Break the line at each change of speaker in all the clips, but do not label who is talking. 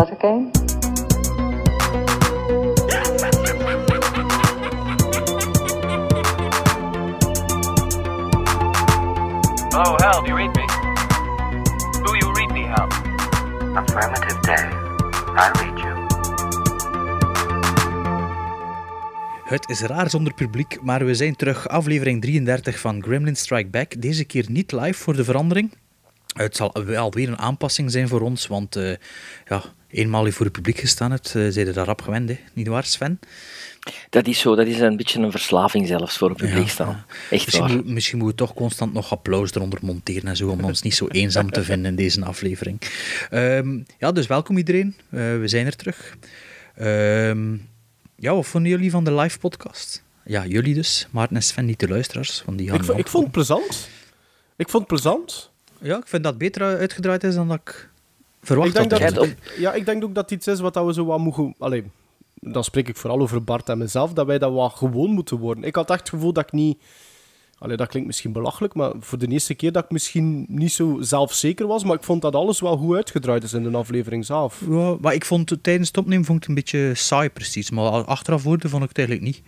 okay?
Oh, Hal, do you read me? Do you read me, Hal?
Affirmative day. I read you.
Het is raar zonder publiek, maar we zijn terug. Aflevering 33 van Gremlin Strike Back. Deze keer niet live voor de verandering. Het zal wel weer een aanpassing zijn voor ons, want eh, ja, eenmaal je voor het publiek gestaan hebt, eh zijn er daar rap gewend, hè? niet waar Sven?
Dat is zo, dat is een beetje een verslaving zelfs voor het publiek
Ja,
staan.
ja.
Echt
misschien,
waar.
moet- misschien moeten we toch constant nog applaus eronder monteren en zo, om ons niet zo eenzaam te vinden in deze aflevering. Ehm, ja, dus welkom iedereen. Eh, we zijn er terug. Ehm, ja, wat vonden jullie van de live podcast? Ja, jullie dus. Maarten en Sven, niet de luisteraars. Want die gaan
Ik, vo- ik vond het plezant. Ik vond het plezant.
Ja, ik vind dat het beter eh, uitgedraaid is dan dat ik verwacht
ik denk
had.
dat,
jij het
ja, ik denk ook dat het iets is wat dat we zo wat mogen... Allee, dan spreek ik vooral over Bart en mezelf, dat wij dat wat gewoon moeten worden. Ik had echt het gevoel dat ik niet... Allee, dat klinkt misschien belachelijk, maar voor de eerste keer dat ik misschien niet zo zelfzeker was, maar ik vond dat alles wel goed uitgedraaid is in de aflevering zelf.
Ja, maar ik vond het tijdens het opnemen vond ik het een beetje saai precies. Maar al- achteraf woorden vond ik het eigenlijk niet.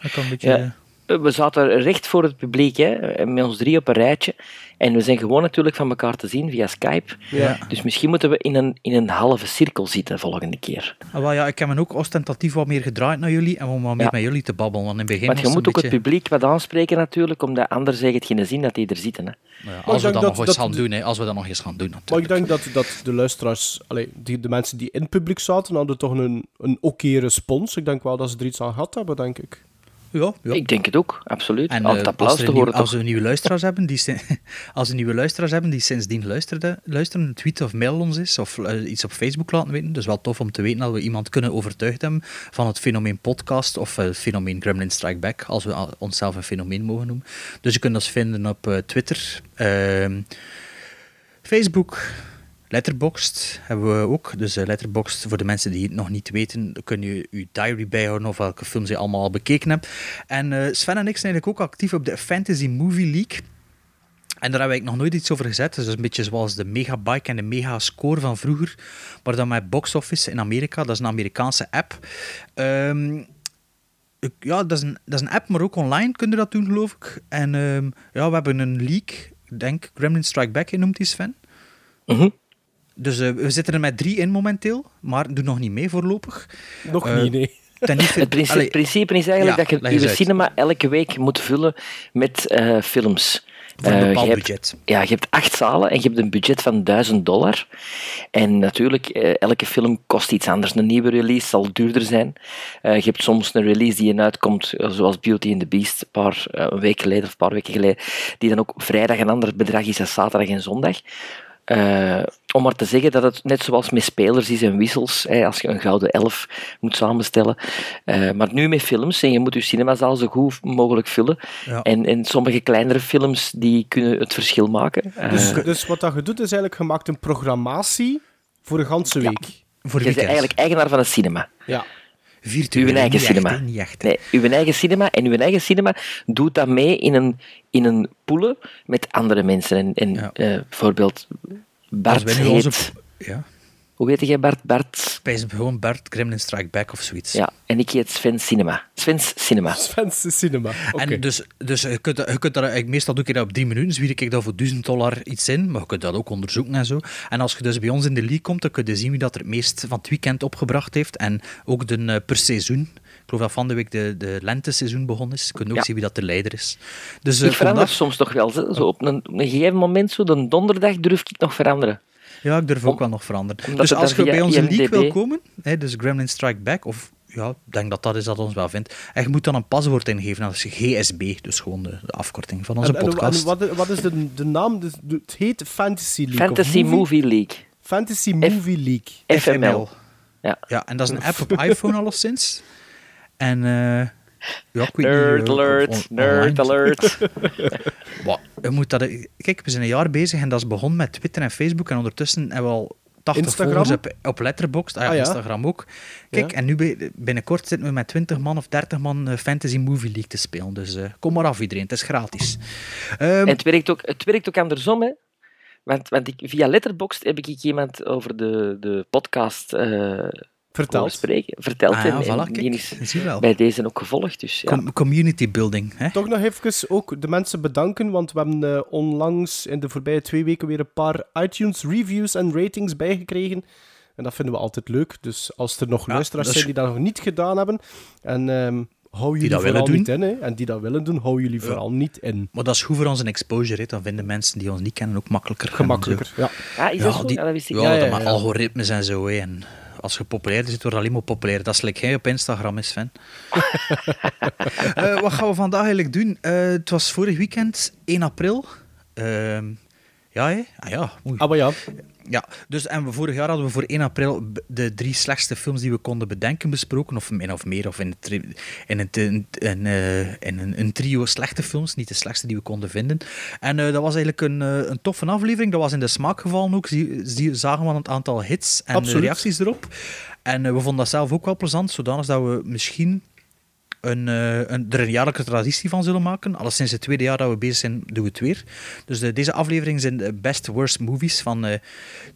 Ik had een beetje...
Ja. We zaten recht voor het publiek, hè, met ons drie op een rijtje. En we zijn gewoon natuurlijk van elkaar te zien via Skype.
Ja.
Dus misschien moeten we in een, in een halve cirkel zitten volgende keer.
Ah, wel, ja, ik heb me ook ostentatief wat meer gedraaid naar jullie en om wat meer
Ja.
met jullie te babbelen. Want in het begin
Want
was
je
het
moet
een
ook het
beetje...
publiek wat aanspreken natuurlijk, omdat anders heeft het geen zin dat die er zitten. Hè.
Ja,
Maar ik
als we
denk
dat,
dat-
nog eens
dat-
gaan doen, hè, als we dat nog eens gaan doen natuurlijk.
Maar ik denk dat, dat de luisteraars, allee, die, de mensen die in het publiek zaten, hadden toch een, een oké respons. Ik denk wel dat ze er iets aan gehad hebben, denk ik.
Ja, ja.
Ik denk het ook, absoluut.
En
Aan
eh,
het
als,
applaus
er
te
een nieuw-
horen
als
toch.
we nieuwe luisteraars hebben die, sin- als we nieuwe luisteraars hebben die sindsdien luisterden, luisteren, tweet of mail ons eens of eh, iets op Facebook laten weten. Dus wel tof om te weten dat we iemand kunnen overtuigd hebben van het fenomeen podcast of eh, het fenomeen Gremlin Strike Back, als we al- onszelf een fenomeen mogen noemen. Dus je kunt ons vinden op eh, Twitter, ehm, Facebook. Letterboxd hebben we ook. Dus eh, Letterboxd, voor de mensen die het nog niet weten, kun je je diary bijhouden of welke films je allemaal al bekeken hebt. En eh, Sven en ik zijn eigenlijk ook actief op de Fantasy Movie League. En daar hebben we eigenlijk nog nooit iets over gezet. Dus dat is een beetje zoals de Megabike en de Megascore van vroeger. Maar dan met Box Office in Amerika. Dat is een Amerikaanse app. Ehm, ik- ja, dat is, een, dat is een app, maar ook online kun je dat doen, geloof ik. En ehm, ja, we hebben een league. Ik denk Gremlin Strike Back je noemt die Sven.
Mhm.
Dus eh, we zitten er met drie in momenteel. Maar doe nog niet mee voorlopig.
Nog
Eh,
niet, nee.
Ten niet-
Het principe,
Allee,
principe is eigenlijk
Ja,
dat je
leg eens
je
uit.
cinema elke week moet vullen met eh, films.
Voor een
Eh, je
bepaald
hebt-
budget.
ja, je hebt acht zalen en je hebt een budget van 1000 dollar. En natuurlijk, eh, elke film kost iets anders. Een nieuwe release zal duurder zijn. Eh, je hebt soms een release die eruit komt, eh, zoals Beauty and the Beast, een paar eh, een week geleden of een paar weken geleden, die dan ook vrijdag een ander bedrag is dan zaterdag en zondag. Eh, om maar te zeggen dat het net zoals met spelers is en wissels, hè, als je een gouden elf moet samenstellen. Eh, maar nu met films, en je moet je cinemazaal zo goed mogelijk vullen.
Ja.
En, en sommige kleinere films die kunnen het verschil maken. Eh,
Dus, dus wat dat je doet, is eigenlijk je maakt een programmatie voor de ganse week.
Voor de
je bent
weekend.
eigenlijk eigenaar van een cinema.
Ja.
virtueel.
Uw eigen
niet echt,
cinema.
hè, niet echt, hè.
nee, uw eigen cinema. En uw eigen cinema doet dat mee in een, in een poelen met andere mensen. En, en
Ja.
eh, bijvoorbeeld
Als
Bart
wij nu
heet...
onze... Ja,
Hoe heet jij Bart? Bart...
wij zijn gewoon Bart Gremlin Strike Back of zoiets.
Ja, en ik heet Sven Cinema. Sven's Cinema.
Svense cinema. Oké.
En dus, dus je kunt, dat- je kunt daar, eigenlijk- meestal doe ik dat op 10 minuten, zwier ik daar voor 1000 dollar iets in, maar je kunt dat ook onderzoeken en zo. En als je dus bij ons in de league komt, dan kun je zien wie dat er het meest van het weekend opgebracht heeft. En ook de, eh, per seizoen. Ik geloof dat van de week de, de lenteseizoen begonnen is. Je kunt ook
Ja.
zien wie dat de leider is. Dus eh,
Ik verander
vandaag- Oh.
soms toch wel. Zo, Zo op, een, op een gegeven moment, zo de donderdag, durf ik nog veranderen.
Ja, ik durf ook
Om-
wel nog veranderen.
omdat
Dus
het
als
dan
je
via
bij onze league
IMDb
wil komen, hè, dus Gremlin Strike Back, of ja, ik denk dat dat is dat ons wel vindt. En je moet dan een paswoord ingeven, dat is GSB, dus gewoon de, de afkorting van onze
En- en-
podcast.
en wat, wat is de, de naam? Dus Het heet Fantasy League. of
Fantasy Movie League.
Fantasy Movie League.
FML.
Ja.
Ja.
en dat is een app op iPhone alleszins. En eh ja, ik weet
Nerd
niet, eh, on-
alert,
online.
nerd alert.
Maar je moet dat, kijk, we zijn een jaar bezig en dat is begonnen met Twitter en Facebook. En ondertussen hebben we al 80
Instagram?
volgers op, op Letterboxd. Ah, ja,
Ah, ja.
Instagram ook. Kijk,
Ja.
en nu bij- binnenkort zitten we met 20 man of 30 man eh, Fantasy Movie League te spelen. Dus eh, kom maar af iedereen, het is gratis. Ehm,
En het werkt ook, het werkt ook andersom, hè. Want, want ik, via Letterboxd heb ik iemand over de, de podcast eh horen
Verteld.
spreken, verteld.
Ah,
en, en
voilà,
die
kijk.
is
Zie je wel.
bij deze ook gevolgd. Dus, ja.
Com- community building, hè?
Toch nog even ook de mensen bedanken, want we hebben eh, onlangs in de voorbije twee weken weer een paar iTunes reviews en ratings bijgekregen. En dat vinden we altijd leuk. Dus als er nog
Ja,
luisteraars
dat is-
zijn die dat nog niet gedaan hebben, en ehm, hou jullie
dat
vooral
willen doen.
niet in. Hè? En die dat willen doen, hou jullie vooral niet in.
Maar dat is goed voor onze exposure, hè? dan vinden mensen die ons niet kennen ook makkelijker. gaan
Gemakkelijker. Ja.
ja, Ah, is
zo.
dat
Ja,
zo?
die,
Ja, dat wist ik
ja,
niet.
ja,
dat-
ja,
maar
ja.
algoritmes en zo. Hè? En als je populair zit, wordt je alleen maar populair. Dat is like jij op Instagram is, Sven. Eh, wat gaan we vandaag eigenlijk doen? Eh, het was vorig weekend, 1 april. Ehm, ja, hè? Ah, ja. Oei.
Ah, maar ja.
Ja, dus en we, vorig jaar hadden we voor 1 april b- de drie slechtste films die we konden bedenken besproken, of min of meer, of in, een tri- in, een, in, in, eh, in een, een trio slechte films, niet de slechtste die we konden vinden. En eh, dat was eigenlijk een, eh, een toffe aflevering, dat was in de smaak gevallen ook, zie, zie- zagen we aan het aantal hits en eh,
Absoluut.
reacties erop. En eh, we vonden dat zelf ook wel plezant, zodanig dat we misschien een, eh, een, er een jaarlijke traditie van zullen maken. Alles sinds het tweede jaar dat we bezig zijn, doen we het weer. Dus de, deze aflevering zijn de best worst movies van eh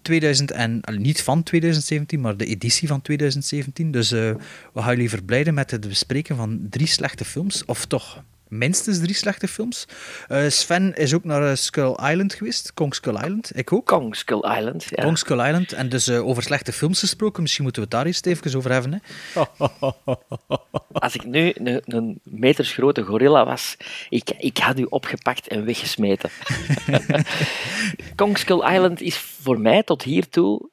2000 en allee, niet van 2017, maar de editie van 2017. Dus eh, we gaan jullie verblijden met het bespreken van drie slechte films, of toch minstens drie slechte films. Eh, Sven is ook naar eh, Skull Island geweest, Kong Skull Island, ik ook.
Kong Skull Island. Ja.
Kong Skull Island, en dus eh, over slechte films gesproken. Misschien moeten we het daar eens even over hebben. Hè.
Als ik nu een, een metersgrote gorilla was, ik, ik had u opgepakt en weggesmeten. Kong Skull Island is voor mij tot hiertoe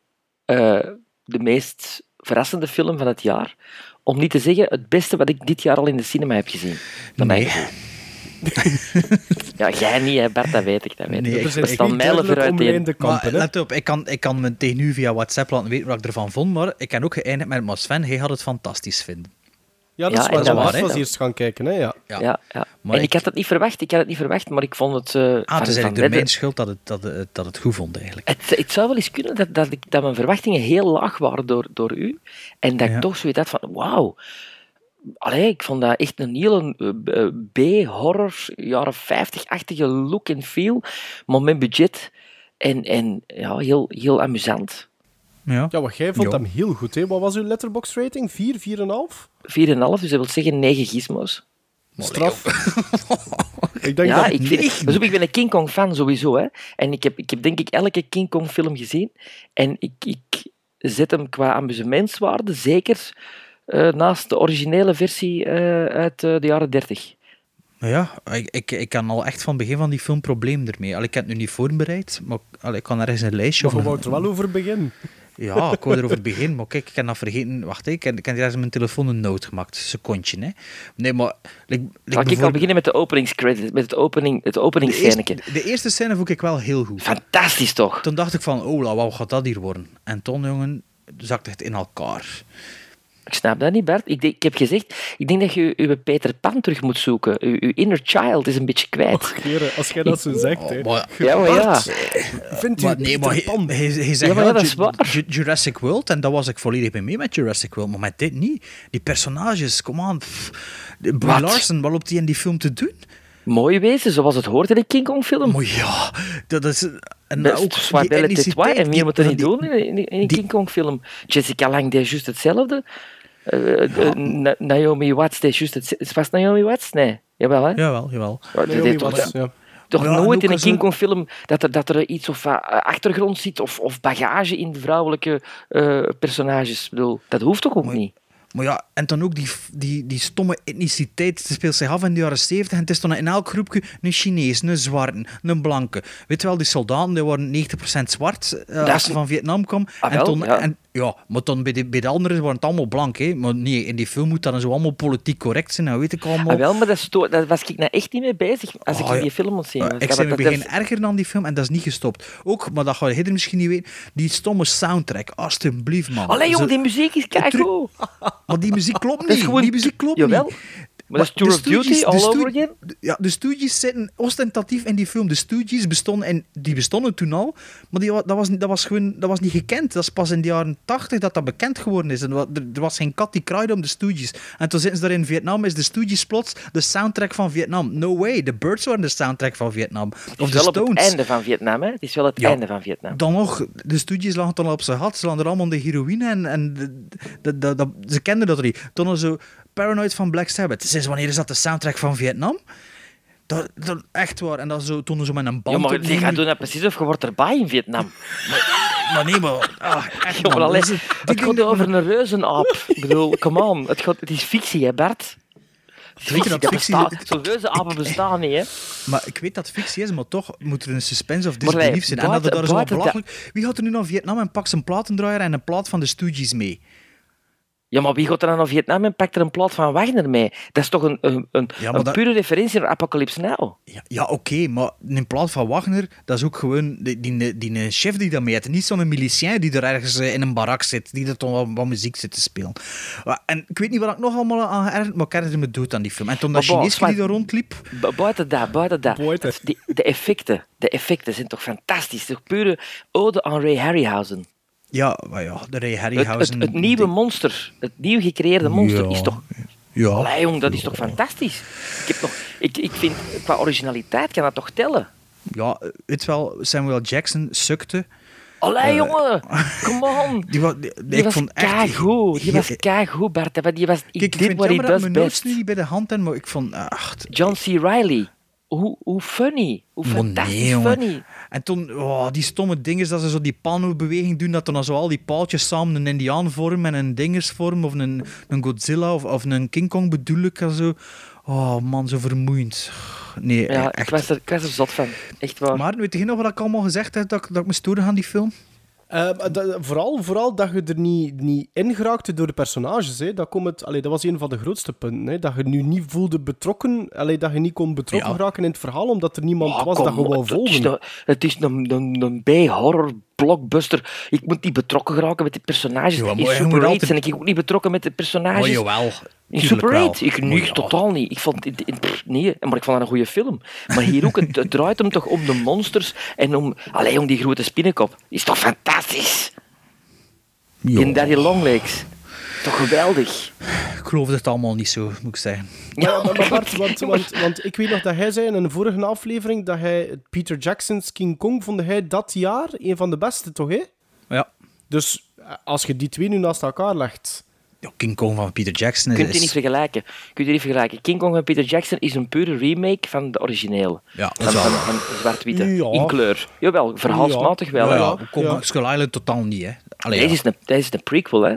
eh, de meest verrassende film van het jaar. Om niet te zeggen het beste wat ik dit jaar al in de cinema heb gezien. Van mijn
Nee.
gevoel. ja, jij niet, hè, Bart, dat weet ik. Dat weet
Nee,
ik.
ik-
We
Er
zijn
staan mijlen
twee duidelijk
vooruit in.
omlijnde
Maar
kampen. hè.
let op, ik kan, ik kan me tegen u via WhatsApp laten weten wat ik ervan vond, maar ik kan ook geëindigd met, maar Sven, hij had het fantastisch vinden.
ja,
Ja,
dat is waar.
en
Dat
dat
was
waar,
als
hè.
eerst gaan kijken. Hè? Ja.
Ja.
Ja, ja.
Maar
en ik,
ik-
had het niet verwacht, ik had het niet verwacht, maar ik vond het... eh,
Ah, het
van-
is
van
eigenlijk door mijn
Redder-
schuld dat het, dat, het, dat het goed vond, eigenlijk.
Het, het zou wel eens kunnen dat, dat, ik, dat mijn verwachtingen heel laag waren door, door u. En dat
Ja.
ik toch zoiets had van, wauw. Allee, ik vond dat echt een heel eh, B-horror, jaren 50-achtige look en feel. Maar met budget. En, en ja, heel, heel amusant.
Ja.
ja, wat jij vond
Ja.
hem heel goed. Hè? Wat was uw letterbox rating? 4, 4,5?
4,5, dus dat wil zeggen 9 gizmos.
Straf. ik denk
Ja,
dat...
ik, vind, dus ik ben een King Kong fan sowieso. Hè. En ik heb, ik heb denk ik elke King Kong film gezien. En ik, ik zet hem qua amusementswaarde zeker eh, naast de originele versie eh, uit eh, de jaren 30.
Ja, ik, ik, ik kan al echt van het begin van die film probleem ermee. Al, ik heb het nu niet voorbereid, maar al, ik kan ergens een lijstje
Maar
of
we
een-
wou er wel over beginnen.
Ja, ik wou erover beginnen, maar kijk, ik heb dat vergeten. Wacht, ik heb, ik heb ergens op mijn telefoon een note gemaakt, een secondje. Hè. Nee, maar... Like, like
Laat ik al
bijvoorbeeld-
beginnen met de openingscredits, met het, opening, het
de eerste,
openingsscèneke.
de eerste scène vond ik wel heel goed.
Fantastisch toch?
Toen dacht ik van, oh, wat gaat dat hier worden? En toen, jongen, zakte het in elkaar.
Ik snap dat niet, Bert. Ik, denk- ik heb gezegd, ik denk dat je uw Peter Pan terug moet zoeken. Uw, uw inner child is een beetje kwijt.
Keren, als jij dat zo zegt, hè.
Oh, maar-
ja, maar ja.
Vindt u
Maar nee, maar hij,
Peter Pan?
hij, hij
Ja,
zegt
maar
wel
ja, dat is
Ju-
waar.
Ju- Jurassic World, en daar was ik volledig mee mee met Jurassic World, maar met dit niet. Die personages, kom aan. pff. De- Brie
Wat?
Larson, wat loopt die in die film te doen?
Mooi wezen, zoals het hoort in een King Kong film.
Maar ja, dat is... En
Dat is
ook
toch zwaar
die
bellen
etniciteit,
tatoeage en
die-
meer moet er niet
die-
doen in, in, in een
die-
King Kong film. Jessica Lange deed juist hetzelfde. Eh, eh, Na- Naomi Watts deed juist hetzelfde. Was Naomi Watts? Nee. Jawel, hè? Oh,
Jawel, jawel.
Maar dat
Naomi
deed toch-
Watts, ja.
Toch
Ja, en
nooit
ook
in een
als een-
King Kong film dat er, dat er iets of eh, achtergrond zit of, of bagage in vrouwelijke eh, personages. Ik bedoel, dat hoeft toch ook niet?
Maar ja, en dan ook die, die, die stomme etniciteit. Het speelt zich af in de jaren 70 en het is dan in elk groepje een Chinees, een Zwarte, een Blanke. Weet je wel, die soldaten die waren 90% zwart eh,
Dat
als
is-
ze van Vietnam kwamen.
Ah,
en
wel,
toen,
ja.
En, ja, maar dan bij de, bij de anderen waren het allemaal blank. Hè. Maar nee, in die film moet dat dan zo allemaal politiek correct zijn, dat weet ik allemaal.
Ah, wel, maar dat sto- daar was ik nou echt niet mee bezig als
Oh,
ik in
ja.
die film ontzien
Eh,
was.
ik
Dat-
zei in
dat-
het begin
dat-
erger dan die film en dat is niet gestopt. Ook, maar dat ga je misschien niet weten, die stomme soundtrack. Alsjeblieft, man.
Allee,
Zo-
jong, die muziek is
truc-
keigoed.
Maar die muziek klopt niet.
Dat is gewoon-
Die muziek klopt
Jawel.
niet.
Maar dat is Tour
de
of Duty
Stooges-
all
de Stoo-
over again?
de- Ja, de Stooges zitten ostentatief in die film. De Stooges bestonden, en die bestonden toen al, maar die, wa- dat, was, dat, was gewoon, dat was niet gekend. Dat is pas in de jaren tachtig dat dat bekend geworden is. En wa- er, er was geen kat die kraaide om de Stooges. En toen zitten ze daar in Vietnam, is de Stooges plots de soundtrack van Vietnam. No way, de Birds waren de soundtrack van Vietnam. Of
Het
de
is wel op het
Stones.
einde van Vietnam, hè? Het is wel het
Ja.
einde van Vietnam.
Dan nog, de studies lagen toen al op zijn gat. Ze lagen er allemaal in de heroïne en, en de- de- de- de- ze kenden dat er niet. Toen al zo Paranoid van Black Sabbath. Sinds wanneer is dat de soundtrack van Vietnam? Dat, dat, echt waar. En dat zo, toen zo met een band...
Ja, maar die
opnieuw.
gaat doen dat precies of je wordt erbij in Vietnam.
Maar nee, maar... Ah, echt,
Ja,
man.
maar
Dat
allee,
is- die
het gaat
dingen-
over een reuzenaap. Ik bedoel, come on. Het, gaat, het is fictie, hè, Bart? Fictie,
dat
dat
fictie-
bestaat. Zo'n reuzenapen bestaan niet, hè?
Maar ik weet dat het fictie is, maar toch moet er een suspense of
Maar wij,
disbelief zijn. En dat het
buiten-
daar zo wat
buiten dat-
belachelijk... Wie gaat er nu naar Vietnam en pakt zijn platendraaier en een plaat van de Stooges mee?
Ja, maar wie gaat er dan naar Vietnam en pakt er een plaat van Wagner mee? Dat is toch een, een, een,
Ja, maar
een
dat-
pure referentie naar Apocalypse Now?
Ja, ja oké, maar in plaats van Wagner, dat is ook gewoon die, die, die, die chef die dat mee heeft. Niet zo'n milicien die er ergens eh, in een barak zit, die er toch wat, wat muziek zit te spelen. Wa- En ik weet niet wat ik nog allemaal aan herinnerd, maar ik herinner me dood aan die film. En toen dat
Maar bon,
Chinees die
maar-
daar rondliep...
Bu- Buiten dat, buiten dat.
Buiten.
Het- die- de, effecten, de effecten zijn toch fantastisch. Toch pure ode aan Ray Harryhausen.
Ja, maar ja, de Ray
Het,
Harryhausen...
het, het nieuwe monster, het nieuw gecreëerde monster, is toch...
Ja.
Allee, jong, dat is toch fantastisch? Ik, heb nog, ik, ik vind, qua originaliteit kan dat toch tellen?
Ja, weet je wel, Samuel Jackson sukte.
Allee, jongen, come on.
Eh, Die, wa- die,
Die
ik
was
vond echt...
keigoed, die was
Kijk,
keigoed, Bart. Dat was- Die was, ik,
ik
dit
vind het
wat hij
jammer dat
does
mijn notes
best.
nu niet bij de hand hebben, maar ik vond... ah, Ach,
John C. Riley. Hoe, hoe funny. Hoe
Maar
fantastisch
nee, jongen.
funny.
En toen, oh, die stomme dingers dat ze zo die panobeweging doen, dat dan zo al die paaltjes samen een Indiaan vormen en een dingers vormen, of een, een Godzilla of, of een King Kong bedoel ik. en Zo. Oh man, zo vermoeiend. Nee, eh,
Ja, ik
echt.
was, er, ik was er zot van. Echt waar.
Maar weet je nog wat ik allemaal gezegd heb, dat, ik- dat ik me stoorde aan die film?
Eh, maar dat- vooral, vooral dat je er niet, niet in geraakte door de personages. Hè. Dat, komt het, allee, dat was een van de grootste punten. Hè. Dat je nu niet voelde betrokken. Allee, dat je niet kon betrokken
Ja.
geraken in het verhaal, omdat er niemand
Oh,
was
kom,
dat je wou
het- Het is,
volgen.
een, het is een, een, een B-horror blockbuster. Ik moet niet betrokken geraken met die personages.
Ja, maar
in
je moet
Super 8
altijd-
ben ik ook niet betrokken met de personages. in Super 8? Ik niks totaal niet. Ik vond, het- het- pff, nee, maar ik vond dat een goede film. Maar hier ook, het, het draait hem toch om de monsters en om, alleen om die grote spinnenkop. Is toch fantastisch? In Daddy Longlegs. Toch geweldig.
Ik geloofde het allemaal niet zo, moet ik zeggen.
Ja,
Maar, maar Bart, want, want, want ik weet nog dat hij zei in een vorige aflevering dat hij het Peter Jackson's King Kong vond hij dat jaar een van de beste, toch? Hè?
Ja.
Dus eh, als je die twee nu naast elkaar legt.
Ja, King Kong van Peter Jackson
Je
is...
kunt die niet vergelijken. Je kunt die niet vergelijken. King Kong van Peter Jackson is een pure remake van de originele.
Ja, dat
van,
is wel
van,
waar.
van de zwart-witte.
Ja.
In kleur. Jawel, verhaalsmatig wel.
ja,
hè.
ja, Kong-
Ja.
Skull Island totaal niet, hè. Allee,
Deze
ja.
is, een, deze is een prequel, hè?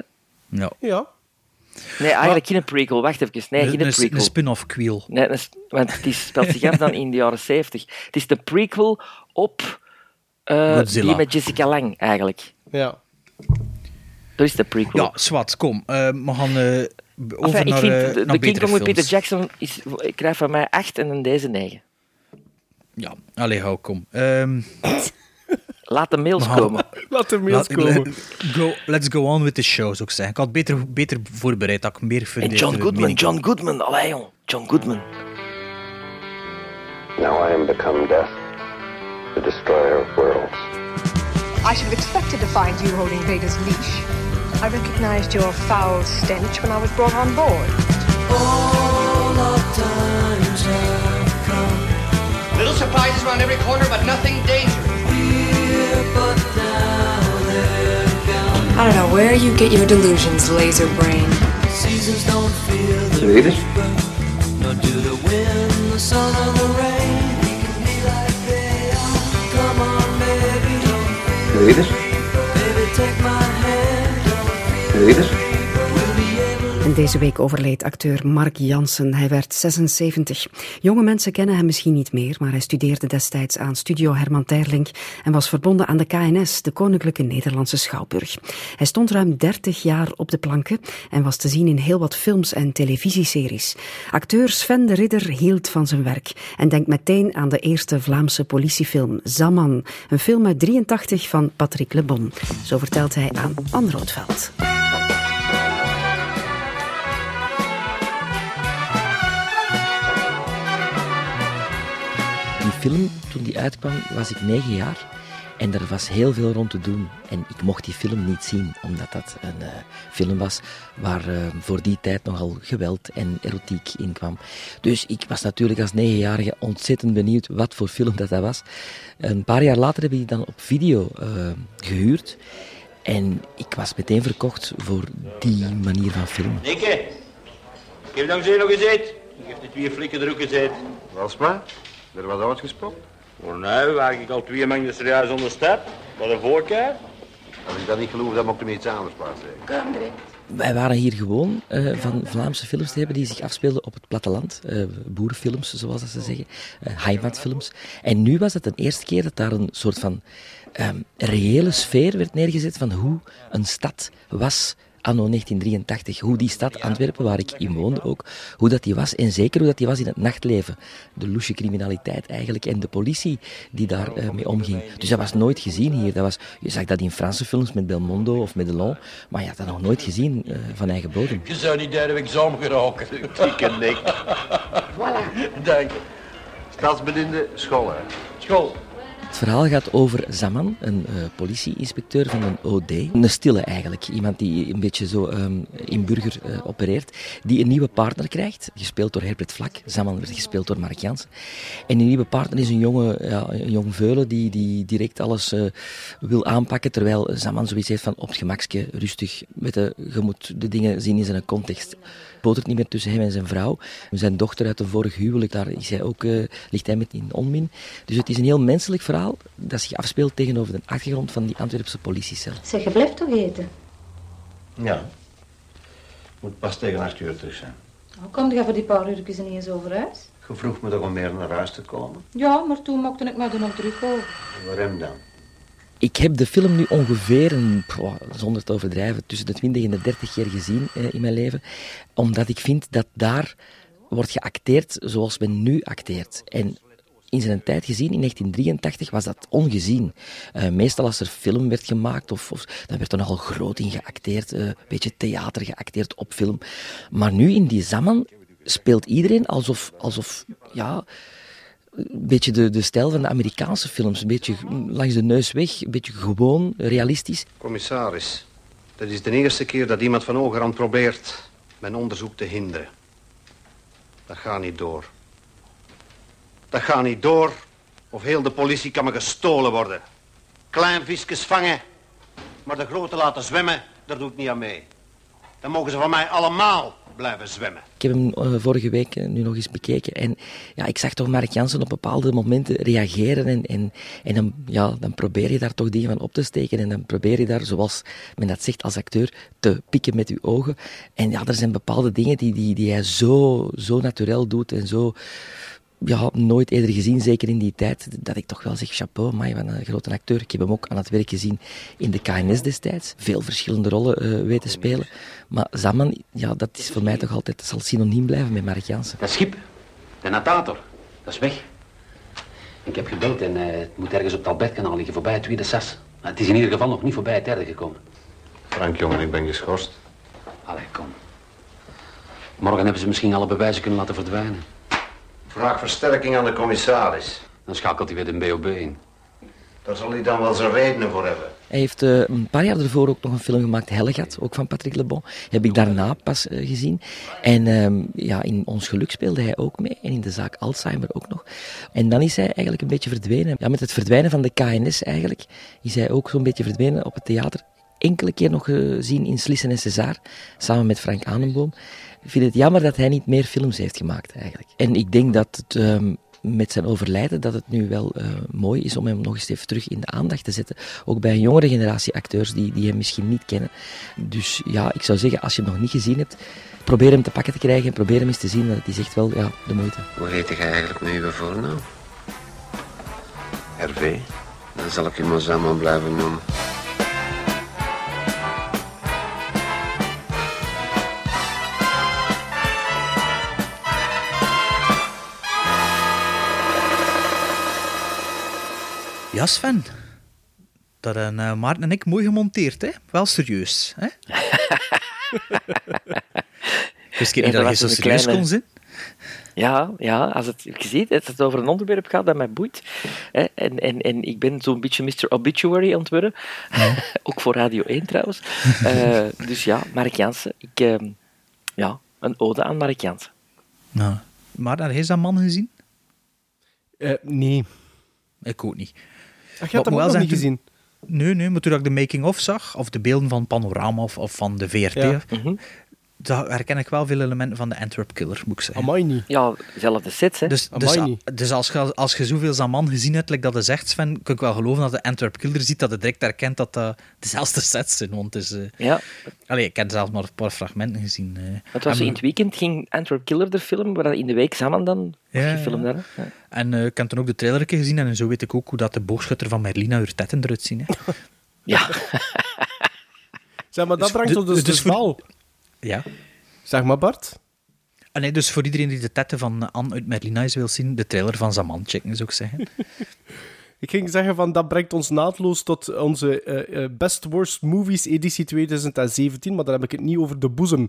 Ja.
Ja.
Nee, eigenlijk geen prequel. Wacht even. Nee,
Een,
geen
een, een
prequel.
spin-off quiel.
Nee, dat is- want het is, speelt zich af dan in de jaren 70. Het is de prequel op eh,
Godzilla.
die met Jessica Lang, eigenlijk.
ja.
Dat is de prequel.
Ja, zwart, kom. Eh, we gaan eh, over
Enfin, ik
naar,
vind
eh,
de,
naar
de King
betere
Kong met Peter
films.
Jackson is, krijgt van mij 8 en dan deze 9.
Ja, allee, hou, kom. Ehm,
Laat de mails
Nou,
komen.
Laat de
laat-
mails
eh,
komen.
go, let's go on with the show, zou ik zeggen. Ik had beter, beter voorbereid, dat ik meer
En
fundeerde.
John Goodman,
mening.
John Goodman, allee jong, John Goodman.
Now I am become death, the destroyer of worlds.
I should have expected to find you holding Vader's leash. I recognized your foul stench when I was brought on board.
Little surprises around every corner, but nothing dangerous.
I don't know where you get your delusions, laser brain.
En deze week overleed acteur Mark Jansen. Hij werd 76. Jonge mensen kennen hem misschien niet meer, maar hij studeerde destijds aan Studio Herman Terling en was verbonden aan de KNS, de Koninklijke Nederlandse Schouwburg. Hij stond ruim 30 jaar op de planken en was te zien in heel wat films en televisieseries. Acteur Sven de Ridder hield van zijn werk en denkt meteen aan de eerste Vlaamse politiefilm Zaman, een film uit 83 van Patrick Lebon. Zo vertelt hij aan Anne Roodveld.
Die film, toen die uitkwam, was ik negen jaar. En er was heel veel rond te doen. En ik mocht die film niet zien, omdat dat een eh, film was waar eh, voor die tijd nogal geweld en erotiek in kwam. Dus ik was natuurlijk als negenjarige ontzettend benieuwd wat voor film dat, dat was. Een paar jaar later heb ik die dan op video eh, gehuurd. En ik was meteen verkocht voor die manier van filmen.
Nikke, geef dan zee nog eens uit. Ik heb de twee flikken er ook eens uit.
Was maar, er was uitgesproken.
Voor nu waar ik al twee mengen serieus onder stap. Wat een voorkeur.
Als ik dat niet geloof, dan moet ik hem iets anders plaatsen.
Wij waren hier gewoon eh, van Vlaamse films te hebben die zich afspeelden op het platteland. eh, boerenfilms, zoals dat ze zeggen. eh heimatfilms. En nu was het de eerste keer dat daar een soort van ehm, reële sfeer werd neergezet van hoe een stad was anno 1983. Hoe die stad Antwerpen, waar ik in woonde ook, hoe dat die was. En zeker hoe dat die was in het nachtleven. De loesje criminaliteit eigenlijk en de politie die daar eh, mee omging. Dus dat was nooit gezien hier. Dat was, je zag dat in Franse films met Belmondo of met Delon. Maar je had dat nog nooit gezien eh, van eigen bodem.
Je zou niet derde week zomer geraken.
Dikke nek.
Dank je.
Stadsbediende school, hè.
School.
Het verhaal gaat over Zaman, een eh, politieinspecteur van een OD. Een stille eigenlijk, iemand die een beetje zo ehm, in burger eh, opereert. Die een nieuwe partner krijgt, gespeeld door Herbert Vlak. Zaman werd gespeeld door Mark Jansen. En die nieuwe partner is een, jonge, ja, een jong veulen die, die direct alles eh, wil aanpakken. Terwijl Zaman zoiets heeft van op het gemakske, rustig. Met de, je moet de dingen zien in zijn context. Botert niet meer tussen hem en zijn vrouw. Zijn dochter uit een vorig huwelijk, daar is hij ook, eh, ligt hij met in onmin. Dus het is een heel menselijk verhaal dat zich afspeelt tegenover de achtergrond van die Antwerpse politiecel.
Zeg, je blijft toch eten?
Ja. Moet pas tegen acht uur terug zijn.
Hoe kom je voor die paar uurtjes niet eens over huis?
Je vroeg me toch om meer naar huis te komen?
Ja, maar toen mocht ik mij er nog druk over.
Waarom dan?
Ik heb de film nu ongeveer, een, pwa, zonder te overdrijven, tussen de 20 en de 30 keer gezien eh, in mijn leven. Omdat ik vind dat daar wordt geacteerd zoals men nu acteert. En in zijn tijd gezien, in 1983, was dat ongezien. Eh, meestal als er film werd gemaakt, of, of, dan werd er nogal groot in geacteerd. eh, Een beetje theater geacteerd op film. Maar nu in die Zaman speelt iedereen alsof, alsof ja, een beetje de, de stijl van de Amerikaanse films. Een beetje langs de neus weg, een beetje gewoon, realistisch.
Commissaris, dit is de eerste keer dat iemand van Ogerand probeert mijn onderzoek te hinderen. Dat gaat niet door. Dat gaat niet door, of heel de politie kan me gestolen worden. Klein visjes vangen, maar de grote laten zwemmen, daar doe ik niet aan mee. Dan mogen ze van mij allemaal blijven zwemmen.
Ik heb hem eh, vorige week eh, nu nog eens bekeken. En ja, ik zag toch Mark Jansen op bepaalde momenten reageren. En, en, en dan, ja, dan probeer je daar toch dingen van op te steken. En dan probeer je daar, zoals men dat zegt als acteur, te pikken met je ogen. En ja, er zijn bepaalde dingen die, die, die hij zo, zo natuurlijk doet. En zo ja, nooit eerder gezien, zeker in die tijd. Dat ik toch wel zeg, chapeau, maar van een grote acteur. Ik heb hem ook aan het werk gezien in de KNS destijds. Veel verschillende rollen eh, weten spelen. Maar Zaman, ja, dat is voor mij toch altijd, dat zal synoniem blijven met Mark Jansen.
Dat schip, de natator, dat is weg. Ik heb gebeld en eh, het moet ergens op het Albertkanaal liggen, voorbij het tweede sas. Maar het is in ieder geval nog niet voorbij het derde gekomen.
Frank, jongen, ik ben geschorst.
Allee, kom. Morgen hebben ze misschien alle bewijzen kunnen laten verdwijnen.
Vraag versterking aan de commissaris.
Dan schakelt hij weer de BOB in.
Daar zal hij dan wel zijn redenen voor hebben.
Hij heeft eh, een paar jaar ervoor ook nog een film gemaakt, Hellegat, ook van Patrick Lebon. Heb ik daarna pas eh, gezien. En ehm, ja, in Ons Geluk speelde hij ook mee. En in de zaak Alzheimer ook nog. En dan is hij eigenlijk een beetje verdwenen. Ja, met het verdwijnen van de KNS eigenlijk, is hij ook zo'n beetje verdwenen op het theater. Enkele keer nog eh, gezien in Slissen en César, samen met Frank Anenboom. Ik vind het jammer dat hij niet meer films heeft gemaakt eigenlijk. En ik denk dat het... ehm, met zijn overlijden dat het nu wel eh, mooi is om hem nog eens even terug in de aandacht te zetten. Ook bij een jongere generatie acteurs die, die hem misschien niet kennen. Dus ja, ik zou zeggen, als je hem nog niet gezien hebt, probeer hem te pakken te krijgen en probeer hem eens te zien. Want het is echt wel ja, de moeite.
Hoe heet jij eigenlijk met uw voornaam? Hervé. Dan zal ik je maar Zaman blijven noemen.
Ja, Sven. Dat een eh, Maarten en ik mooi gemonteerd, hè? Wel serieus, hè? ik wist niet
Ja,
dat je
dat was
zo
een
serieus
kleine-
kon zijn.
Ja, ja als het, je ziet, als het over een onderwerp gaat dat mij boeit. Hè, en, en, en ik ben zo'n beetje Mr. Obituary aan het worden. Ook voor Radio 1 trouwens. Eh, dus ja, Mark Jansen. Ik, eh, ja, een ode aan Mark Jansen.
Ja. Nou, Maar heb je dat man gezien?
Eh, nee.
Ik ook niet.
Ach, je
Wat
hebt hem
moet
ook
wel
nog
zeggen,
niet
toen-
gezien.
Nee, nee, maar toen ik de making-of zag, of de beelden van Panorama of, of van de VRT,
Ja.
eh, daar herken ik wel veel elementen van de Antwerp Killer, moet ik zeggen.
Amai niet.
Ja, zelfde sets, hè.
Dus, dus, dus als je als je zoveel Zaman gezien hebt, like dat je zegt, Sven, kan ik wel geloven dat de Antwerp Killer ziet, dat je direct herkent dat dat dezelfde sets zijn. Want het is, eh,
Ja.
allee, ik heb zelfs maar een paar fragmenten gezien. eh.
Het was
En-
zo in het weekend, ging Antwerp Killer de film, waar dat in de week samen dan was
Ja,
gefilmd.
ja.
hè. Ja.
En eh, ik heb toen ook de trailer een keer gezien en zo weet ik ook hoe dat de boogschutter van Merlina haar tetten eruit zien. Hè.
Ja.
Zeg maar, dat brengt ons dus, dus wel.
Ja.
Zeg maar, Bart.
Ah, nee, dus voor iedereen die de tetten van eh, Anne uit Merlina eens wil zien, de trailer van Zaman checken, zou ik zeggen.
Ik ging zeggen van dat brengt ons naadloos tot onze eh, eh, Best Worst Movies editie 2017. Maar dan heb ik het niet over de boezem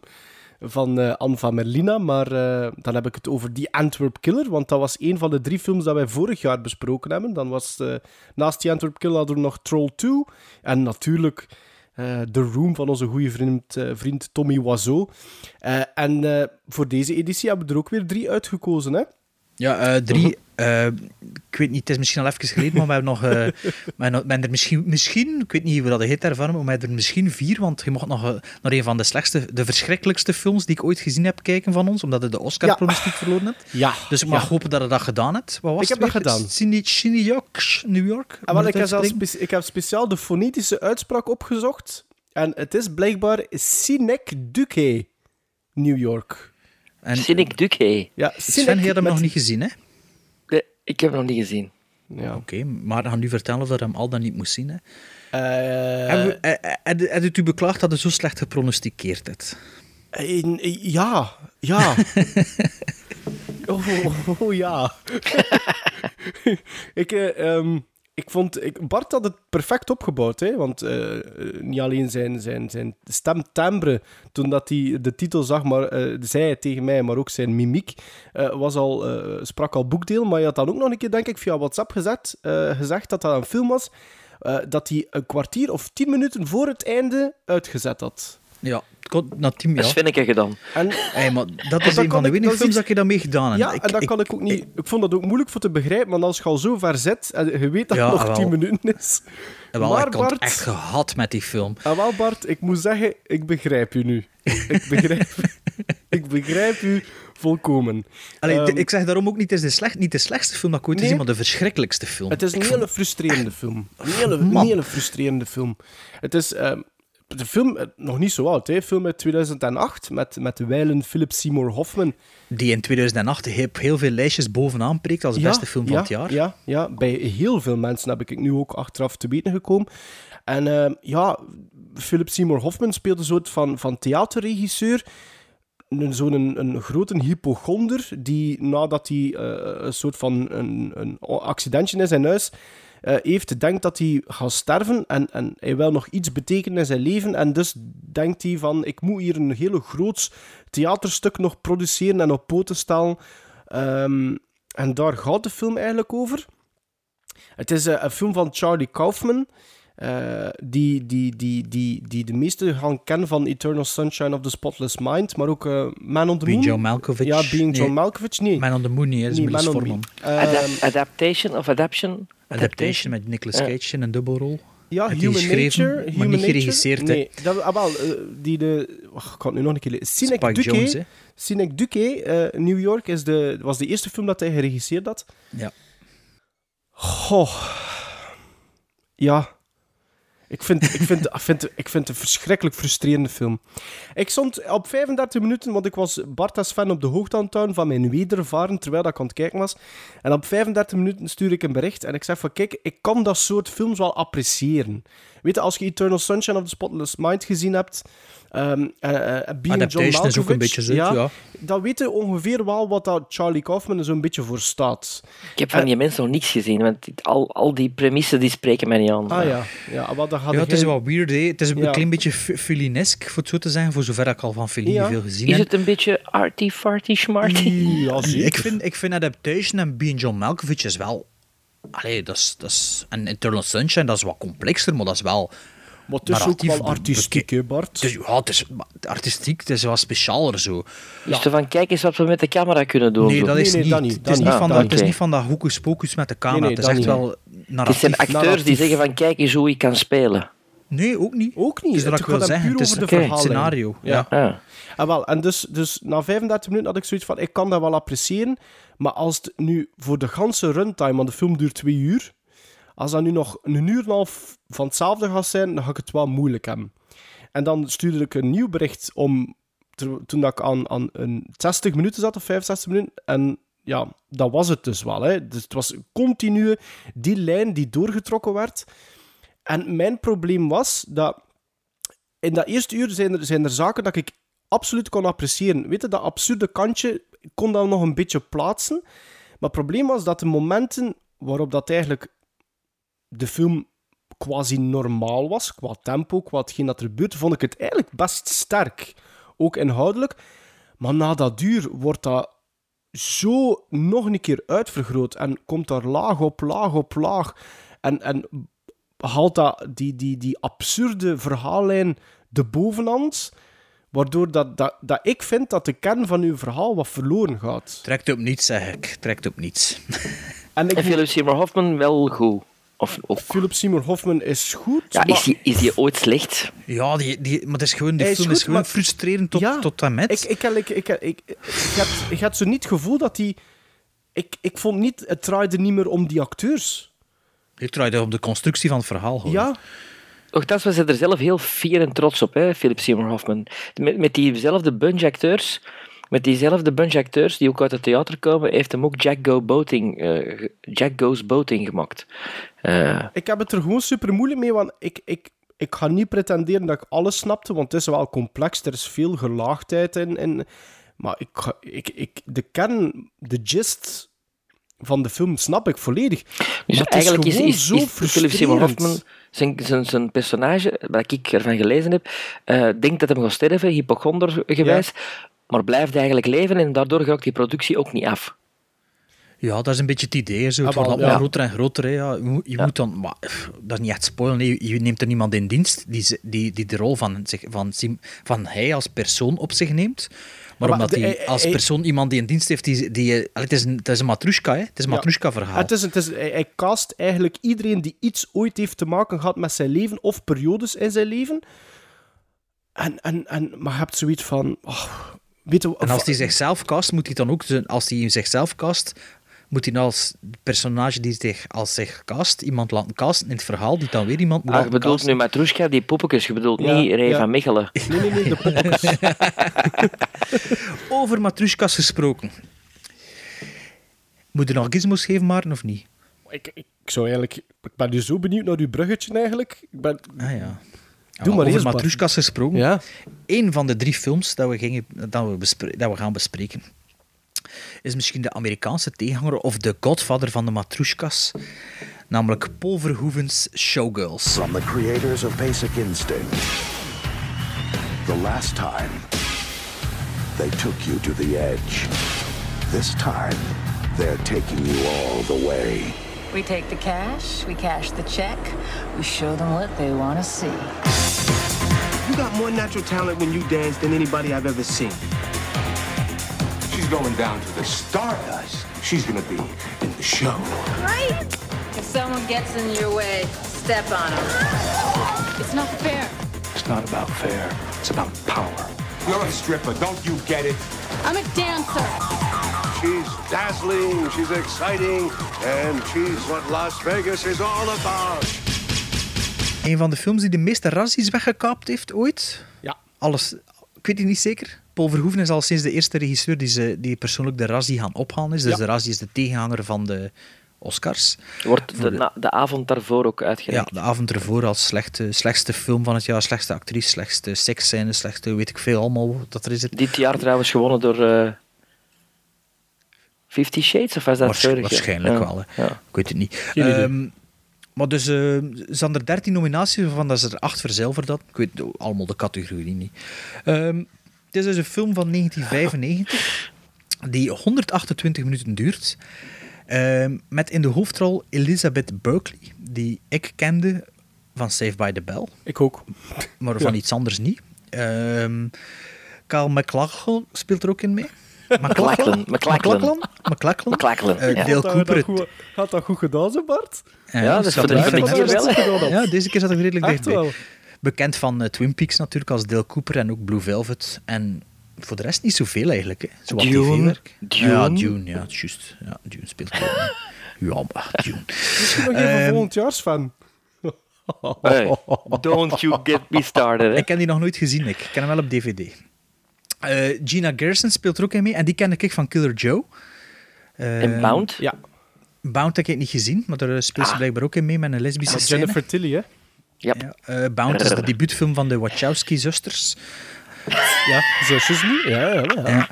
van eh Anne van Merlina. Maar eh, dan heb ik het over The Antwerp Killer. Want dat was een van de drie films dat wij vorig jaar besproken hebben. Dan was eh, naast The Antwerp Killer hadden we nog Troll 2. En natuurlijk eh, The Room van onze goede vriend, eh, vriend Tommy Wiseau. Eh, en eh, voor deze editie hebben we er ook weer drie uitgekozen, hè?
Ja, eh, drie. eh, ik weet niet, het is misschien al even geleden, maar we hebben nog. eh, we hebben- we hebben er misschien, misschien, ik weet niet hoe dat heet daarvan, maar we hebben er misschien vier, want je mocht nog eh, naar een van de slechtste, de verschrikkelijkste films die ik ooit gezien heb kijken van ons, omdat je de Oscar-pronostiek verloren hebt.
Ja.
Dus ik mag hopen dat je dat gedaan hebt. Wat was
Ik
het
heb dat
weer?
gedaan.
Cine- Cine York, New York?
Ah, wel,
Moet
ik, heb
het
zelfs
uitspreken?
spe- ik heb speciaal de fonetische uitspraak opgezocht. En het is blijkbaar Sinek Duque, New York.
En,
Cynic Duque.
Ja,
Sven, je had hem nog niet gezien, hè?
Nee, ik heb hem nog niet gezien.
Ja.
Oké, maar dan gaan nu vertellen of dat hem al dan niet moest zien, hè?
Eh,
Hebben we- eh, eh, Heb heb het u beklaagd dat u zo slecht gepronosticeerd hebt?
Eh, eh, Ja, ja. oh, oh, oh, ja. ik, eh, ehm, ik vond... Ik, Bart had het perfect opgebouwd, hè. Want eh, eh, niet alleen zijn, zijn, zijn stemtimbre, toen dat hij de titel zag, maar eh, zei het tegen mij, maar ook zijn mimiek, eh, was al, eh, sprak al boekdeel. Maar je had dan ook nog een keer, denk ik, via WhatsApp gezet, eh, gezegd dat dat een film was, eh, dat hij een kwartier of tien minuten voor het einde uitgezet had.
Ja, het kon- na tien jaar.
Dat vind ik gedaan.
En...
Hey, maar dat
dat
is een
kan
van de
ik-
weinige
dat is
films
iets-
dat je daarmee gedaan hebt.
Ja, en dat kan ik ook niet. Ik, vond dat ook moeilijk voor te begrijpen, want als je al zo ver zit en je weet dat
Ja,
het nog
wel.
10 minuten is.
Wel,
maar
ik had
Bart,
het echt gehad met die film.
ah, wel Bart, ik moet zeggen, ik begrijp je nu. Ik begrijp, ik begrijp u volkomen.
Allee,
Ehm,
d- ik zeg daarom ook niet, het is de, slecht, niet de slechtste film dat ik ooit
Nee.
gezien, maar de verschrikkelijkste film.
Het is een
Ik
hele
vond-
frustrerende film. Een hele, een
Man.
hele frustrerende film. Het is ehm, de film, eh, nog niet zo oud, hè? film uit 2008 met, met wijlen Philip Seymour Hoffman.
Die in 2008 heel, heel veel lijstjes bovenaan prikt als de beste film van
ja,
het jaar.
Ja, ja, bij heel veel mensen heb ik het nu ook achteraf te weten gekomen. En ehm, ja, Philip Seymour Hoffman speelt een soort van, van theaterregisseur. Een, zo'n een, een grote hypochonder die nadat hij eh, een soort van een, een accidentje in zijn huis eh, heeft, denkt dat hij gaat sterven en, en hij wil nog iets betekenen in zijn leven. En dus denkt hij van, ik moet hier een hele groots theaterstuk nog produceren en op poten stellen. Ehm, en daar gaat de film eigenlijk over. Het is eh, een film van Charlie Kaufman. eh, die, die, die, die, die de meesten gaan kennen van Eternal Sunshine of the Spotless Mind. Maar ook eh, Man on the
Being
Moon.
John Malkovich.
Ja, Being
Nee.
John Malkovich. Nee,
Man on the Moon, niet, hè, dat is
Nee,
Milos
Man on
Forman.
the Moon.
Adap-
Ehm,
adaptation of adaption?
Adaptation met Nicolas
Ja.
Cage in een dubbelrol.
Ja,
Heeft hij
Human
geschreven,
Nature.
maar
Human
niet
Nature.
geregisseerd. hè.
Nee, dat, ah, wel, eh, die de... Och, ik kan het nu nog een keer lezen. Sinek
Spike
Duque.
Jonze.
Sinek Duque, eh, New York, is de, was de eerste film dat hij geregisseerd had.
Ja.
Goh. Ja. Ik vind, ik, vind, ik, vind, ik vind het een verschrikkelijk frustrerende film. Ik stond op 35 minuten, want ik was Bart als fan op de hoogte aan het houden van mijn wedervaren, terwijl dat ik aan het kijken was. En op 35 minuten stuur ik een bericht en ik zeg van, kijk, ik kan dat soort films wel appreciëren. Weet je, als je Eternal Sunshine of the Spotless Mind gezien hebt, ehm eh, eh, Being John
Adaptation is ook een
Malkovich,
beetje zo, ja.
dan weet je ongeveer wel wat dat Charlie Kaufman er zo'n beetje voor staat.
Eh,
Ik heb van die mensen nog niks gezien, want dit- al, al die premissen die spreken mij niet aan.
Ah ja, ja wel, dat dat gaat
Ja, het is
geen-
wel weird, hè. Het is een
Ja.
klein beetje Fe- Fellinesk, voor het zo te zeggen, voor zover ik al van Fellini
Ja.
veel gezien
Is
heb.
het een beetje arty farty schmarty?
Mm, Ik vind, ik vind Adaptation en Being John Malkovich is wel... Allee, dat is, dat is, en Eternal Sunshine, dat is wat complexer, maar dat is wel...
Maar het is ook
narratief
wel
be-
artistiek, hè, Bart?
beke- Ja, het is maar artistiek, het is wel specialer zo.
Is er van, kijk eens wat we met de camera kunnen doen.
Nee,
zo.
dat is niet. het, is niet
Ah,
van dat, het is
oké.
niet van dat hoekus pokus met de camera.
Nee, nee,
het is
dat
echt
niet.
wel Nou,
Het
narratief.
zijn acteurs die zeggen van, kijk eens hoe ik kan spelen.
Nee, ook niet.
Ook niet.
Dus dat
Het
ik wil
gaat dan
zeggen,
puur
het is
over de
oké, het
verhaallijn.
scenario,
ja.
En, wel, en dus, dus na 35 minuten had ik zoiets van, ik kan dat wel appreciëren, maar als het nu voor de ganse runtime, want de film duurt twee uur, als dat nu nog een uur en een half van hetzelfde gaat zijn, dan ga ik het wel moeilijk hebben. En dan stuurde ik een nieuw bericht om, ter- toen dat ik aan, aan een 60 minuten zat, of 65 minuten, en ja, dat was het dus wel. Hè. Dus het was continu die lijn die doorgetrokken werd. En mijn probleem was dat in dat eerste uur zijn er, zijn er zaken dat ik absoluut kon appreciëren. Weet je, dat absurde kantje ik kon dat nog een beetje plaatsen. Maar het probleem was dat de momenten waarop dat eigenlijk de film quasi normaal was, qua tempo, qua hetgeen dat er gebeurde, vond ik het eigenlijk best sterk. Ook inhoudelijk. Maar na dat uur wordt dat zo nog een keer uitvergroot en komt daar laag op laag op laag. En, en haalt dat, die, die, die absurde verhaallijn de bovenhand, waardoor dat, dat, dat ik vind dat de kern van uw verhaal wat verloren gaat.
Trekt op niets, zeg ik. Trekt op niets.
En, ik,
En Philip Seymour Hoffman wel goed. Of, of,
Philip Seymour Hoffman is goed.
ja,
maar-
is, die, is die ooit slecht?
Ja, die, die, maar het is gewoon, die
Hij is
film is
goed,
gewoon
maar-
frustrerend tot,
Ja.
tot en met.
Ik, ik, ik, ik, ik, ik, ik had, ik had zo niet het gevoel dat die... Ik, ik vond niet... Het draaide niet meer om die acteurs.
Ik draai dat op de constructie van het verhaal. Hoor.
Ja.
Nochtans, we zijn er zelf heel fier en trots op, hè, Philip Seymour Hoffman. Met, met diezelfde bunch acteurs, met diezelfde bunch acteurs die ook uit het theater komen, heeft hem ook Jack, Go Boating, eh, ge- Jack Goes Boating gemaakt. Eh,
Ik heb het er gewoon super moeilijk mee, want ik, ik, ik ga niet pretenderen dat ik alles snapte, want het is wel complex, er is veel gelaagdheid in. in maar ik, ga- ik, ik, de kern, de gist van de film snap ik volledig.
dus
maar het
eigenlijk
is
is,
gewoon
is,
zo
is Philip Seymour
frustrerend.
Hoffman, zijn, zijn, zijn personage, wat ik ervan gelezen heb, eh, denkt dat hij gaat sterven, hypochonder gewijs, maar blijft eigenlijk leven en daardoor raakt die productie ook niet af.
Ja, dat is een beetje het idee. hè, Zo. Het
Ah,
wordt
wel,
allemaal
ja.
groter en groter. Hè. Ja, je moet, je moet dan, maar, pff, dat is niet echt spoilen. hè. Je, je neemt er niemand in dienst die, ze- die, die de rol van, zich- van, Sim- van hij als persoon op zich neemt. Maar,
Maar
omdat
de-
hij
hij-
als
hij-
persoon iemand die in dienst heeft, die, die, eh, het, is een, het is een matrushka, hè. het is een matrushka-verhaal.
Het is, het is, hij, hij cast eigenlijk iedereen die iets ooit heeft te maken gehad met zijn leven of periodes in zijn leven. En, en, en, maar je hebt zoiets van... oh, weet je,
En als hij zichzelf cast, moet hij dan ook, zijn- als hij zichzelf cast, moet hij als personage die zich als zich cast, iemand laten casten in het verhaal, die dan weer iemand moet
Ah, je
laten
bedoelt
casten.
nu Matrushka, die poppetjes, je bedoelt
Ja,
niet Ray
ja.
van Mechelen.
Nee, nee, nee, de poppetjes.
Over matrushkas gesproken. Moet je nog gizmos geven, Maarten, of niet?
ik, ik zou eigenlijk... Ik ben nu zo benieuwd naar uw bruggetje eigenlijk. Ik ben,
Ah ja.
Doe maar
Over
eerst, Bart.
matrushkas gesproken.
Ja.
Eén van de drie films dat we, gingen, dat, we bespre- dat we gaan bespreken is misschien de Amerikaanse tegenhanger of de godvader van de matrushkas, namelijk Paul Verhoeven's Showgirls.
From the creators of Basic Instinct, the last time they took you to the edge. This time, they're taking you all the way.
We take the cash, we cash the check, we show them what they want to see.
You got more natural talent when you dance than anybody I've ever seen.
She's going down to the stardust. She's gonna be in the show.
Right? If someone gets in your way, step on them. It's not fair.
It's not about fair. It's about power. You're a stripper. Don't you get it?
I'm a dancer.
She's dazzling, she's exciting, and she's what Las Vegas is all about.
Een van de films die de meeste razzies weggekaapt heeft ooit.
Ja.
Alles, ik weet het niet zeker. Paul Verhoeven is al sinds de eerste regisseur die, ze, die persoonlijk de razzie gaan ophalen is. Dus
Ja.
de razzie is de tegenhanger van de Oscars.
Wordt de,
Voor de-
na- de avond daarvoor ook
Ja,
uitgereikt.
de avond ervoor als slechte, slechtste film van het jaar, slechtste actrice, slechtste seksscène, slechtste weet ik veel allemaal wat dat er is.
Dit jaar trouwens gewonnen door eh Fifty Shades, of was dat
Waarsch-
vorig jaar?
waarschijnlijk
Ja,
wel, hè.
ja.
Ik weet het niet.
Geen idee.
Ehm, Maar dus, eh zijn er 13 nominaties, waarvan dat ze er 8 verzilverd hadden. Ik weet allemaal de categorie niet. Ehm, het is dus een film van 1995, die 128 minuten duurt. Ehm, met in de hoofdrol Elizabeth Berkley, die ik kende van Save by the Bell.
Ik ook.
Maar van
Ja.
iets anders niet. Ehm Carl McLachlan speelt er ook in mee. McLachlan?
McLachlan.
McLachlan? McLachlan?
McLachlan,
Eh,
ja.
Dale
Had dat,
Cooper.
goed, had dat goed gedaan, zo Bart?
Eh,
Ja, dat is
zat
voor de-
er
voor de
dicht
keer
bij.
wel, hè?
Ja, deze keer zat ik redelijk
Echt
dichtbij.
wel.
Bekend van eh, Twin Peaks natuurlijk als Dale Cooper en ook Blue Velvet. En voor de rest niet zoveel eigenlijk. Hè. Zo wat
Dune,
TV-werk.
Dune.
Ja, Dune. Ja, juist. Ja, Dune speelt ook. mee. Ja, maar Dune.
Nog even
Ehm,
volgend jaars fan.
Oh.
Hey, don't you get me started. Hè.
Ik heb die nog nooit gezien, ik. Ik ken hem wel op DVD. Eh, Gina Gerson speelt er ook in mee. En die ken ik van Killer Joe. Eh,
En Bound?
Ja.
Bound heb ik niet gezien, maar daar speelt ze blijkbaar ook in mee met een lesbische
Ja,
scène.
Ah. Jennifer Tilly, hè?
Ja, eh, Bound is de debuutfilm van de Wachowski-zusters.
Ja, zusjes niet. Ja, ja, ja.
Ja.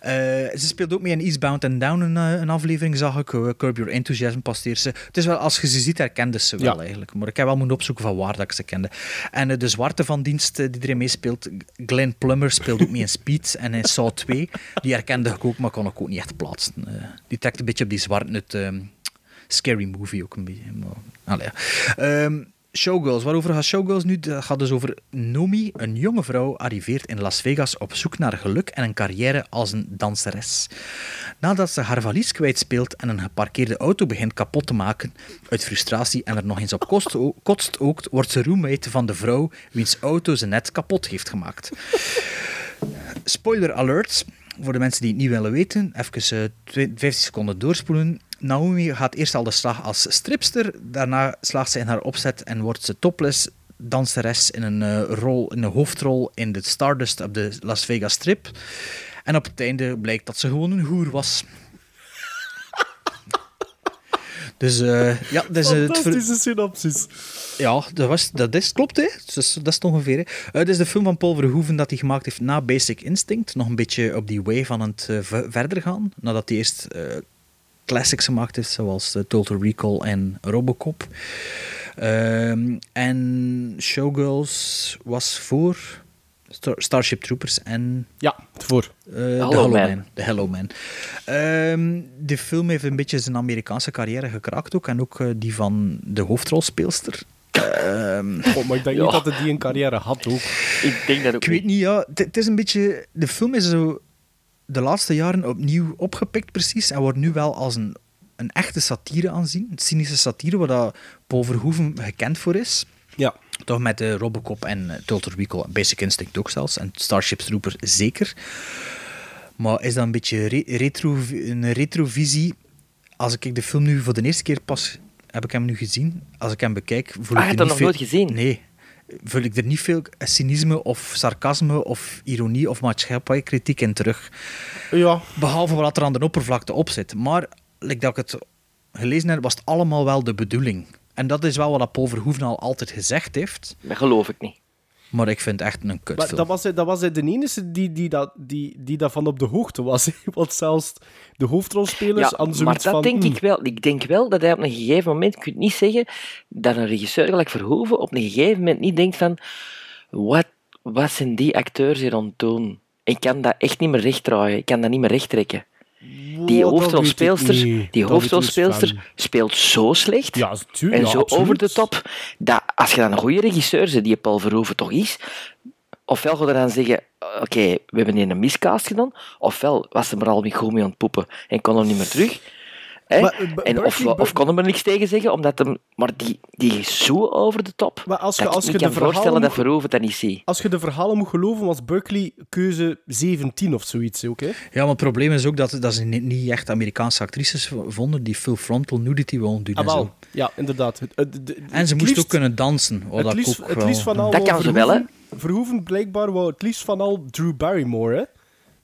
Eh, ze speelt ook mee in Eastbound and Down, een, eh, een aflevering zag ik. Eh, Curb Your Enthusiasm pasteert ze. Het is wel, als je ze ziet, herkende ze wel
Ja.
eigenlijk. Maar ik heb wel moeten opzoeken van waar dat ik ze kende. En eh, de zwarte van dienst eh, die erin meespeelt, Glenn Plummer, speelt ook mee in Speed en in Saw 2. Die herkende ik ook, maar kon ik ook niet echt plaatsen. Eh, die trekt een beetje op die zwarte uit ehm, Scary Movie ook een beetje. Maar, allee, ja. Ehm, Showgirls, waarover gaat Showgirls nu? Dat gaat dus over Nomi, een jonge vrouw, arriveert in Las Vegas op zoek naar geluk en een carrière als een danseres. Nadat ze haar valies kwijtspeelt en een geparkeerde auto begint kapot te maken, uit frustratie en er nog eens op kost- kotst ookt, wordt ze roommate van de vrouw wiens auto ze net kapot heeft gemaakt. Spoiler alert. Voor de mensen die het niet willen weten, even eh, twe- 15 seconden doorspoelen. Naomi gaat eerst al de slag als stripster. Daarna slaagt ze in haar opzet en wordt ze topless danseres in een, eh, rol, in een hoofdrol in de Stardust op de Las Vegas Strip. En op het einde blijkt dat ze gewoon een hoer was. Dus eh, ja, dat is eh, het ver-
Fantastische synopsis.
ja, dat, was, dat is, klopt, hè. Dus, dat is het ongeveer. Hè. Eh, dit is de film van Paul Verhoeven dat hij gemaakt heeft na Basic Instinct. Nog een beetje op die way van het eh, ve- verder gaan. Nadat hij eerst eh, classics gemaakt heeft, zoals eh, Total Recall en Robocop. Ehm, en Showgirls was voor Star- Starship Troopers en
Ja, het voor.
eh, de
Hello
Hello Man.
Man.
De Hello Man. Ehm, de film heeft een beetje zijn Amerikaanse carrière gekraakt ook. En ook eh, die van de hoofdrolspeelster. Ehm,
Goh, maar ik denk
Ja.
niet dat het die een carrière had ook.
Ik denk dat
ik weet niet, ja. Het- Het is een beetje... De film is zo de laatste jaren opnieuw opgepikt, precies. En wordt nu wel als een, een echte satire aanzien. Een cynische satire, waar dat Paul Verhoeven gekend voor is.
Ja.
Toch met eh, Robocop en eh, Total Recall, Basic Instinct ook zelfs. En Starship Trooper zeker. Maar is dat een beetje re- retro, een retrovisie? Als ik de film nu voor de eerste keer pas heb ik hem nu gezien. Als ik hem bekijk, voel ik
Ah, je
er niet
hebt dat nog
veel-
nooit gezien?
Nee. Voel ik er niet veel cynisme of sarcasme of ironie of maatschappijkritiek in terug.
Ja.
Behalve wat er aan de oppervlakte op zit. Maar, like dat ik het gelezen heb, was het allemaal wel de bedoeling. En dat is wel wat dat Paul Verhoeven al altijd gezegd heeft.
Dat geloof ik niet.
Maar ik vind het echt een
Maar
kutfilm.
dat was, hij- dat was hij de enige die, die, dat, die, die daarvan op de hoogte was. hè. Want zelfs de hoofdrolspelers
Ja,
hadden
maar
zoiets
dat
van...
denk
"Hmm,
ik wel. Ik denk wel dat hij op een gegeven moment... Je kunt niet zeggen dat een regisseur gelijk Verhoeven op een gegeven moment niet denkt van... Wat, wat zijn die acteurs hier aan het doen? Ik kan dat echt niet meer rechtdraaien. Ik kan dat niet meer rechttrekken.
Oh, dat
Die
mm, weet ik
hoofdrolspeelster,
niet.
die
Dat weet ik
hoofdrolspeelster
niet,
speelt zo slecht
Ja, tuurlijk,
en
ja,
zo
absoluut.
over de top, dat als je dan een goede regisseur bent, die Paul Verhoeven toch is, ofwel gaat er dan zeggen, oké, we hebben hier een miscast gedaan, ofwel was ze maar al niet goed mee aan het poepen en kon hem niet meer terug. hè?
Maar, eh, B-
en of,
Berkeley-
of kon hem er niks tegen zeggen, omdat hem, maar die, die is zo over de top.
Maar als je-
dat ik
als
niet
je
kan
de verhalen
voorstellen dat
moet-
Verhoeven dat niet ziet.
Als je de verhalen moet geloven, was Berkeley keuze 17 of zoiets, hè, ook, hè?
Ja, maar het probleem is ook dat, dat ze ni- niet echt Amerikaanse actrices v- vonden die full frontal nudity wilden doen.
Ah,
en, zo.
wel. Ja, inderdaad. Het- het- het-
en ze
het
moest
liefst-
ook kunnen dansen. wat
het
dat
liefst,
ook
het
wel-
liefst van al
Dat kan ze wel, hè?
Verhoeven- Verhoeven blijkbaar wou het liefst van al Drew Barrymore, hè?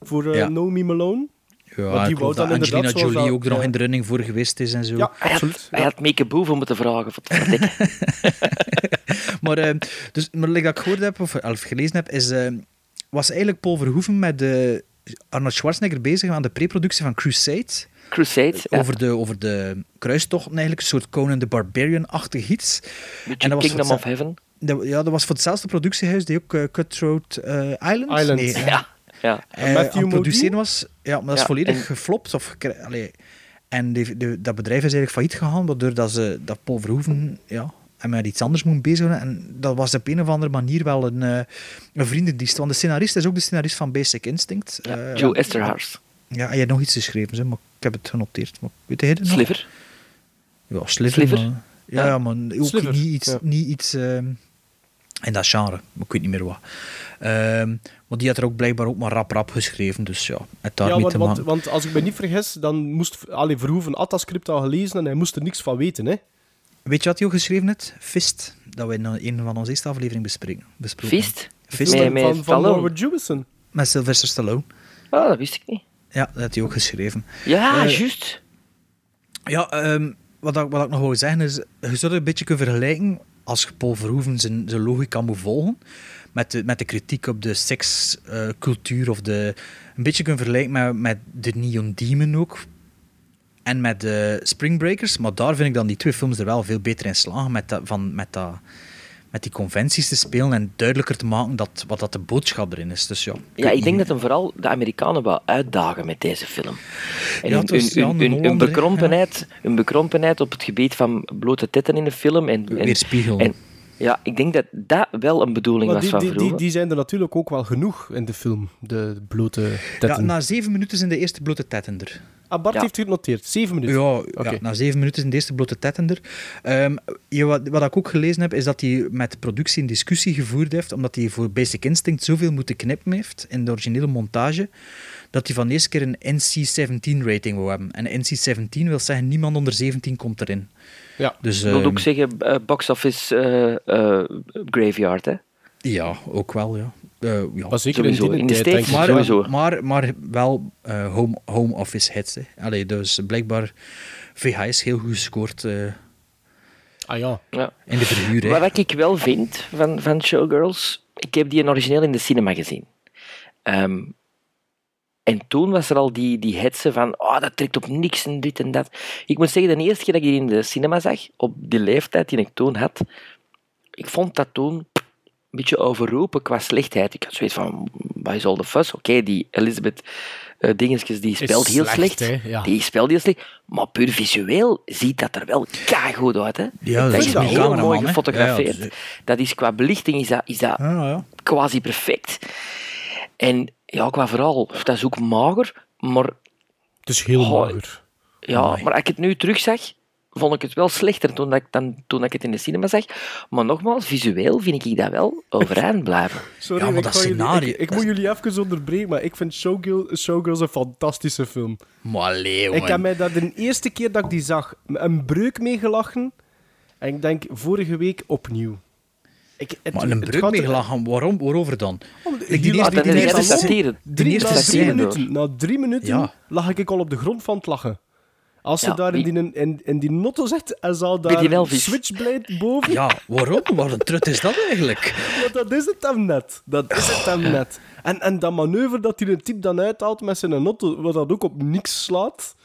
Voor eh
Ja.
Naomi Malone.
Ja,
Want die
ik
wou
geloof
dan
dat Angelina
inderdaad zoals
Jolie
dat-
ook er nog
ja.
in de running voor geweest is en zo.
Ja,
Hij had,
absoluut.
hij had Make a Boeve moeten vragen, voor het verdikken.
maar, eh, dus, maar like dat ik gehoord heb, of, of gelezen heb, is, eh, was eigenlijk Paul Verhoeven met eh, Arnold Schwarzenegger bezig aan de preproductie van Crusade.
Crusade. Ja.
Over, de, over de kruistochten eigenlijk, een soort Conan the Barbarian-achtig iets.
Beetje Kingdom of Heaven.
Dat, ja, dat was voor hetzelfde productiehuis, die ook uh, Cutthroat uh, Island.
Island.
Nee,
ja. ja.
Uh, aan het produceren was. Ja, maar dat is volledig en... geflopt. Of, allee, en die, die, dat bedrijf is eigenlijk failliet gegaan, waardoor dat ze dat Paul Verhoeven ja, en met iets anders moet bezighouden. En dat was op een of andere manier wel een, eh, een vriendendienst. Want de scenarist is ook de scenarist van Basic Instinct. Eh,
Ja, uh, Joe Esterhaars.
Ja, hij had nog iets geschreven, zeg, maar ik heb het genoteerd. Maar weet je het nog?
Sliver.
Ja, Sliver. sliver. Maar, ja, ja. ja, maar ook sliver. niet iets... Ja. Niet iets uh, in dat genre, maar ik weet niet meer wat. Um, maar die had er ook blijkbaar ook maar rap rap geschreven, dus ja, het daarmee
ja, want,
te
want,
maken.
want als ik me niet vergis, dan moest Allee Verhoeven had dat script al gelezen en hij moest er niks van weten, hè?
Weet je wat hij ook geschreven heeft? Fist, dat we in een van onze eerste afleveringen bespreken. besproken.
Fist?
Fist
nee, met
van, van Robert Jewison.
Met Sylvester Stallone.
Ah, oh, dat wist ik niet.
Ja, dat had hij ook geschreven.
Ja, uh, juist.
Ja, um, wat, ik, wat ik nog wil zeggen is, je zou het een beetje kunnen vergelijken als je Paul Verhoeven zijn, zijn logica moet volgen, met de, met de kritiek op de sekscultuur uh, of de... Een beetje kunnen vergelijken met, met de Neon Demon ook, en met de Springbreakers. Maar daar vind ik dan die twee films er wel veel beter in slagen met, dat, van, met, dat, met die conventies te spelen en duidelijker te maken dat, wat dat de boodschap erin is. Dus ja,
ja, ik denk dat hem vooral de Amerikanen wel uitdagen met deze film.
Ja,
En hun,
het was, ja,
hun,
een
hun- hun
Hollander, hè,
bekrompenheid, hun bekrompenheid op het gebied van blote titten in de film. En, en,
Weerspiegel.
en- ja, ik denk dat dat wel een bedoeling was
Maar die,
van
die, die,
Verhoeven.
die zijn er natuurlijk ook wel genoeg in de film, de blote
Ja, nou-
tetten.
na zeven minuten zijn de eerste blote tetten er.
Ah, Bart
Ja.
heeft het genoteerd, zeven minuten.
Ja, nou-
Oké.
ja, na zeven minuten zijn de eerste blote tetten er. Ehm, ja, wat, wat ik ook gelezen heb, is dat hij met de productie een discussie gevoerd heeft, omdat hij voor Basic Instinct zoveel moeten knippen heeft in de originele montage, dat hij van de eerste keer een NC-17-rating wil hebben. En NC-17 wil zeggen, niemand onder 17 komt erin.
Ja.
Dus,
Ik wil
ehm,
ook zeggen, eh, box office eh, eh, graveyard, hè.
Ja, ook wel, ja. Eh, ja.
Maar zeker
Sowieso,
in
in
die
de States
tijd, denk ik.
Maar,
sowieso.
maar, maar wel eh, home, home office hits. Hè. Allee, dus blijkbaar VHS heel goed gescoord eh,
Ah ja.
Ja.
in de verhuur. Hè.
Wat ik wel vind van, van Showgirls, ik heb die origineel in de cinema gezien. Ehm, en toen was er al die, die hetze van, oh, dat trekt op niks en dit en dat. Ik moet zeggen, de eerste keer dat ik die in de cinema zag, op die leeftijd die ik toen had, ik vond dat toen een beetje overroepen qua slechtheid. Ik had zoiets van, wat is all the fuss? Oké, die Elizabeth eh dingetjes, die speelt heel
slecht,
slecht.
hè, ja.
Die speelt heel slecht. Maar puur visueel ziet dat er wel goed uit, hè.
Ja, dat
Dat
is
is
een
heel
cameraman,
mooi
hè.
gefotografeerd.
Ja, Ah. ja,
Dat is qua belichting is dat, is dat
Ja, ja.
quasi perfect. En ja, qua vooral, dat is ook mager, maar,
Het is heel
Goh.
mager.
ja,
Amai.
maar als ik het nu terugzag, vond ik het wel slechter toen, dat ik, dan, toen ik het in de cinema zag. Maar nogmaals, visueel vind ik dat wel overeind blijven.
Sorry,
Ja, maar
ik,
dat
ga jullie-
scenario-
ik, ik
dat
moet jullie even onderbreken, maar ik vind Showgirl, Showgirls een fantastische film.
Maar leeuwen.
Ik heb mij dat de eerste keer dat ik die zag een breuk mee gelachen. En ik denk vorige week opnieuw. Ik, het,
Maar een
het
breuk
gaat er-
meegelachen, waarom, waarover dan?
Om de-
Ik die
die
eerste- die
laat-
dat is
eerste
echt
scène-
satire.
die
Drie,
eerste
na, drie
scène.
minuten, na drie minuten
Ja.
lag ik al op de grond van het lachen. Als ze
Ja,
daar in
wie-
die, in, in die notto zit en ze al
Bij
daar
die
een
Elvis.
switchblade boven,
Ja, waarom? Wat een trut is dat eigenlijk?
want dat is het hem net. Dat is het hem net. En, en dat manoeuvre dat hij een type dan uithaalt met zijn notto, wat dat ook op niks slaat.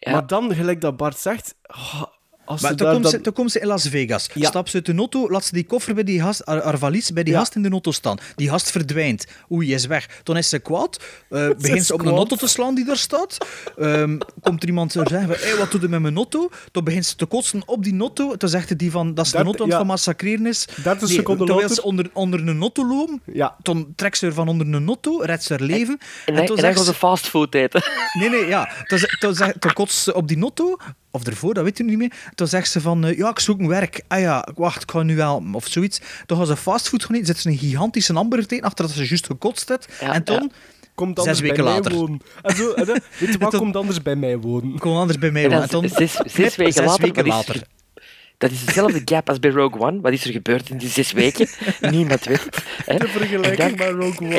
Ja.
Maar dan, gelijk dat Bart zegt... ah, als
Maar
ze
toen
daar
komt,
dat-
ze, toen komt ze in Las Vegas.
Ja.
Stapt ze uit de auto, laat ze die koffer bij die gast, haar, haar valies bij die
Ja.
gast in de auto staan. Die gast verdwijnt. Oei, is weg. Dan is ze kwaad. eh, begint
is
ze op een
kwaad.
auto te slaan die daar staat. Ehm, komt er iemand en zeggen: hey, wat doet je met mijn auto? Dan begint ze te kotsen op die auto. Dan zegt die van, dat is een
Dat-
auto aan het
ja.
van massacreren is.
30 seconden
terwijl
later-
ze onder, onder een auto lopen,
Ja.
dan trekt ze er van onder een auto, redt ze haar leven. toen
En, dan- en dan
zegt
gaan
ze-
ze fastfood eten.
Nee, nee, ja. Toen, ze- toen, ze- toen kotst ze op die notto, of ervoor, dat weet u niet meer. Toen zegt ze van, eh, ja, ik zoek een werk. Ah ja, wacht, ik ga nu wel, of zoiets. Toen gaan ze fastfood gaan eten, zet ze een gigantische hamburger tegen, achter dat ze juist gekotst heeft.
Ja,
en toen,
ja.
Komt
Zes
anders bij
weken
mij
later.
wonen. En zo, en dan- weet je wat,
Dat-
komt anders bij mij wonen.
kom anders bij mij.
En dan
man. En toen,
z- zes, zes
knip,
weken
zes
later.
weken
wat is er
later.
ge- dat is dezelfde gap als bij Rogue One. Wat is er gebeurd in die zes weken? Niemand weet. het, hè.
De vergelijking
En
met
dan-
Rogue One.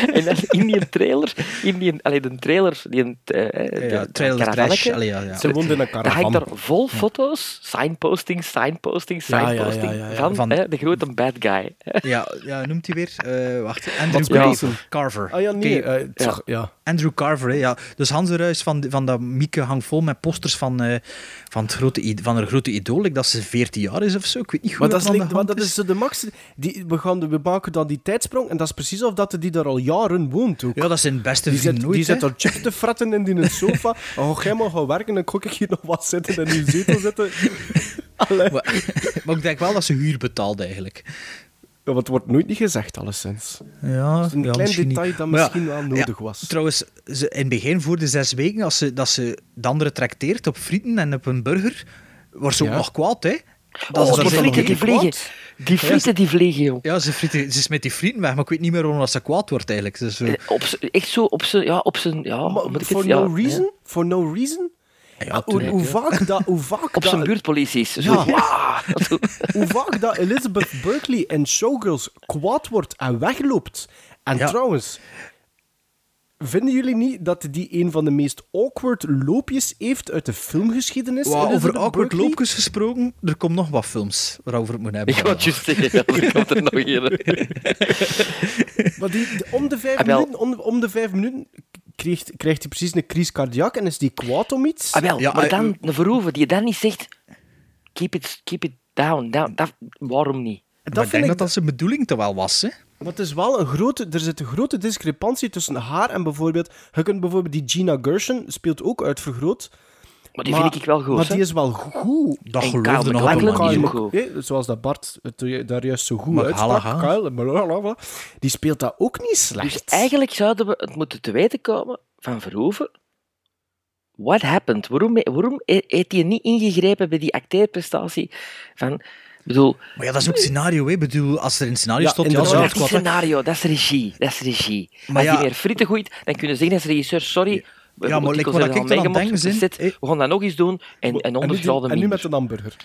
En, en dan in die trailer, in die, allee, de trailer, die, eh, de,
Ja, trailer
de
trash.
karavannetje,
Allee, ja, ja.
Ze woont in een
Dan hangt
caravan.
daar vol foto's, signposting, signposting,
Ja, ja, ja, ja,
signposting
ja.
van,
Van-
hè, de grote bad guy. Oh,
Ja, ja, noemt hij weer? Eh, wacht, Andrew
Wat speelt
Carver.
Ah ja, nee.
Oké,
eh, het zag- ja.
Andrew Carver, hè, ja. Dus Hans de Ruijs van, van dat Mieke hangt vol met posters van, eh, van, het grote, i- van haar grote idool. Ik dat ze 14 jaar is of zo. Ik weet niet goed
Maar
wat
dat, is,
aan de
lijkt- want
hand
dat is zo de max. Die, we, gaan, we maken dan die tijdsprong en dat is precies of dat die daar al jaren woont. Ook.
Ja, dat is zijn beste
die
vriend
zit,
nooit,
Die zit
hè.
daar chip te fretten in die sofa. Oh, jij mag gaan werken, dan kon ik hier nog wat zitten en in die zetel zitten.
Maar, maar ik denk wel dat ze huur betaalt eigenlijk.
Ja, want het wordt nooit niet gezegd, alleszins.
Ja,
is een
ja,
klein
misschien
detail
niet.
dat
Maar ja,
misschien wel nodig was.
Trouwens, ze, in het begin, voor de zes weken, als ze, dat ze de andere trakteert op frieten en op een burger, wordt ze
Ja.
ook nog kwaad, hè?
Oh, die
ze
frieten,
nog
die
heel kwaad.
vliegen. Die frieten, die vliegen, joh.
Ja, ze, frieten, ze smet die frieten weg, maar ik weet niet meer waarom dat ze kwaad wordt, eigenlijk. Dus, eh,
Eh, Op, z'n- echt zo op zijn... Ja, op zijn... Ja, hoe moet ik het-
For
ja,
no reason? For no reason? hoe,
tuurlijk,
hoe
ja.
vaak dat... Hoe vaak
Op zijn
dat-
buurtpolities. Zo,
Ja.
"Wah!"
hoe vaak dat Elizabeth Berkeley en Showgirls kwaad wordt en wegloopt. En trouwens, vinden jullie niet dat die een van de meest awkward loopjes heeft uit de filmgeschiedenis?
Wauw, over
Elizabeth
awkward
Berkley?
loopjes gesproken, er komen nog wat films waarover het moet hebben.
Ik wou het juist zeggen, ja, er komt er nog een.
Maar die, die- om, de vijf
Ah, wel.
minuten, om, om de vijf minuten krijgt, krijgt hij precies een crisis cardiac en is die kwaad om iets.
Ah, wel, maar dan, een Verhoeven die dan niet zegt... Keep it, keep it down. down dat, waarom niet?
Dat
Maar ik
vind
denk
ik
dat dat zijn bedoeling toch wel was, hè?
Maar het is wel een grote, er zit een grote discrepantie tussen haar en bijvoorbeeld. Je kunt bijvoorbeeld die Gina Gershon speelt ook uitvergroot.
Maar die vind ik wel goed,
Maar
hè?
die is wel goed.
Dat En geloofde Kyle nog MacLachlan allemaal is niet. ook goed.
Nee, zoals dat Bart het ju- daar juist zo goed
Maar
uitsprak.
Hallaha.
Kyle, blablabla, die speelt dat ook niet slecht.
Dus eigenlijk zouden we het moeten te weten komen van Verhoeven. What happened? Waarom, waarom e-, heeft hij niet ingegrepen bij die acteerprestatie? Van, ik bedoel,
Maar ja, dat is ook scenario, hè? Ik bedoel, als er in het scenario
Ja,
stond, ja,
inderdaad.
ze wordt
dat is
kwaad.
niet
hè.
scenario, dat is regie. Dat is regie.
Maar
Als
ja-
die meer frieten gooit, dan kunnen ze zeggen als regisseur, sorry, we-
Ja, maar
die
ik-
kon
wat
zijn
ik
al
dan aan
meegemaakt
denk,
op de set. We gaan dat nog eens doen en, en
en, nu die-
onderschouwen
en nu met een hamburger.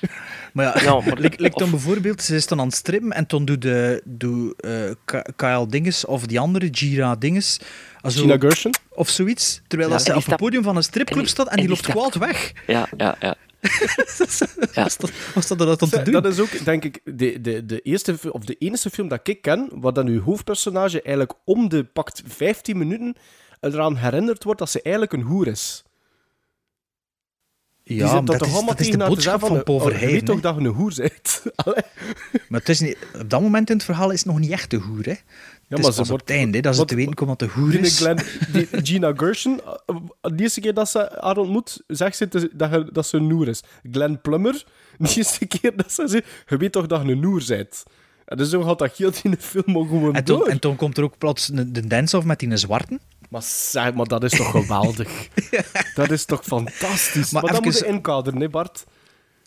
Maar ja,
Ja, maar-
lik, lik dan
of-
bijvoorbeeld, ze is dan aan het strippen en toen doet, de, doe, Kyle Dinges of die andere, Gira Dinges. also-
Gina Gershon?
Of zoiets. Terwijl
Ja,
dat ze
en die
op het
stapt-
podium van een stripclub
en die-
staat en
en
die
die
loopt kwaad weg.
Ja, ja, ja.
Was dat- Was dat er dat om te
Dat-
doen?
Dat is ook, denk ik, de, de, de eerste fi- of de enige film dat ik ken, waar dan uw hoofdpersonage eigenlijk om de pakt 15 minuten eraan herinnerd wordt dat ze eigenlijk een hoer is. Die
Ja,
zit
maar
dat,
dat
toch
is-
allemaal
dat is de
tegen haar te
boodschap
zeggen
van
oh, Je
Poverheiden,
weet toch
hè?
dat je een hoer bent? Allee.
Maar het is niet, op dat moment in het verhaal is het nog niet echt de hoer, hè? Ja,
maar
maar
ze
ze op
wordt-
het einde, hè, dat ze
want-
te weten komen dat de hoer
Gina,
is.
Glenn, die Gina Gershon, eh, de eerste keer dat ze haar ontmoet, zegt ze te- dat, je- dat ze een noer is. Glenn Plummer, de eerste keer dat ze zegt, je weet toch dat je een noer bent? En dus zo gaat dat heel in de film ook gewoon
En
door.
toen, en toen komt er ook plots een- de dance-off met die zwarten.
Maar, zeg, maar dat is toch geweldig? dat is toch fantastisch? Maar,
Maar
dat moet
even-
je inkaderen, hè Bart?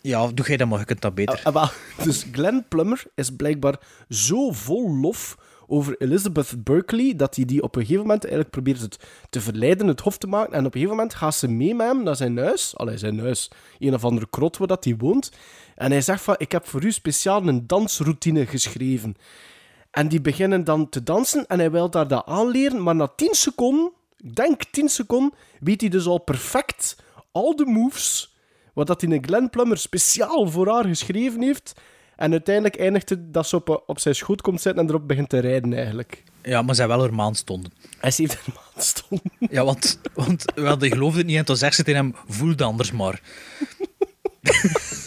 Ja, doe jij dat maar, je kunt dat beter.
Ah, wel, dus Glenn Plummer is blijkbaar zo vol lof over Elizabeth Berkeley dat hij die op een gegeven moment eigenlijk probeert het te verleiden, het hof te maken. En op een gegeven moment gaat ze mee met hem naar zijn huis. Allee, zijn huis. Een of andere krot waar dat hij woont. En hij zegt van, ik heb voor u speciaal een dansroutine geschreven. En die beginnen dan te dansen en hij wil daar dat aanleren. Maar na 10 seconden, ik denk 10 seconden, weet hij dus al perfect al de moves. Wat dat in een Glenn Plummer speciaal voor haar geschreven heeft. En uiteindelijk eindigt het dat ze op, op zijn schoot komt zitten en erop begint te rijden eigenlijk.
Ja, maar zij wel er maan stonden.
En ze heeft er maand stonden.
Ja, want, want wel, die geloofde het niet en toen zegt ze tegen hem, voel het anders maar.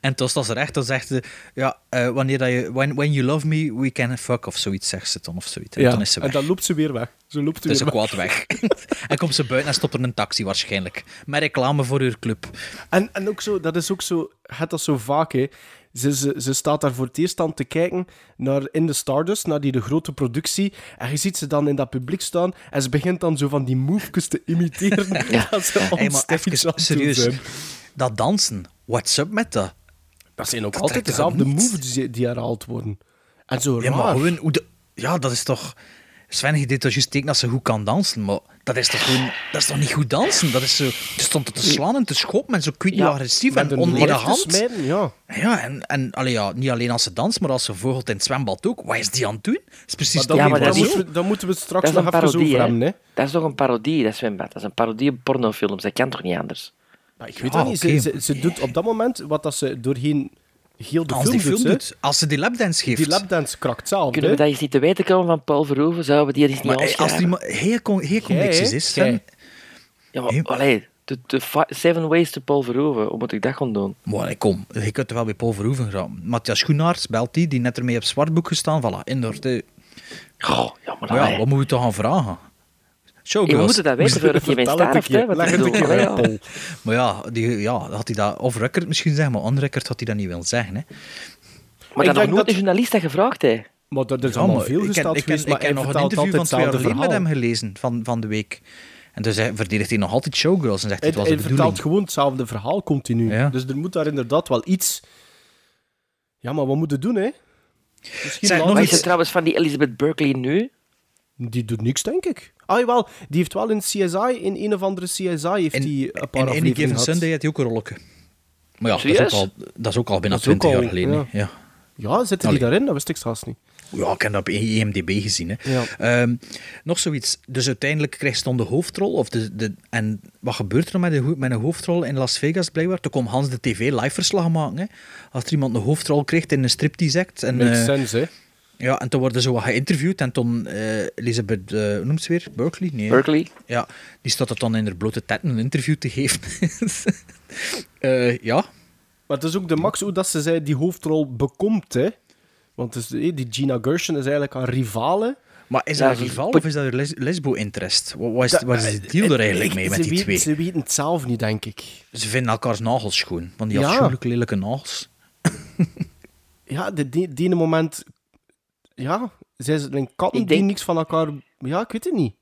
en toen was ze recht, toen zegt ze, ja, eh, wanneer dat je, when, when you love me, we can fuck of zoiets, zegt ze dan of zoiets. En dan is ze
en
weg.
dan loopt ze weer weg. Ze loopt
Dus
weer
ze
weg.
kwaad weg. en komt ze buiten en stopt er een taxi waarschijnlijk. Met reclame voor haar club.
En, en ook zo, dat is ook zo, je hebt dat zo vaak, hè. Ze, ze, ze staat daar voor het eerst aan te kijken naar In the Stardust, naar die de grote productie. En je ziet ze dan in dat publiek staan en ze begint dan zo van die movejes te imiteren. Dat ze
Hey, maar
ontstemd
even
iets aan het doen
serieus.
zijn.
Dat dansen, what's up met dat?
Dat zijn ook
trekt
altijd
toch
dezelfde
niet?
moves die, die herhaald worden. En zo
Ja, maar
raar.
gewoon, hoe de- ja, dat is toch... Sven, je deed dat juist teken dat ze goed kan dansen, maar dat is toch gewoon... Dat is toch niet goed dansen? Dat is zo... Ze stond er te slaan en te schoppen en zo kwijt
Ja,
agressief
met
en
een
onelegant.
lef te smijten, ja.
Ja, en, en allee, ja, niet alleen als ze danst, maar als ze vogelt in het zwembad ook. Wat is die aan het doen? Dat is precies
Maar dat,
toch
maar
niet
dat
wat
is-
ze-
moeten we, dan moeten we het
Dat
straks
is een
nog even
parodie,
over
hè.
hebben, hè.
Dat is toch een parodie, dat zwembad. Dat is een parodie op pornofilms, dat kan toch niet anders?
Ik weet
Ja,
dat niet. Ze-
oké.
Ze, ze doet op dat moment wat dat ze doorheen heel de
Als
film,
die film
hè.
doet, als ze die lapdance geeft.
Die lapdance krakt zelf.
Kunnen we dat eens niet te weten komen van Paul Verhoeven? Zouden we die eens niet
Maar eh, als die
afschrijven?
ma- heel, con- heel connecties
hè?
is,
Jij.
Sven.
Ja, maar allee, de, de fi- Seven Ways to Paul Verhoeven, hoe moet ik dat gaan doen?
Maar allee, kom, je kunt er wel bij Paul Verhoeven gaan. Matthias Schoenaerts, belt die, die net ermee op zwartboek gestaan. Voilà, in de...
Goh, ja, maar
ja,
allee.
wat moeten we toch gaan vragen? Showgirls.
Ja, we moeten dat weten
Moest-
voordat je bent Vertel het staart, een keer. hè, wat ik Leg het een bedoel. keer uit, Paul.
Maar ja, die, ja, had hij dat off-record misschien zeggen, maar on-record had hij dat niet willen zeggen. Hè.
Maar
Ik
dan nog
denk
nooit een journalist dat gevraagd, hè?
Maar er is
Ja, Oh, maar ik heb, ik heb, ik heb nog een interview van twee jaar geleden met hem gelezen, van, van de week. En dus hij verdedigt hij nog altijd showgirls en zegt, dit
Hij,
was de
hij
bedoeling.
vertelt gewoon hetzelfde verhaal continu. Dus er moet daar inderdaad wel iets... Ja, maar wat moeten doen, hè? Misschien
Zeg,
later-
nog iets trouwens van die Elizabeth Berkeley nu.
Die doet niks, denk ik. Ah, wel. Die heeft wel in CSI, in een of andere CSI, heeft die een paar
En Any
afleveringen
Given
gehad.
Sunday had hij ook een rolletje. Maar ja, dat is, ook
Serieus?
al, dat is ook al bijna
Dat is ook
20 jaar
al,
geleden.
ja.
hè. Ja.
Ja, zitten die daarin? Dat wist ik zelfs niet.
Ja, ik heb dat op E IMDb gezien. Hè. Ehm, nog zoiets. Dus uiteindelijk krijgt ze dan de hoofdrol. Of de, de, en wat gebeurt er dan met, de, ho- met een hoofdrol in Las Vegas blijkbaar? Toen kon Hans de TV live verslag maken. Hè. Als er iemand een hoofdrol krijgt in een striptease act. En,
Makes
eh,
sense, hè?
Ja, en toen worden ze wat geïnterviewd. En toen eh, Elizabeth, eh, hoe noemt ze weer? Berkeley? Nee.
Berkeley.
Ja, die staat er dan in haar blote tetten een interview te geven. Eh, ja.
Maar het is ook de max hoe dat ze zei die hoofdrol bekomt, hè? Want het is, eh, die Gina Gershon is eigenlijk haar rivale.
Maar is dat een rival of is dat een les- lesbo-interest? Wat, wat is,
Dat-
wat is de deal er eigenlijk mee
Ze
met die
weten-
twee?
Ze weten het zelf niet, denk ik.
Ze vinden elkaars nagels schoon. Van die
Ja.
afschuwelijk lelijke nagels.
Ja, de, die, die ene moment... Ja, zij zijn een katten
Ik
die
denk-
niks van elkaar... Ja, ik weet het niet.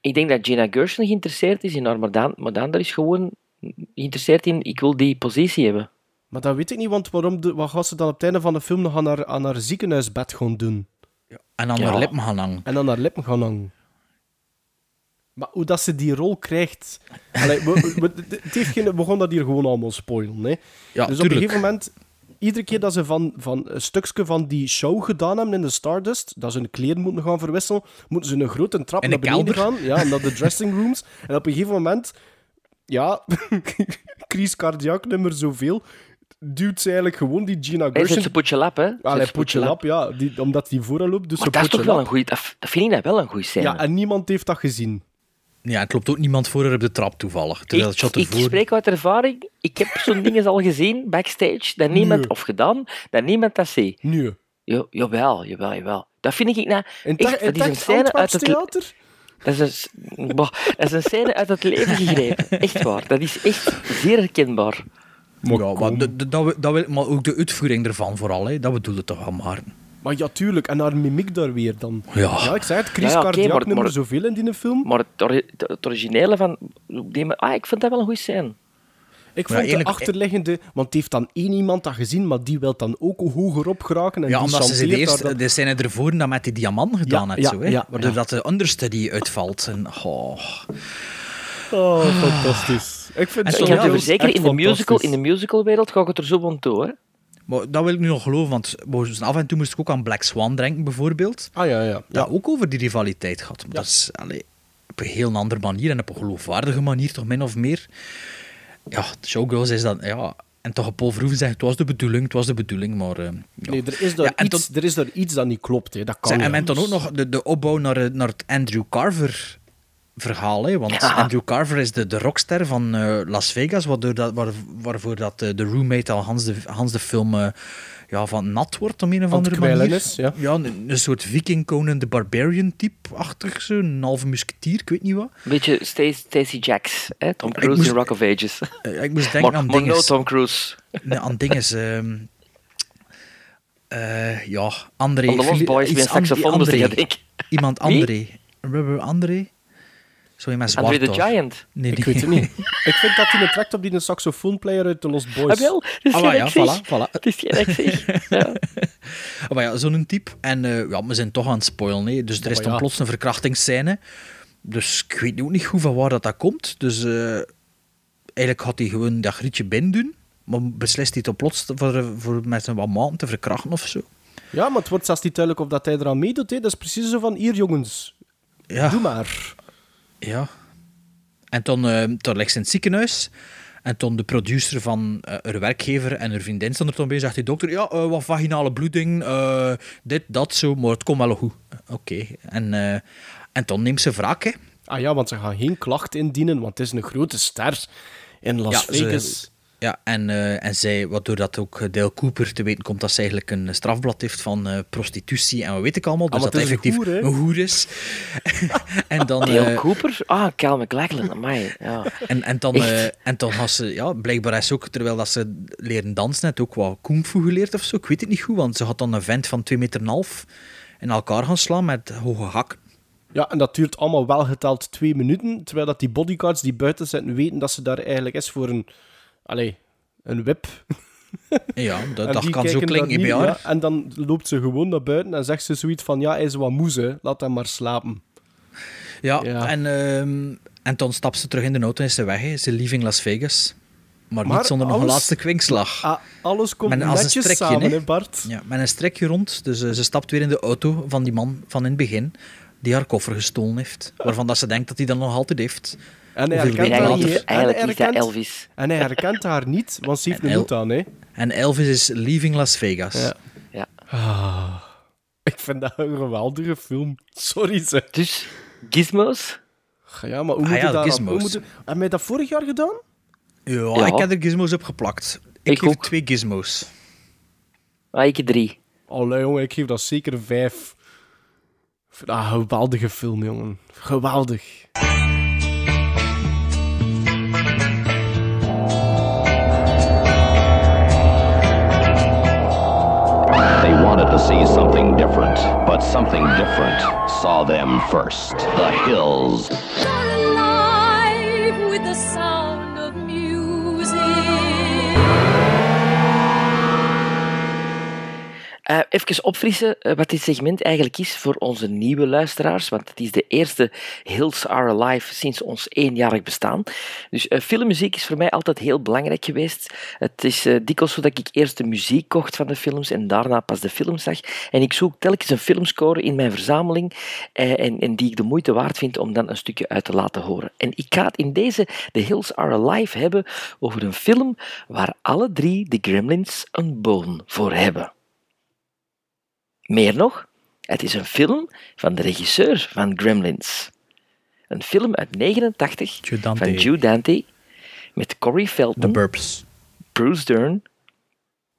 Ik denk dat Gina Gershon geïnteresseerd is in haar, maar dan, maar dan daar is gewoon geïnteresseerd in, ik wil die positie hebben.
Maar dat weet ik niet, want waarom de, wat gaat ze dan op het einde van de film nog aan haar, aan haar ziekenhuisbed gaan doen?
En aan
Ja.
haar lippen gaan hangen.
En aan haar lippen gaan hangen. Maar hoe dat ze die rol krijgt... Allee, we, we, het heeft geen, we gaan dat hier gewoon allemaal spoilen. Hè.
Ja,
dus op een
tuurlijk.
gegeven moment... Iedere keer dat ze van, van een stukje van die show gedaan hebben in de Stardust, dat ze hun kleren moeten gaan verwisselen, moeten ze een grote trap
In de
naar beneden
kelder.
gaan, ja, naar de dressing rooms. En op een gegeven moment, ja, Chris Cardiac nummer zoveel, duwt ze eigenlijk gewoon die Gina
Hij zet
Gershon...
ze poetje lap, hè? Zet
Allee,
ze
poetje lap, ja, die, omdat die vooral loopt, dus
Maar
ze
dat is toch
poetje
wel
lap.
een goeie... Dat, dat vind ik dat wel een goeie scène.
Ja, en niemand heeft dat gezien.
Ja, het loopt ook niemand voor haar op de trap toevallig. Terwijl het shot
ik
ervoor...
spreek uit ervaring. Ik heb zo'n dingen al gezien, backstage, dat niemand... Of gedaan, dat niemand dat ziet.
Nu.
Jo, jawel, jawel, jawel. Dat vind ik... Nou,
In
echt,
ta-
dat
in
is een
Tax
scène uit het... le-
Antwerpstheater?
Dat is, een, s- boh, dat is een scène uit het leven gegrepen. Echt waar. Dat is echt zeer herkenbaar.
ja, maar, de- de- dat, wil- dat wil, maar ook de uitvoering ervan vooral. Hè. Dat bedoelde toch wel maar.
Maar ja, tuurlijk, en haar mimiek daar weer dan.
Ja.
ik zei het, Chris
Ja, ja, oké,
Cardiac
maar-
nummer
maar-
zoveel in die film.
Maar het, ori- het originele van... die me- Ah, ik vind dat wel een goeie scène.
Ik
Maar
vond
eerlijk-
de achterliggende, want die heeft dan één iemand dat gezien, maar die wil dan ook hoger op geraken. En
Ja,
die
omdat ze ze
chanteert
eerst
daar dan-
de scène ervoor dan met die diamant gedaan
Ja,
had.
ja,
zo, hè.
ja,
Waardoor
ja.
dat de understudy uitvalt. En, oh.
Oh, fantastisch. Ik vind
En
het
ik
wel
kan je
heel-
verzekeren,
echt
in de, musical, in
fantastisch.
de musicalwereld ga ik het er zo van toe, hè.
Maar dat wil ik nu nog geloven, want boos, af en toe moest ik ook aan Black Swan denken, bijvoorbeeld.
Ah ja, ja. Dat
ook over die rivaliteit gaat. Maar dat is allee, op een heel andere manier en op een geloofwaardige manier, toch min of meer. Ja, de Showgirls is dat, ja. En toch op Paul Verhoeven zegt, het was de bedoeling, het was de bedoeling, maar... eh, ja.
Nee, er is daar,
Ja, en
iets, er is daar iets dat niet klopt, hè. dat kan
Zeg, en
niet
men dan ook
anders.
nog de, de opbouw naar, eh, naar het Andrew Carver verhaal. Hè? Want
Ja.
Andrew Carver is de, de rockster van eh, Las Vegas, waardoor dat, waar, waarvoor dat eh, de roommate al Hans de, Hans de film eh, ja, van nat wordt om een of
Aan het
andere
kwijlen
manier.
is, ja.
een, een soort Viking Conan the Barbarian type-achtig, zo, een halve musketier, ik weet niet wat.
Een beetje Stacy, Stacy Jacks, hè? Tom
Ik
Cruise
moest-
in Rock of Ages.
Eh, ik moest denken
maar,
aan
maar no
dinges.
Tom Cruise.
Nee, aan dinges. ehm eh, ja, André.
Van de Lost
Fili-
Boys
iets
met een
an-
saxofoon,
André.
dus ik denk-
Iemand
Wie?
André. Rubber André? Zo in mijn zwart.
André the
toch?
Giant?
Nee,
Ik weet het niet. ik vind dat hij een tract op die saxofoonplayer uit de Lost Boys.
Ah, wel, dat is
Ah,
geen
maar ja,
actie.
voilà, voilà.
Het is geen actie. Ja.
Ah, Maar ja, zo'n type. En eh, ja, we zijn toch aan het spoilen. Hè. Dus er is
Maar
dan
Oh, ja.
plots een verkrachtingsscène. Dus ik weet ook niet goed van waar dat, dat komt. Dus eh, eigenlijk had hij gewoon dat grietje binnen doen. Maar beslist hij toch plots voor, eh, voor met een wat maanden te verkrachten of zo.
Ja, maar het wordt zelfs niet duidelijk of dat hij eraan meedoet. Hè. Dat is precies zo van, hier jongens,
Ja.
doe maar.
Ja. En dan, eh dan ligt ze in het ziekenhuis. En toen de producer van uh, haar werkgever en haar vriendin stond er toen bij. Zegt die dokter, ja, uh, wat vaginale bloeding, uh, dit, dat, zo. Maar het komt wel goed. Oké. Okay. En, eh, en toen neemt ze wraak, hè.
Ah ja, want ze gaan geen klacht indienen, want het is een grote ster in Las ja, Vegas.
Ze, ja, en, uh, en zij, waardoor dat ook eh, Dale Cooper te weten komt dat ze eigenlijk een eh, strafblad heeft van uh, prostitutie en wat weet ik allemaal. Dus ah, dat, dat effectief een hoer, een hoer is.
en dan, Dale
Eh,
uh, Cooper? Ah, Cal McLachlan, amai. Ja.
En, en, dan, eh, en dan had ze, ja, blijkbaar is ook, terwijl dat ze leren dansen, net ook wat kung fu geleerd of zo. Ik weet het niet goed, want ze had dan een vent van 2,5 meter en half in elkaar gaan slaan met hoge hak.
Ja, en dat duurt allemaal wel geteld twee minuten, terwijl dat die bodyguards die buiten zitten weten dat ze daar eigenlijk is voor een... Allee, een web.
Ja, dat, dat kan zo klinken, niet, ja,
En dan loopt ze gewoon naar buiten en zegt ze zoiets van, ja, hij is wat moes, hè. laat hem maar slapen.
Ja, ja. En, uh, en dan stapt ze terug in de auto en is ze weg. Hè. Ze leaving Las Vegas. Maar, Ah. maar niet zonder alles, nog een laatste kwinkslag.
A, Ah, alles komt als netjes een strekje, samen, hè, Bart?
Ja, met een strekje rond. Dus uh, ze stapt weer in de auto van die man van in het begin, die haar koffer gestolen heeft. Waarvan dat ze denkt dat hij dat nog altijd heeft.
En hij herkent haar niet.
Eigenlijk is dat Elvis.
En hij herkent haar niet, want ze heeft een hoed aan. Hè.
En Elvis is Leaving Las Vegas.
Ja. ja.
Ah, ik vind dat een geweldige film. Sorry zeg.
Dus, gizmos?
Ja, maar hoe ah, moet ja, je daar aan, hoe moet je, Heb jij dat vorig jaar gedaan?
Ja, ja, ik heb er gizmos op geplakt. Ik, ik geef ook. twee gizmos.
Ah, ik drie.
Allee jongen, ik geef dat zeker vijf. Ah, geweldige film, jongen. Geweldig.
wanted to see something different, but something different saw them first. The hills.
Alive with the sound of music.
Uh, even opfrissen uh, wat dit segment eigenlijk is voor onze nieuwe luisteraars, want het is de eerste Hills Are Alive sinds ons eenjarig bestaan. Dus uh, filmmuziek is voor mij altijd heel belangrijk geweest. Het is eh, dikwijls zo dat ik eerst de muziek kocht van de films en daarna pas de film zag. En ik zoek telkens een filmscore in mijn verzameling eh, en, en, die ik de moeite waard vind om dan een stukje uit te laten horen. En ik ga het in deze The Hills Are Alive hebben over een film waar alle drie de Gremlins een boon voor hebben. Meer nog, het is een film van de regisseur van Gremlins. Een film uit 89 Giudante. van Joe Dante met Corey Feldman,
The Burbs.
Bruce Dern,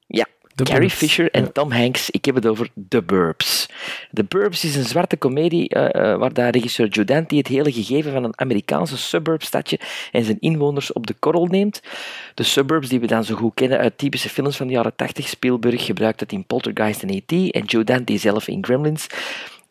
ja, The Carrie Burbs. Fisher en Tom Hanks. Ik heb het over The Burbs. The Burbs is een zwarte komedie uh, uh, waar de regisseur Joe Dante het hele gegeven van een Amerikaanse suburbstadje en zijn inwoners op de korrel neemt. De suburbs die we dan zo goed kennen uit typische films van de jaren 80. Spielberg gebruikt het in Poltergeist en E.T. en Joe Dante zelf in Gremlins.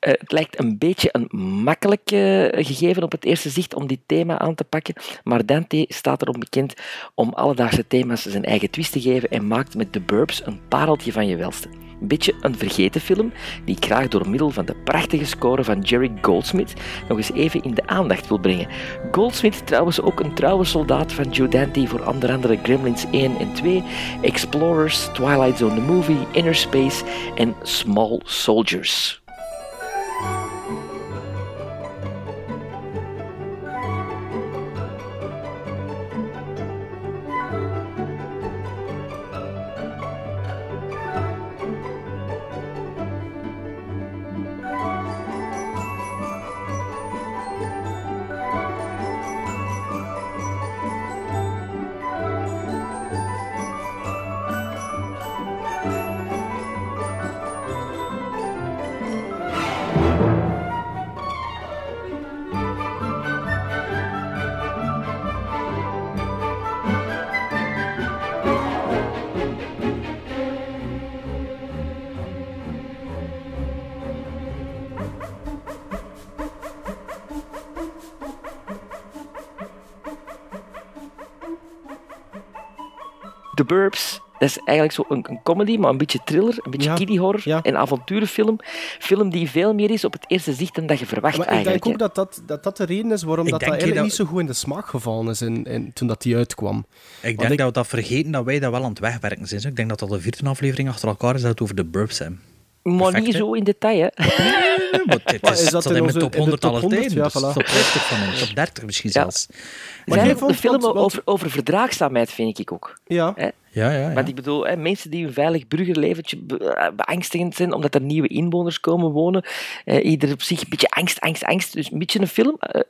Uh, het lijkt een beetje een makkelijk uh, gegeven op het eerste zicht om dit thema aan te pakken, maar Dante staat erom bekend om alledaagse thema's zijn eigen twist te geven en maakt met The Burbs een pareltje van je welste. Een beetje een vergeten film die ik graag door middel van de prachtige score van Jerry Goldsmith nog eens even in de aandacht wil brengen. Goldsmith trouwens ook een trouwe soldaat van Joe Dante voor onder andere Gremlins 1 en 2, Explorers, Twilight Zone the Movie, Inner Space en Small Soldiers. The Burbs. Dat is eigenlijk zo een, een, comedy, maar een beetje thriller, een beetje ja, kiddie horror, ja. een avonturenfilm. Film die veel meer is op het eerste zicht dan dat je verwacht
maar
eigenlijk.
ik denk ook dat dat, dat dat de reden is waarom ik dat, dat eigenlijk dat... niet zo goed in de smaak gevallen is in, in, toen dat die uitkwam.
Ik Want denk ik... dat we dat vergeten, dat wij dat wel aan het wegwerken zijn. Ik denk dat dat de vierde aflevering achter elkaar is dat het over The Burbs hebben.
Maar niet zo in detail, hè.
Ja, maar dit
Maar
is,
is dat
dat
in
in mijn
onze-
top
in de
100
top
aller
100?
tijden.
Ja,
dus
voilà.
Top 50 van ons, top 30 misschien zelfs.
Maar
jij
Zijn ook
vond-
de film
want- want-
over, over verdraagzaamheid, vind ik ook.
Ja.
Hè?
Ja, ja, ja.
Want ik bedoel, hè, mensen die een veilig burgerleventje be- eh, beangstigend zijn omdat er nieuwe inwoners komen wonen. Eh, ieder op zich een beetje angst, angst, angst. Dus een beetje een film eh,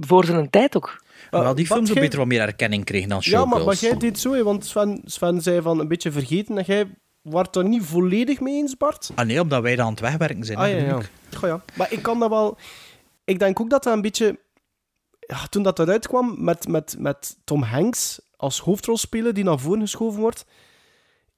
voor zijn tijd ook.
Maar wel die
wat
films ook
jij-
beter wat meer erkenning kregen dan
Ja,
Showgirls.
maar, maar jij deed zo, hè, want Sven, Sven zei van een beetje vergeten dat jij wordt er niet volledig mee eens, Bart.
Ah nee, omdat wij dat aan het wegwerken zijn.
Ah,
hè,
ja, ja.
bedoel ik.
Goh, ja. Maar ik kan dat wel... Ik denk ook dat dat een beetje... Ja, toen dat eruit kwam met, met, met Tom Hanks als hoofdrolspeler die naar voren geschoven wordt,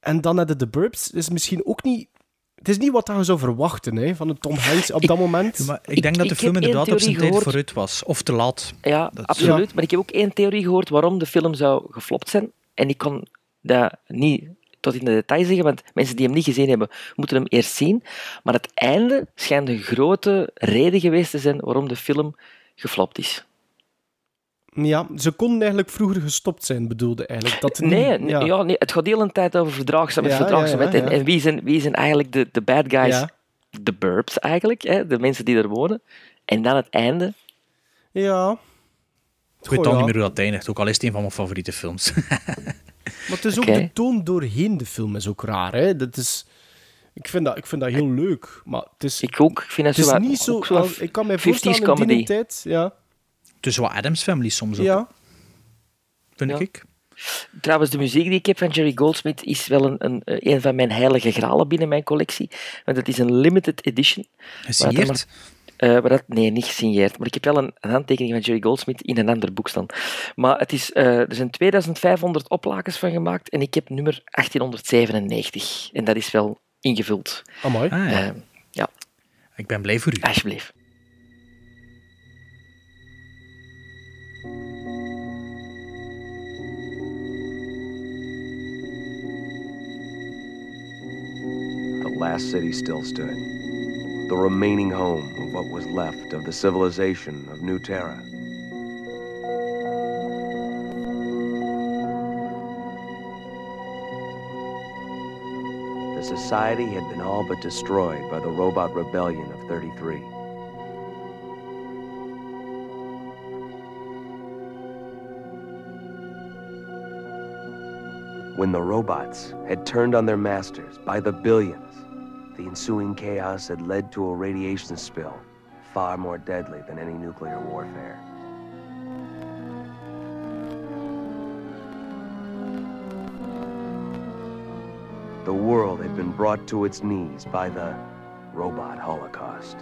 en dan naar de The Burbs, is misschien ook niet... Het is niet wat dat je zou verwachten hè, van een Tom Hanks op dat moment.
Maar ik denk dat de film inderdaad op zijn tijd vooruit was. Of te laat.
Ja,
Dat-
absoluut. Maar ik heb ook één theorie gehoord waarom de film zou geflopt zijn. En ik kon dat niet tot in de detail zeggen, want mensen die hem niet gezien hebben, moeten hem eerst zien. Maar het einde schijnt een grote reden geweest te zijn waarom de film geflopt is.
Ja, ze konden eigenlijk vroeger gestopt zijn, bedoelde eigenlijk. Dat niet-
Nee, nee, ja. nee, het gaat de hele tijd over verdraagzaamheid.
Hmm. Ja,
verdraagzaamheid.
ja, ja, ja.
En, en wie, zijn, wie zijn eigenlijk de, de bad guys?
Ja.
De burbs eigenlijk, hè? de mensen die er wonen. En dan het einde.
Ja,
Ik weet
Goh,
al
ja.
niet meer hoe dat eindigt, ook al is het een van mijn favoriete films.
Maar het is ook
Oké.
de toon doorheen de film is ook raar. Hè? Dat is, ik, vind dat, ik vind dat heel leuk. Maar het is,
ik ook. Ik vind
het
dat
is
zo wat-
niet zo...
ook zo wat
als- ik kan mij
50s
voorstellen in die
comedy.
tijd... Ja,
Tussen Dus wat Adams Family soms ook,
ja.
vind
Ja.
ik.
Trouwens, de muziek die ik heb van Jerry Goldsmith is wel een, een, eh, een van mijn heilige gralen binnen mijn collectie. Want het is een limited edition.
Gesigneerd?
Waar dat maar- eh, waar dat, nee, niet gesigneerd. Maar ik heb wel een, een handtekening van Jerry Goldsmith in een ander boek staan. Maar het is, eh, er zijn 2500 oplakens van gemaakt en ik heb nummer 1897. En dat is wel ingevuld.
Amai.
Ah, ja.
Eh, ja.
Ik ben blij voor u.
Alsjeblieft.
The last city still stood. The remaining home of what was left of the civilization of New Terra. The society had been all but destroyed by the robot rebellion of 33. When the robots had turned on their masters by the billions, the ensuing chaos had led to a radiation spill far more deadly than any nuclear warfare. The world had been brought to its knees by the robot holocaust.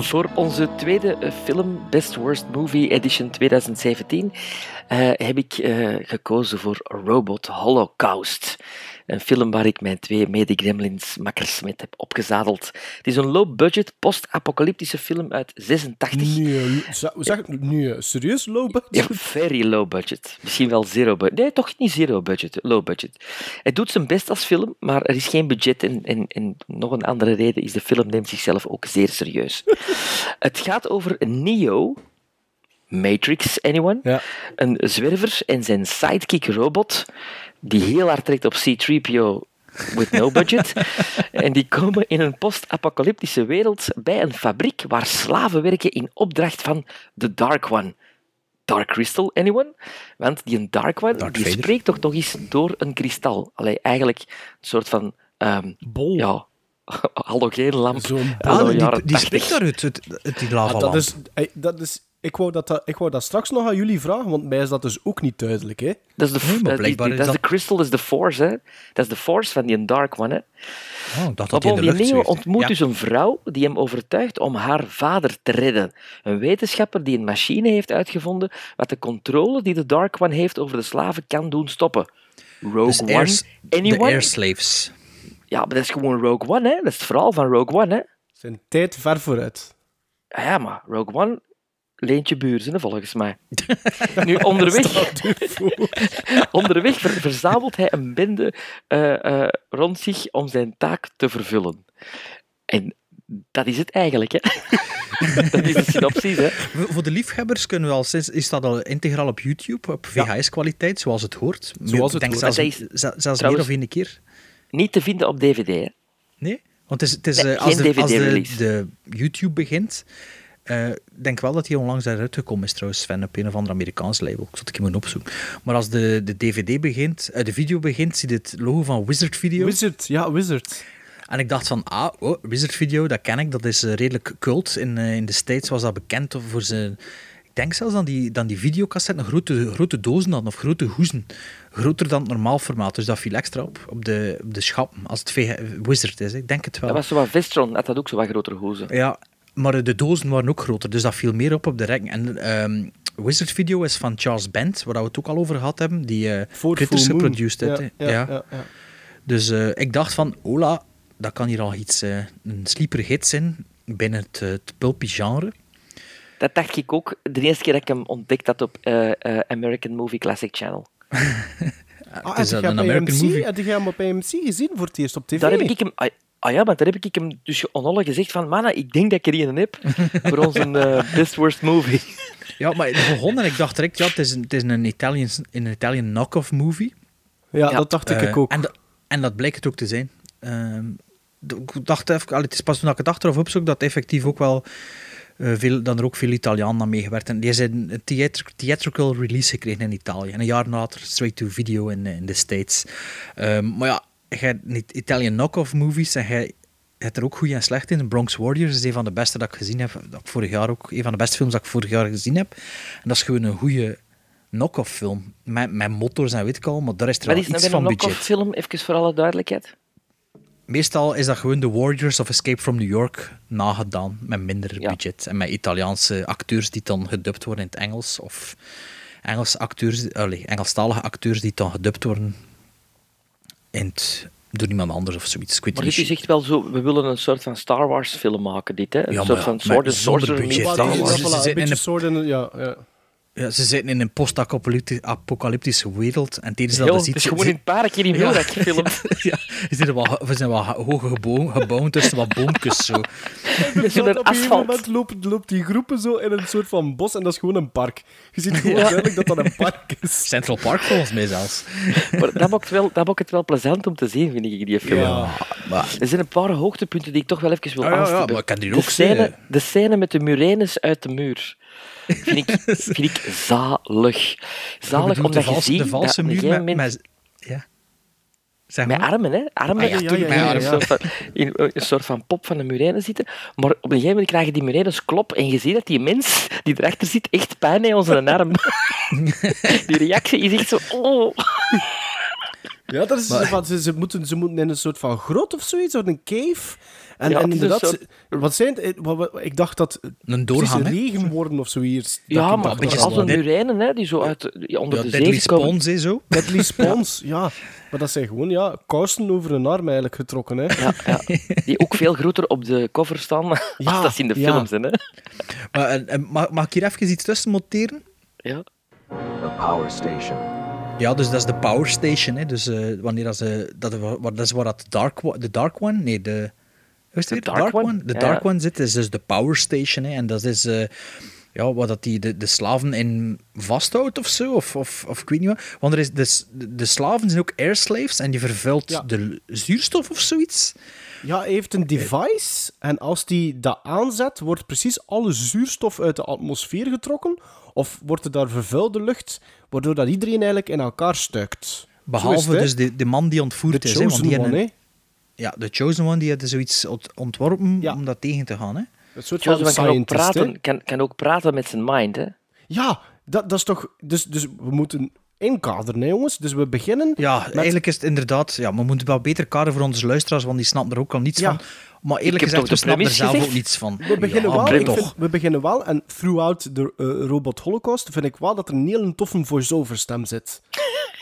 Voor onze tweede eh, film, Best Worst Movie Edition 2017, eh, heb ik eh, gekozen voor Robot Holocaust. Een film waar ik mijn twee mede-gremlins-makkers met heb opgezadeld. Het is een low-budget, post-apocalyptische film uit 86.
Nu, zeg, nu eh, serieus low budget?
Ja, very low budget. Misschien wel zero budget. Nee, toch niet zero budget. Low budget. Het doet zijn best als film, maar er is geen budget. En, en, en nog een andere reden is, de film neemt zichzelf ook zeer serieus. het gaat over Neo, Matrix, anyone? Een zwerver en zijn sidekick robot, die heel hard trekt op C-3PO with no budget. en die komen in een post-apocalyptische wereld bij een fabriek waar slaven werken in opdracht van de Dark One. Dark Crystal, anyone? Want die een Dark One die
Vader.
spreekt toch nog eens door een kristal. Allee, eigenlijk een soort van... ehm
Bol.
Ja, halogeenlamp.
Zo'n
anno
Ah, die,
jaren
die
80.
spreekt daaruit, het, het, die lava
Ah, dat, is, eh, dat is Ik wou, dat, dat- ik wou dat straks nog aan jullie vragen, want mij is dat dus ook niet duidelijk. Hè?
Dat is de, dat is die- die- dat is de crystal, is de force, hè. Dat is de force van die Dark One, hè.
Oh, ik dacht dat
Op
hij in de lucht zweeft.
ontmoet
Ja.
dus een vrouw die hem overtuigt om haar vader te redden. Een wetenschapper die een machine heeft uitgevonden wat de controle die de Dark One heeft over de slaven kan doen stoppen. Rogue
Dus
One,
airs- de
anyone?
air slaves.
Ja, maar dat is gewoon Rogue One, hè. Dat is het verhaal van Rogue One, hè.
Zijn tijd ver vooruit.
Ah ja, maar Rogue One leent je buurzen, volgens mij. nu, onderweg, onderweg ver- verzamelt hij een bende eh, eh, rond zich om zijn taak te vervullen. En dat is het eigenlijk, hè. dat is de synopsis, hè.
Voor voor de liefhebbers kunnen we al sinds, is dat al integraal op YouTube, op VHS-kwaliteit, zoals het hoort.
Zoals
Ik
het
denk
hoort.
zelfs,
Dat is-
ze- zelfs meer
trouwens-
of één keer.
Niet te vinden op DVD, hè.
Nee? Want het is, het is,
Nee,
eh, als,
geen
de, als de,
DVD-release.
de YouTube begint, eh, ik denk wel dat hij onlangs daaruit gekomen is trouwens, Sven, op een of ander Amerikaans label. Ik zal het even moeten opzoeken. Maar als de, de DVD begint, eh, de video begint, zie je het logo van Wizard Video.
Wizard, ja, Wizard.
En ik dacht van, ah, oh, Wizard Video, dat ken ik, dat is eh, redelijk cult. In, eh, in de States was dat bekend voor zijn... Ik denk zelfs dat die, dan die videocassetten grote, grote dozen hadden, of grote hoezen. Groter dan het normaal formaat, dus dat viel extra op, op de, op de schap, als het VH Wizard is. hè. Ik denk het wel.
Dat was zo wat Vestron, had dat ook zo wat grotere hozen.
Ja, maar eh, de dozen waren ook groter, dus dat viel meer op op de rek. En ehm, Wizard Video is van Charles Bent, waar we het ook al over gehad hebben, die eh critters
Full Moon.
geproduced heeft.
Ja,
hè.
ja,
Ja.
ja, ja.
Dus eh, ik dacht van, hola, dat kan hier al iets, eh, een sleeper hit zijn binnen het, eh, het pulpy genre.
Dat dacht ik ook de eerste keer dat ik hem ontdekt had op eh, eh, American Movie Classic Channel.
Ah,
is dat
had jij
een
op
American
AMC
movie?
Had jij hem op AMC gezien voor het eerst op tv?
Daar heb ik hem... Ah, ah ja, maar daar heb ik hem dus onnolle gezegd van manna, ik denk dat ik er een heb voor onze eh, Best Worst Movie.
Ja, maar het begon en ik dacht direct, ja, het is een, het is een Italian, een Italian knock-off movie.
Ja, dat dacht ik
Eh,
ook.
En, da- en dat bleek het ook te zijn. Ehm, d- ik dacht even, allee, het is pas toen ik het achteraf opzoek dat effectief ook wel eh, veel, dat er ook veel Italianen aan meegewerkt En die zijn een theatr- theatrical release gekregen in Italië. En een jaar later straight to video in, eh, in de States. Ehm, maar ja, jij, niet Italian knock-off movies en jij hebt er ook goed en slecht in. Bronx Warriors is een van de beste dat ik gezien heb. Dat ik vorig jaar ook, een van de beste films dat ik vorig jaar gezien heb. En dat is gewoon een goede knock-off film. Met, met motors en weet ik al, maar daar is er
Wat
wel
is nou
iets
weer een
van
knock-off
budget.
film, even voor alle duidelijkheid?
Meestal is dat gewoon The Warriors of Escape from New York nagedaan met minder budget. En met Italiaanse acteurs die dan gedubt worden in het Engels. Of Engels acteurs, allee, Engelstalige acteurs die dan gedubt worden in het, door iemand anders of zoiets. Ik weet
Maar
niet.
dit is echt wel zo, we willen een soort van Star Wars film maken, dit hè? Een
Ja,
soort
maar-
van
maar
Sword and
zonder
Sorcerer meets
budget,
Star
hè.
Wars.
Ze zitten in
beetje
de-
soort in- ja, ja.
ja, ze zitten in een post-apocalyptische wereld en tijdens dat
Heel-
is
het
iets...
is gewoon in het park hier in Wilrijk gefilmd.
Ja, ze zitten wel, we zijn wel hoge gebo- gebouwen tussen wat boompjes zo.
zo
Dus op
naar
een gegeven
asfalt.
moment loopt, loopt die groepen zo in een soort van bos en dat is gewoon een park. Je ziet gewoon
Ja.
duidelijk dat dat een park is.
Central Park volgens mij zelfs.
Maar dat maakt, wel, dat maakt het wel plezant om te zien, vind ik, die film.
Ja, maar-
Er zijn een paar hoogtepunten die ik toch wel even wil
Ah, ja, ja,
aanstippen.
maar ik kan die
de
ook
scène,
zeggen.
De scène met de murenes uit de muur vind ik, vind ik zalig.
Ik
Zalig
bedoel,
omdat
de
je
vals-
ziet
de valse
dat op een
muur
gegeven
met-
moment-
Ja.
Met armen, hè? Armen
Ah, ja,
natuurlijk.
tuurlijk, met
die
armen.
Een, soort van, in een soort van pop van de murenes zitten. Maar op een gegeven moment krijgen die murenes klop en je ziet dat die mens die erachter zit echt pijn heeft aan zijn arm. die reactie is echt zo. Oh.
Ja, dat is
Maar-
van, ze, ze moeten, ze moeten in een soort van grot of zoiets, of een cave. En,
Ja, het is
en
een
inderdaad,
soort-
ze- wat zijn het- eh, wat- wat- ik dacht dat
Een
doorgang,
precies
hè?
regenwormen of zoiets.
Ja, maar een beetje als een mureinen, hè, die zo uit die onder de zee komen.
hè, zo.
Deadly spons, ja. Maar dat zijn gewoon ja, kousen over hun arm eigenlijk getrokken. Hè.
Ja, ja. Die ook veel groter op de cover staan als
Ja,
dat ze in de
ja.
films zijn. Hè?
Maar, en- en mag, mag ik hier even iets tussen monteren?
Ja.
The power station.
Ja, dus dat is de Power Station. Hè. Dus eh, wanneer dat, ze, dat, waar- dat is waar dat Dark, One- de Dark One... Nee, de... Hoe is het weer?
Dark One?
De
Ja,
Dark
ja.
One zit, is dus de Power Station. Hè. En dat is eh, ja, wat dat die, de, de slaven in vasthoudt of zo. Of, of, of ik weet niet wat. Want er is, dus, de, de slaven zijn ook air slaves en die vervuilt
Ja.
de zuurstof of zoiets.
Ja, hij heeft een
Eh,
device en als die dat aanzet, wordt precies alle zuurstof uit de atmosfeer getrokken of wordt er daar vervuilde lucht, waardoor dat iedereen eigenlijk in elkaar stuikt.
Behalve dus de, de man die ontvoerd
The
is. Hè, want
Chosen
die
One,
hadden-
hè.
Ja, de Chosen One die had zoiets ont- ontworpen om dat tegen te gaan. Hè.
Een soort
Joseph
van
kan ook,
scientist, hè?
praten, kan, kan ook praten met zijn mind, hè?
Ja, dat, dat is toch... Dus, dus we moeten inkaderen, hè, jongens. Dus we beginnen...
Ja, eigenlijk is het inderdaad... Ja, we moeten wel beter kaderen voor onze luisteraars, want die snappen er ook al niets van. Maar
Ik
eerlijk
heb
gezegd, we
toch de
snappen er
premise
zelf ook
gezegd?
niets van.
We beginnen,
Ja,
wel, ik
toch.
vind- we beginnen wel, en throughout de eh, Robot Holocaust vind ik wel dat er een hele toffe voice-over stem zit.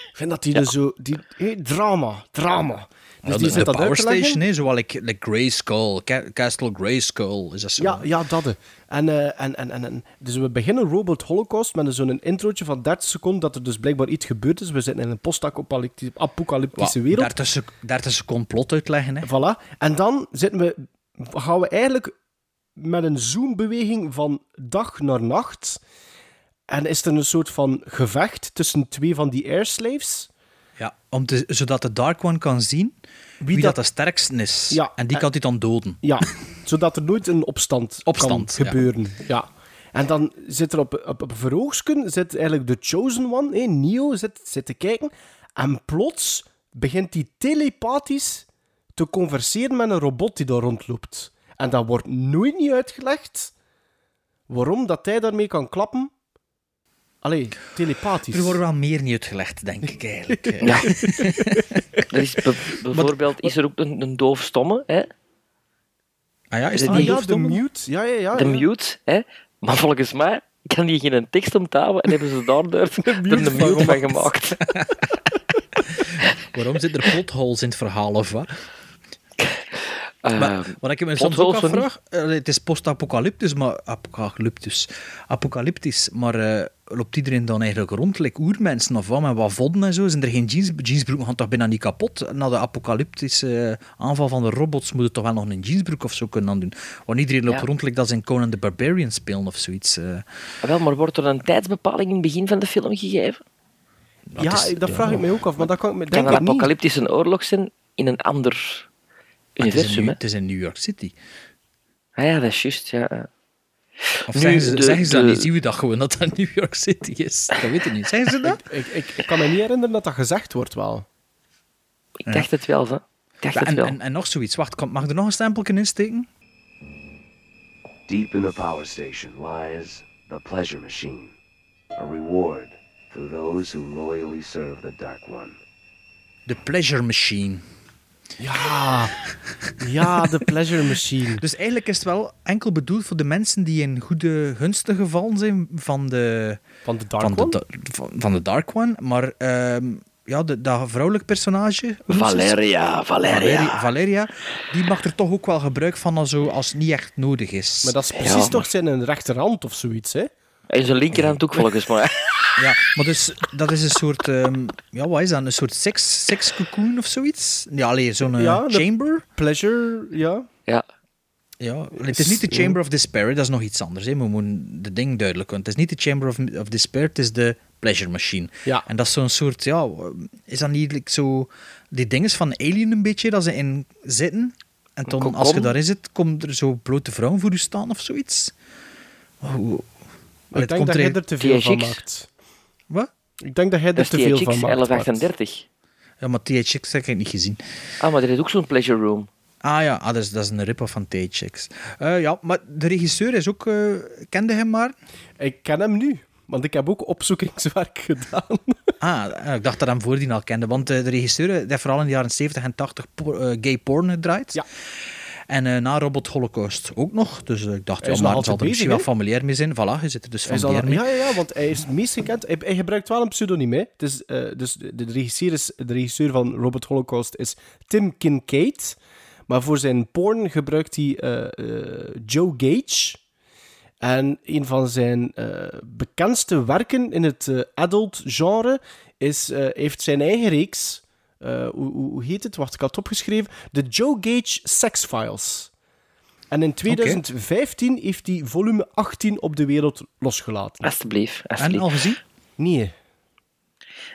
Ik vind dat die er zo... Die, hé, drama, drama. Dus
Ja,
die
de, de
zit dat uit
Power
te leggen.
Station, hè, zoals like, like Grayskull, Ca- Castle Grayskull, is dat zo?
Ja, ja dat. hè. En, eh, en, en, en, en- dus we beginnen Robot Holocaust met een- zo'n introotje van 30 seconden dat er dus blijkbaar iets gebeurd is. We zitten in een post-apocalyptische
Wat,
wereld.
30, sec- 30 seconden plot uitleggen. Hè.
Voilà. En dan zitten we, gaan we eigenlijk met een zoombeweging van dag naar nacht. En is er een soort van gevecht tussen twee van die airslaves.
Ja, om te, zodat de Dark One kan zien wie, dat,
dat-
de sterkste is.
Ja,
en die
en-
kan die dan doden.
Ja, zodat er nooit een opstand,
Opstand, ja.
kan gebeuren. Ja. En dan zit er op, op, op Verhoogsken zit eigenlijk de Chosen One, eh, Neo, zit, zit te kijken. En plots begint hij telepathisch te converseren met een robot die daar rondloopt. En dat wordt nooit niet uitgelegd waarom dat hij daarmee kan klappen. Allee, telepathisch.
Er wordt wel meer niet uitgelegd, denk ik eigenlijk. eh.
Ja. Er is be- bijvoorbeeld is er ook een, een doofstomme, hè?
Ah ja,
is dat ja, de mute. Ja, ja, Oh, ja.
de
ja.
mute, hè? Maar volgens mij kan die geen tekst onthouden en hebben ze daardoor er een mute van gemaakt.
Waarom zitten er potholes in het verhaal of wat?
Eh,
Maar, wat ik me soms ook
potholes van-
afvraag, eh, het is post-apocalyptus, maar apocalyptus, apocalyptisch, maar eh, loopt iedereen dan eigenlijk rond, like oermensen of wat, met wat vodden en zo? Zijn er geen jeans, jeansbroeken gaan toch bijna niet kapot? Na de apocalyptische eh, aanval van de robots moeten toch wel nog een jeansbroek of zo kunnen aan doen? Want iedereen loopt
Ja.
rond, like dat ze in Conan the Barbarian spelen of zoiets. eh.
Wel, maar wordt er een tijdsbepaling in het begin van de film gegeven?
Ja, dat vraag ik mij ook af, maar dat kan ik me
Kan
denk
een
ik niet.
apocalyptische oorlog zijn in een ander
Maar het, is in,
universum?
New-
hè?
het is in New York City.
Ah ja, dat is juist, ja. ja.
Of
Nu,
zeggen ze,
de-
zeggen ze dat
de-
niet? Zien we dat gewoon, dat dat New York City is? Dat weet ik niet. Zeggen ze dat?
Ik, ik, ik kan me niet herinneren dat dat gezegd wordt wel.
Ik dacht het wel, hè. Ik dacht
Ja,
het
en,
wel.
En, en nog zoiets. Wacht, kan- mag ik er nog een stempelje in steken?
Deep in the power station lies the pleasure machine, a reward for those who loyally serve the Dark One.
De pleasure machine.
Ja. Ja, de pleasure machine.
Dus eigenlijk is het wel enkel bedoeld voor de mensen die in goede gunsten gevallen zijn van de...
Van de Dark
van
One?
De, da- van, van de Dark One. Maar ehm, ja, de, dat vrouwelijk personage... hoe noemt ze het?
Valeria, Valeria.
Valeri- Valeria, die maakt er toch ook wel gebruik van als, zo- als het niet echt nodig is.
Maar dat is precies toch zijn een rechterhand of zoiets, hè?
En zijn linkerhand ook volgens mij.
Ja, maar dus dat is een soort, ehm, ja, wat is dat? Een soort seks, sekscocoon of zoiets? Ja, allee, zo'n eh,
Ja, de-
chamber.
Pleasure, ja.
Ja.
Ja, het is niet de Chamber of Despair, hè, dat is nog iets anders. Hè. We moeten de ding duidelijk doen. Het is niet de Chamber of, of Despair, het is de Pleasure Machine.
Ja.
En dat is zo'n soort, ja, is dat niet like, zo... Die dingen van Alien een beetje, dat ze in zitten. En dan, als je
Kokon.
daarin zit, komt er zo blote vrouwen voor u staan of zoiets. Oh, hoe-
Ik
het
denk
komt
dat jij
eigenlijk-
er te veel van maakt.
Wat?
Ik denk dat jij
Dat
er
is
te veel van
THX
maakt. Bart.
1138.
Ja, maar THX heb ik niet gezien.
Ah, maar er is ook zo'n pleasure room.
Ah ja, ah, dat, is, dat is een rip-off van THX. Eh, ja, maar de regisseur is ook... eh, kende hem maar?
Ik ken hem nu, want ik heb ook opzoekingswerk gedaan.
Ah, eh, ik dacht dat hem voordien al kende. Want eh, de regisseur eh, heeft vooral in de jaren 70 en 80 por- eh, gay porn gedraaid. En eh, na Robot Holocaust ook nog. Dus eh, ik dacht,
Hij is
ja,
nog
maar zal
altijd
er misschien wel
bezig, hè?
familiair mee zijn. Voilà, je zit er dus
Hij is al-
familiair mee.
ja, ja, ja, want hij is het meest gekend. Hij, hij gebruikt wel een pseudoniem, hè. Het is, eh, dus de, de regisseur is, de regisseur van Robert Holocaust is Tim Kincaid. Maar voor zijn porn gebruikt hij eh, eh, Joe Gage. En een van zijn eh, bekendste werken in het eh, adult genre is, eh, heeft zijn eigen reeks. eh, hoe, hoe hoe heet het? Wacht, ik had het opgeschreven. De Joe Gage Sex Files. En in 2015 heeft hij volume 18 op de wereld losgelaten.
Alsjeblieft. alsjeblieft.
gezien?
Nee.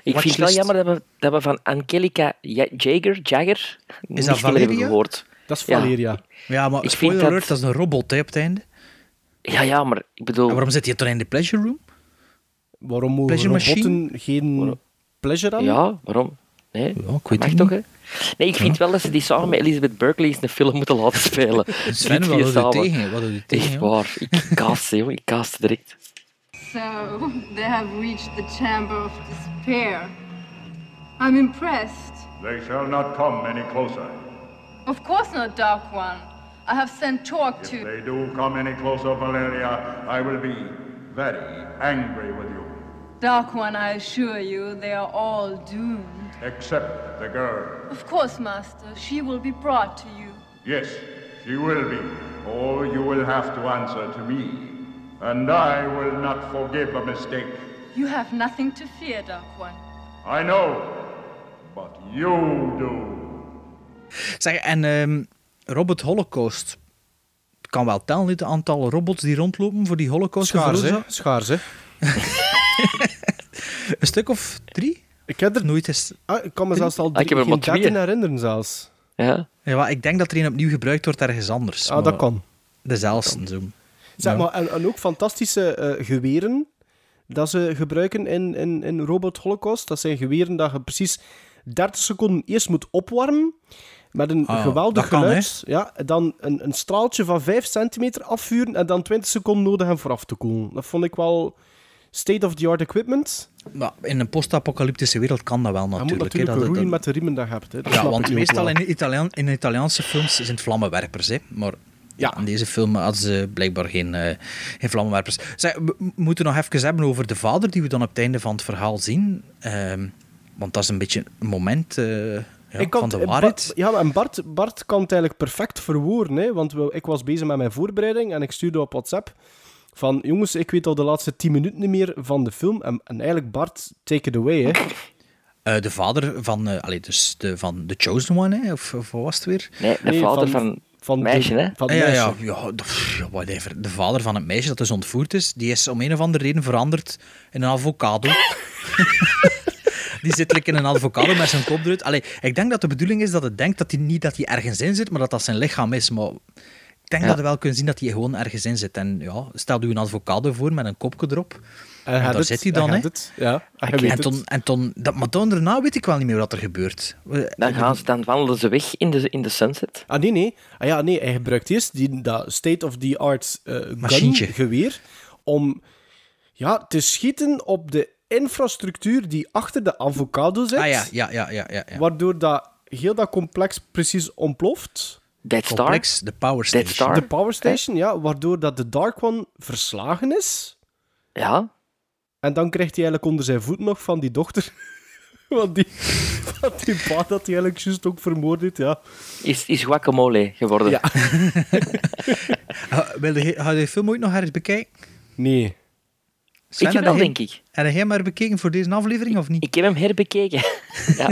Ik vind het wel
Watchlist.
jammer dat we, dat we van Angelica Ja- Jager, Jagger niks
dat
meer hebben
Valeria?
gehoord.
Dat is
Valeria. Ja, maar
Ik vind
spoiler
dat-
alert, dat is een robot hè, op het einde.
Ja, ja, maar ik bedoel...
Oh.
En waarom zit hij toch in de pleasure room?
Waarom mogen
Pleasure
robotten
machine?
geen pleasure aan?
Ja, waarom? Nee, ja, ik weet mag toch, hè? Nee, ik vind ja. wel dat ze die samen met Elizabeth Berkeley eens een film moeten laten spelen.
Sven, wat hadden tegen? Wat hadden tegen?
Echt waar. Ik kaas, joh. Ik kaas direct.
So, they have reached the chamber of despair. I'm impressed.
They shall not come any closer.
Of course not, Dark One. I have sent Torque to...
If they do come any closer, Valeria, I will be very angry with you.
Dark One, I assure you, they are all doomed.
Except the girl.
Of course, Master. She will be brought to you.
Yes, she will be. Or you will have to answer to me. And I will not forgive a mistake.
You have nothing to fear, Dark One.
I know. But you do.
Zeg, en um, Robot Holocaust. Het kan wel tellen, het aantal robots die rondlopen voor die Holocaust.
Schaars, hè? Schaars, hè?
een stuk of drie?
Ik heb er nooit eens... Ah, ik kan me zelfs al drie, ah, ik heb er geen herinneren zelfs.
Ja.
ja maar ik denk dat er een opnieuw gebruikt wordt ergens anders.
Ah, dat kan.
Dezelfde. Dat kan. Zo.
Zeg maar, en, en ook fantastische uh, geweren dat ze gebruiken in, in, in Robot Holocaust. Dat zijn geweren dat je precies 30 seconden eerst moet opwarmen. Met een ah, geweldig
kan,
geluid. He? ja, dan een, een straaltje van 5 centimeter afvuren en dan 20 seconden nodig hebben voor af te koelen. Dat vond ik wel state-of-the-art equipment.
Nou, in een post-apocalyptische wereld kan dat wel natuurlijk. Je
moet natuurlijk he, dat, roeien dat, met de riemen dat je hebt. He. Dat
ja, want meestal in, Italiaan, in Italiaanse films zijn het vlammenwerpers. Hè. Maar ja. in deze film hadden ze blijkbaar geen, uh, geen vlammenwerpers. Zij, we moeten nog even hebben over de vader die we dan op het einde van het verhaal zien. Um, want dat is een beetje een moment... Uh, ja, ik kan, van de waarheid.
ja, en Bart, Bart kan het eigenlijk perfect verwoorden. Hè, want we, ik was bezig met mijn voorbereiding en ik stuurde op WhatsApp van... Jongens, ik weet al de laatste tien minuten niet meer van de film. En, en eigenlijk, Bart, take it away, hè.
Uh, de vader van... Uh, allee, dus de, van The Chosen One, hè? Of, of wat was het weer?
Nee, de nee, vader van... van, van meisje, hè?
Van meisje. Ah, Ja, ja, ja, pff, whatever. De vader van het meisje dat dus ontvoerd is, die is om een of andere reden veranderd in een avocado. die zit in een avocado met zijn kop eruit. Allee, ik denk dat de bedoeling is dat het denkt dat hij niet dat hij ergens in zit, maar dat dat zijn lichaam is. Maar ik denk ja. dat we wel kunnen zien dat hij gewoon ergens in zit. En ja, stel u een avocado voor met een kopje erop. En, en daar
het,
zit hij dan, hè?
Ja,
en, en, ton, en ton, dat, maar toen daarna weet ik wel niet meer wat er gebeurt.
Dan, gaan ze, dan wandelen ze weg in de, in de sunset.
Ah, nee, nee. Ah, ja, nee. Hij gebruikt eerst die, dat state-of-the-art uh,
Machientje.
geweer om ja, te schieten op de infrastructuur die achter de avocado zit.
Ah, ja, ja, ja, ja, ja,
Waardoor dat, heel dat complex precies ontploft.
Dead Star.
Complex, de Power Station.
Star.
De Power Station, ja. Waardoor dat de Dark One verslagen is.
Ja.
En dan krijgt hij eigenlijk onder zijn voet nog van die dochter. Want die, van die pa dat hij eigenlijk juist ook vermoord heeft, ja.
Is, is guacamole geworden.
Ja.
Wil je, ga je de film ooit nog ergens bekijken?
Nee.
Sven, ik heb wel, denk ik.
Heb jij hem herbekeken voor deze aflevering, of niet?
Ik eh, heb hem herbekeken, ja.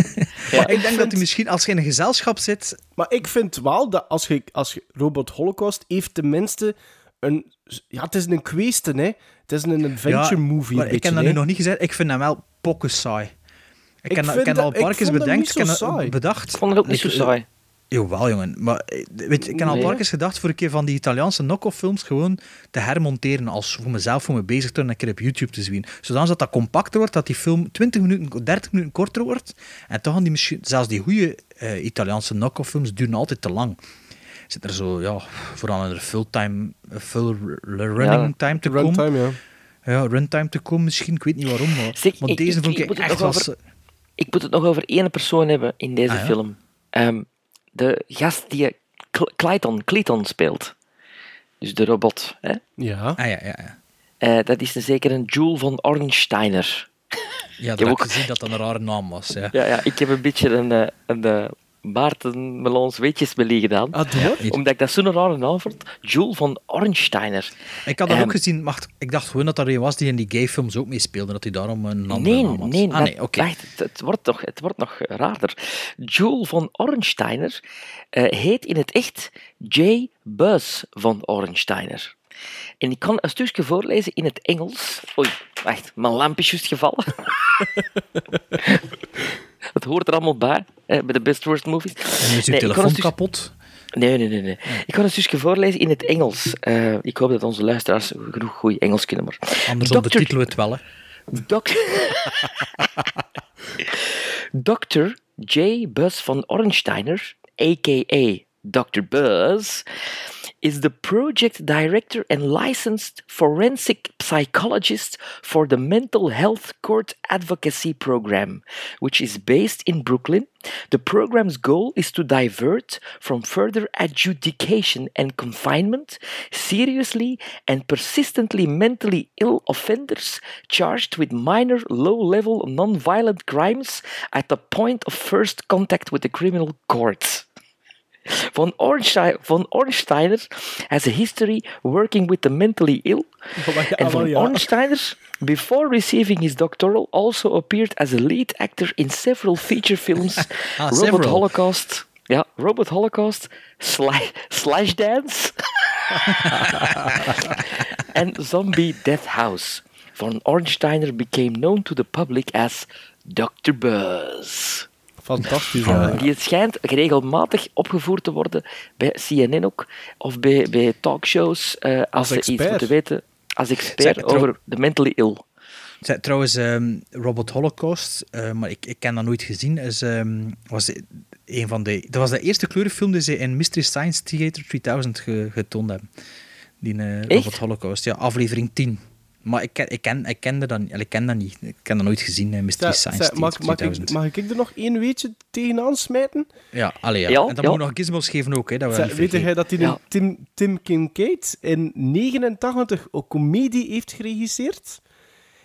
ja. Ik denk vind... dat hij misschien, als je in een gezelschap zit...
Maar ik vind wel dat als je... Als je Robot Holocaust heeft tenminste een... Ja, het is een kweesten, hè. Het is een adventure ja, movie,
maar
beetje,
ik heb dat nu nog niet gezegd. Ik vind hem wel pokken saai. Ik, heb ik, al een paar keer bedenkt, ik heb bedacht...
Ik vond het ook niet zo saai.
Jawel, jongen. Maar eh, weet, ik heb al een paar keer gedacht voor een keer van die Italiaanse knock-off films gewoon te hermonteren als voor mezelf, voor me bezig te en een keer op YouTube te zien. Zodat dat, dat compacter wordt, dat die film 20 minuten, 30 minuten korter wordt. En toch gaan die misschien, zelfs die goede uh, Italiaanse knock-off films duren altijd te lang. Zit er zo, ja, vooral een full, time, full running ja, time te
runtime,
komen.
Ja.
ja, runtime te komen misschien, ik weet niet waarom. Maar,
Zek,
maar
ik,
deze
ik,
vond
ik,
ik echt
over,
was,
Ik moet het nog over één persoon hebben in deze ah, ja. film. Um, de gast die eh, Clayton, Clayton speelt. Dus de robot. Hè?
Ja.
Ah, ja, ja, ja.
Uh, dat is een, zeker een Jule van Ornsteiner.
Ja, dat heb ook gezien dat dat een rare naam was. Ja,
ja, ja ik heb een beetje een, een, een, een Maarten Melons weetjesbelie gedaan.
Ah, door?
Ja, omdat ik dat zo'n rare naam vond. Jule van Ornsteiner.
Ik had
Ehm,
dat um, ook gezien, maar ik dacht gewoon dat er een was die in die gayfilms ook meespeelde, dat hij daarom een andere
nee,
naam had.
Nee,
ah,
dat,
nee, oké. Okay.
Het, het, wordt nog, het wordt nog eh, raarder. Jule van Ornsteiner uh, heet in het echt J. Buzz van Ornsteiner. En ik kan een stukje voorlezen in het Engels. Oei, wacht, mijn lamp is juist gevallen. Het hoort er allemaal bij, bij de Best Worst Movies.
En is uw nee, telefoon dus... kapot?
Nee, nee, nee, nee. Ik ga het dus voorlezen in het Engels. Uh, ik hoop dat onze luisteraars genoeg goed Engels kunnen. Maar...
Anders Doctor... ondertitelen we het wel, hè.
Doctor... Doctor J. Buzz van Orensteiner, aka Dr. Buzz, is the project director and licensed forensic psychologist for the Mental Health Court Advocacy Program, which is based in Brooklyn. The program's goal is to divert from further adjudication and confinement seriously and persistently mentally ill offenders charged with minor, low level, non-violent crimes at the point of first contact with the criminal courts. Von, Ornstein, von Ornsteiner has a history working with the mentally ill. and Von Ornsteiner, before receiving his doctoral, also appeared as a lead actor in several feature films ah, Robot several. Holocaust, yeah, Robot Holocaust, Slash, slash Dance, and Zombie Death House. Von Ornsteiner became known to the public as Dr. Buzz.
Fantastisch. Ja.
Die het schijnt regelmatig opgevoerd te worden bij CNN ook, of bij, bij talkshows, uh, als, als, ze expert. iets moeten weten, als expert Zij, over de mentally ill.
Zij, trouwens, um, Robot Holocaust, uh, maar ik, ik ken dat nooit gezien, is, um, was een van de, dat was de eerste kleurenfilm die ze in Mystery Science Theater 3000 ge, getoond hebben. Die uh, Robot Holocaust, ja, aflevering 10. Maar ik ken, ik ken, ik ken, dat, ik ken dat niet. Ik ken dat nooit gezien, in Mystery Science Theater
mag, mag, ik, mag ik er nog één weetje tegenaan smijten?
Ja, allee, ja. ja en dan ja. moet je nog gizmos geven ook. Hè, dat we
Zij, weet jij dat die ja. Tim, Tim Kincaid in 89 een comedie heeft geregisseerd?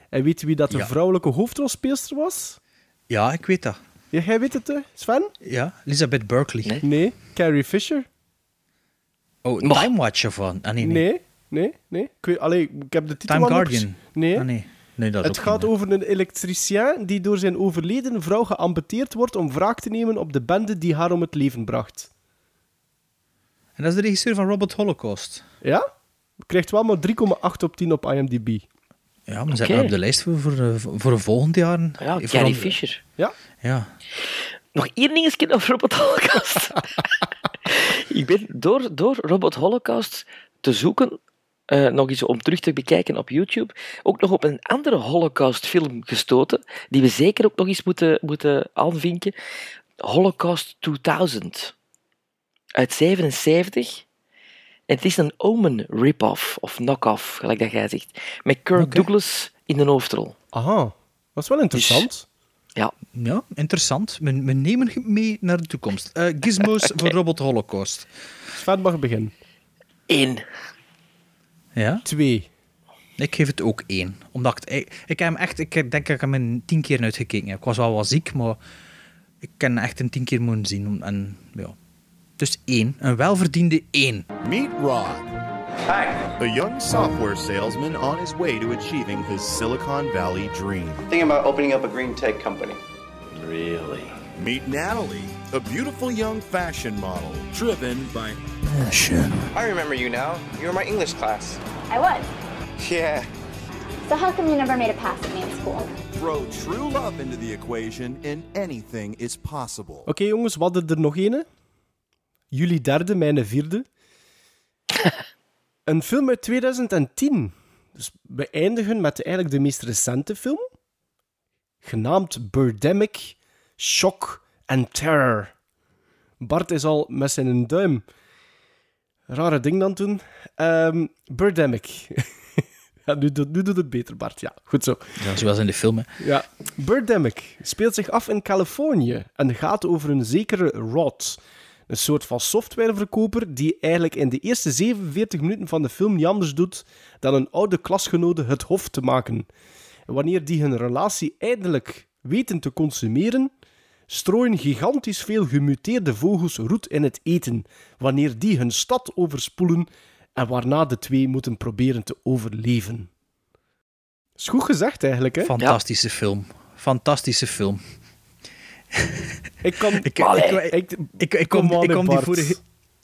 En weet je wie dat de vrouwelijke hoofdrolspeelster was?
Ja, ik weet dat.
Ja, jij weet het, hè? Sven?
Ja, Elizabeth Berkley.
Nee. nee, Carrie Fisher.
Oh, Time maar. Watcher van? Ah, nee.
nee. nee. Nee, nee. Ik, weet, allee, ik heb de titel
Time Guardian?
Nee.
Ah, nee. nee dat
het gaat over een elektricien die door zijn overleden vrouw geamputeerd wordt om wraak te nemen op de bende die haar om het leven bracht.
En dat is de regisseur van Robert Holocaust.
Ja? Krijgt wel maar 3,8 op 10 op IMDb.
Ja, maar zet okay. op de lijst voor, voor, voor de volgende jaren.
Ja, Carrie Fisher.
Ja.
ja.
Nog één ding over Robert Holocaust. Ik ben door, door Robert Holocaust te zoeken uh, nog eens om terug te bekijken op YouTube, ook nog op een andere Holocaust-film gestoten, die we zeker ook nog eens moeten, moeten aanvinken. Holocaust 2000. Uit 77. En het is een Omen rip-off, of knock-off, gelijk dat jij zegt. Met Kirk okay. Douglas in de hoofdrol.
Aha, dat is wel interessant. Dus,
ja.
ja, interessant. We, we nemen mee naar de toekomst. Uh, gizmos okay. voor Robot Holocaust.
Sven mag beginnen.
Eén.
Ja?
Twee.
Ik geef het ook één. Omdat ik, ik, ik heb hem echt, ik denk dat ik hem een tien keer uitgekeken heb. Ik was wel wat ziek, maar ik ken echt een tien keer moeten zien. En, ja. Dus één. Een welverdiende één.
Meet Ron. Hi. A young software salesman on his way to achieving his Silicon Valley dream.
Thinking about opening up a green tech company.
Really? Meet Natalie, a beautiful young fashion model driven by
passion.
I remember you now. You were my English class.
I was.
Yeah.
So how come you never made a pass at me in school?
Throw true love into the equation and anything is possible.
Oké okay, jongens, wat hadden er nog ene? Jullie derde, mijn vierde. Een film uit 2010. Dus we eindigen met eigenlijk de meest recente film. Genaamd Birdemic shock en terror. Bart is al met zijn duim. Rare ding dan toen. Um, Birdemic. ja, nu, nu, doet het beter, Bart. Ja, goed zo.
Ja, zoals in de film, hè.
Ja. Birdemic speelt zich af in Californië en gaat over een zekere Rod. Een soort van softwareverkoper die eigenlijk in de eerste 47 minuten van de film niet anders doet dan een oude klasgenote het hof te maken. En wanneer die hun relatie eindelijk weten te consumeren, strooien gigantisch veel gemuteerde vogels roet in het eten, wanneer die hun stad overspoelen en waarna de twee moeten proberen te overleven. Is goed gezegd eigenlijk, hè?
Fantastische ja. film. Fantastische film.
Ik kom...
ik, ik, ik, ik, kom, ik kom die vorige...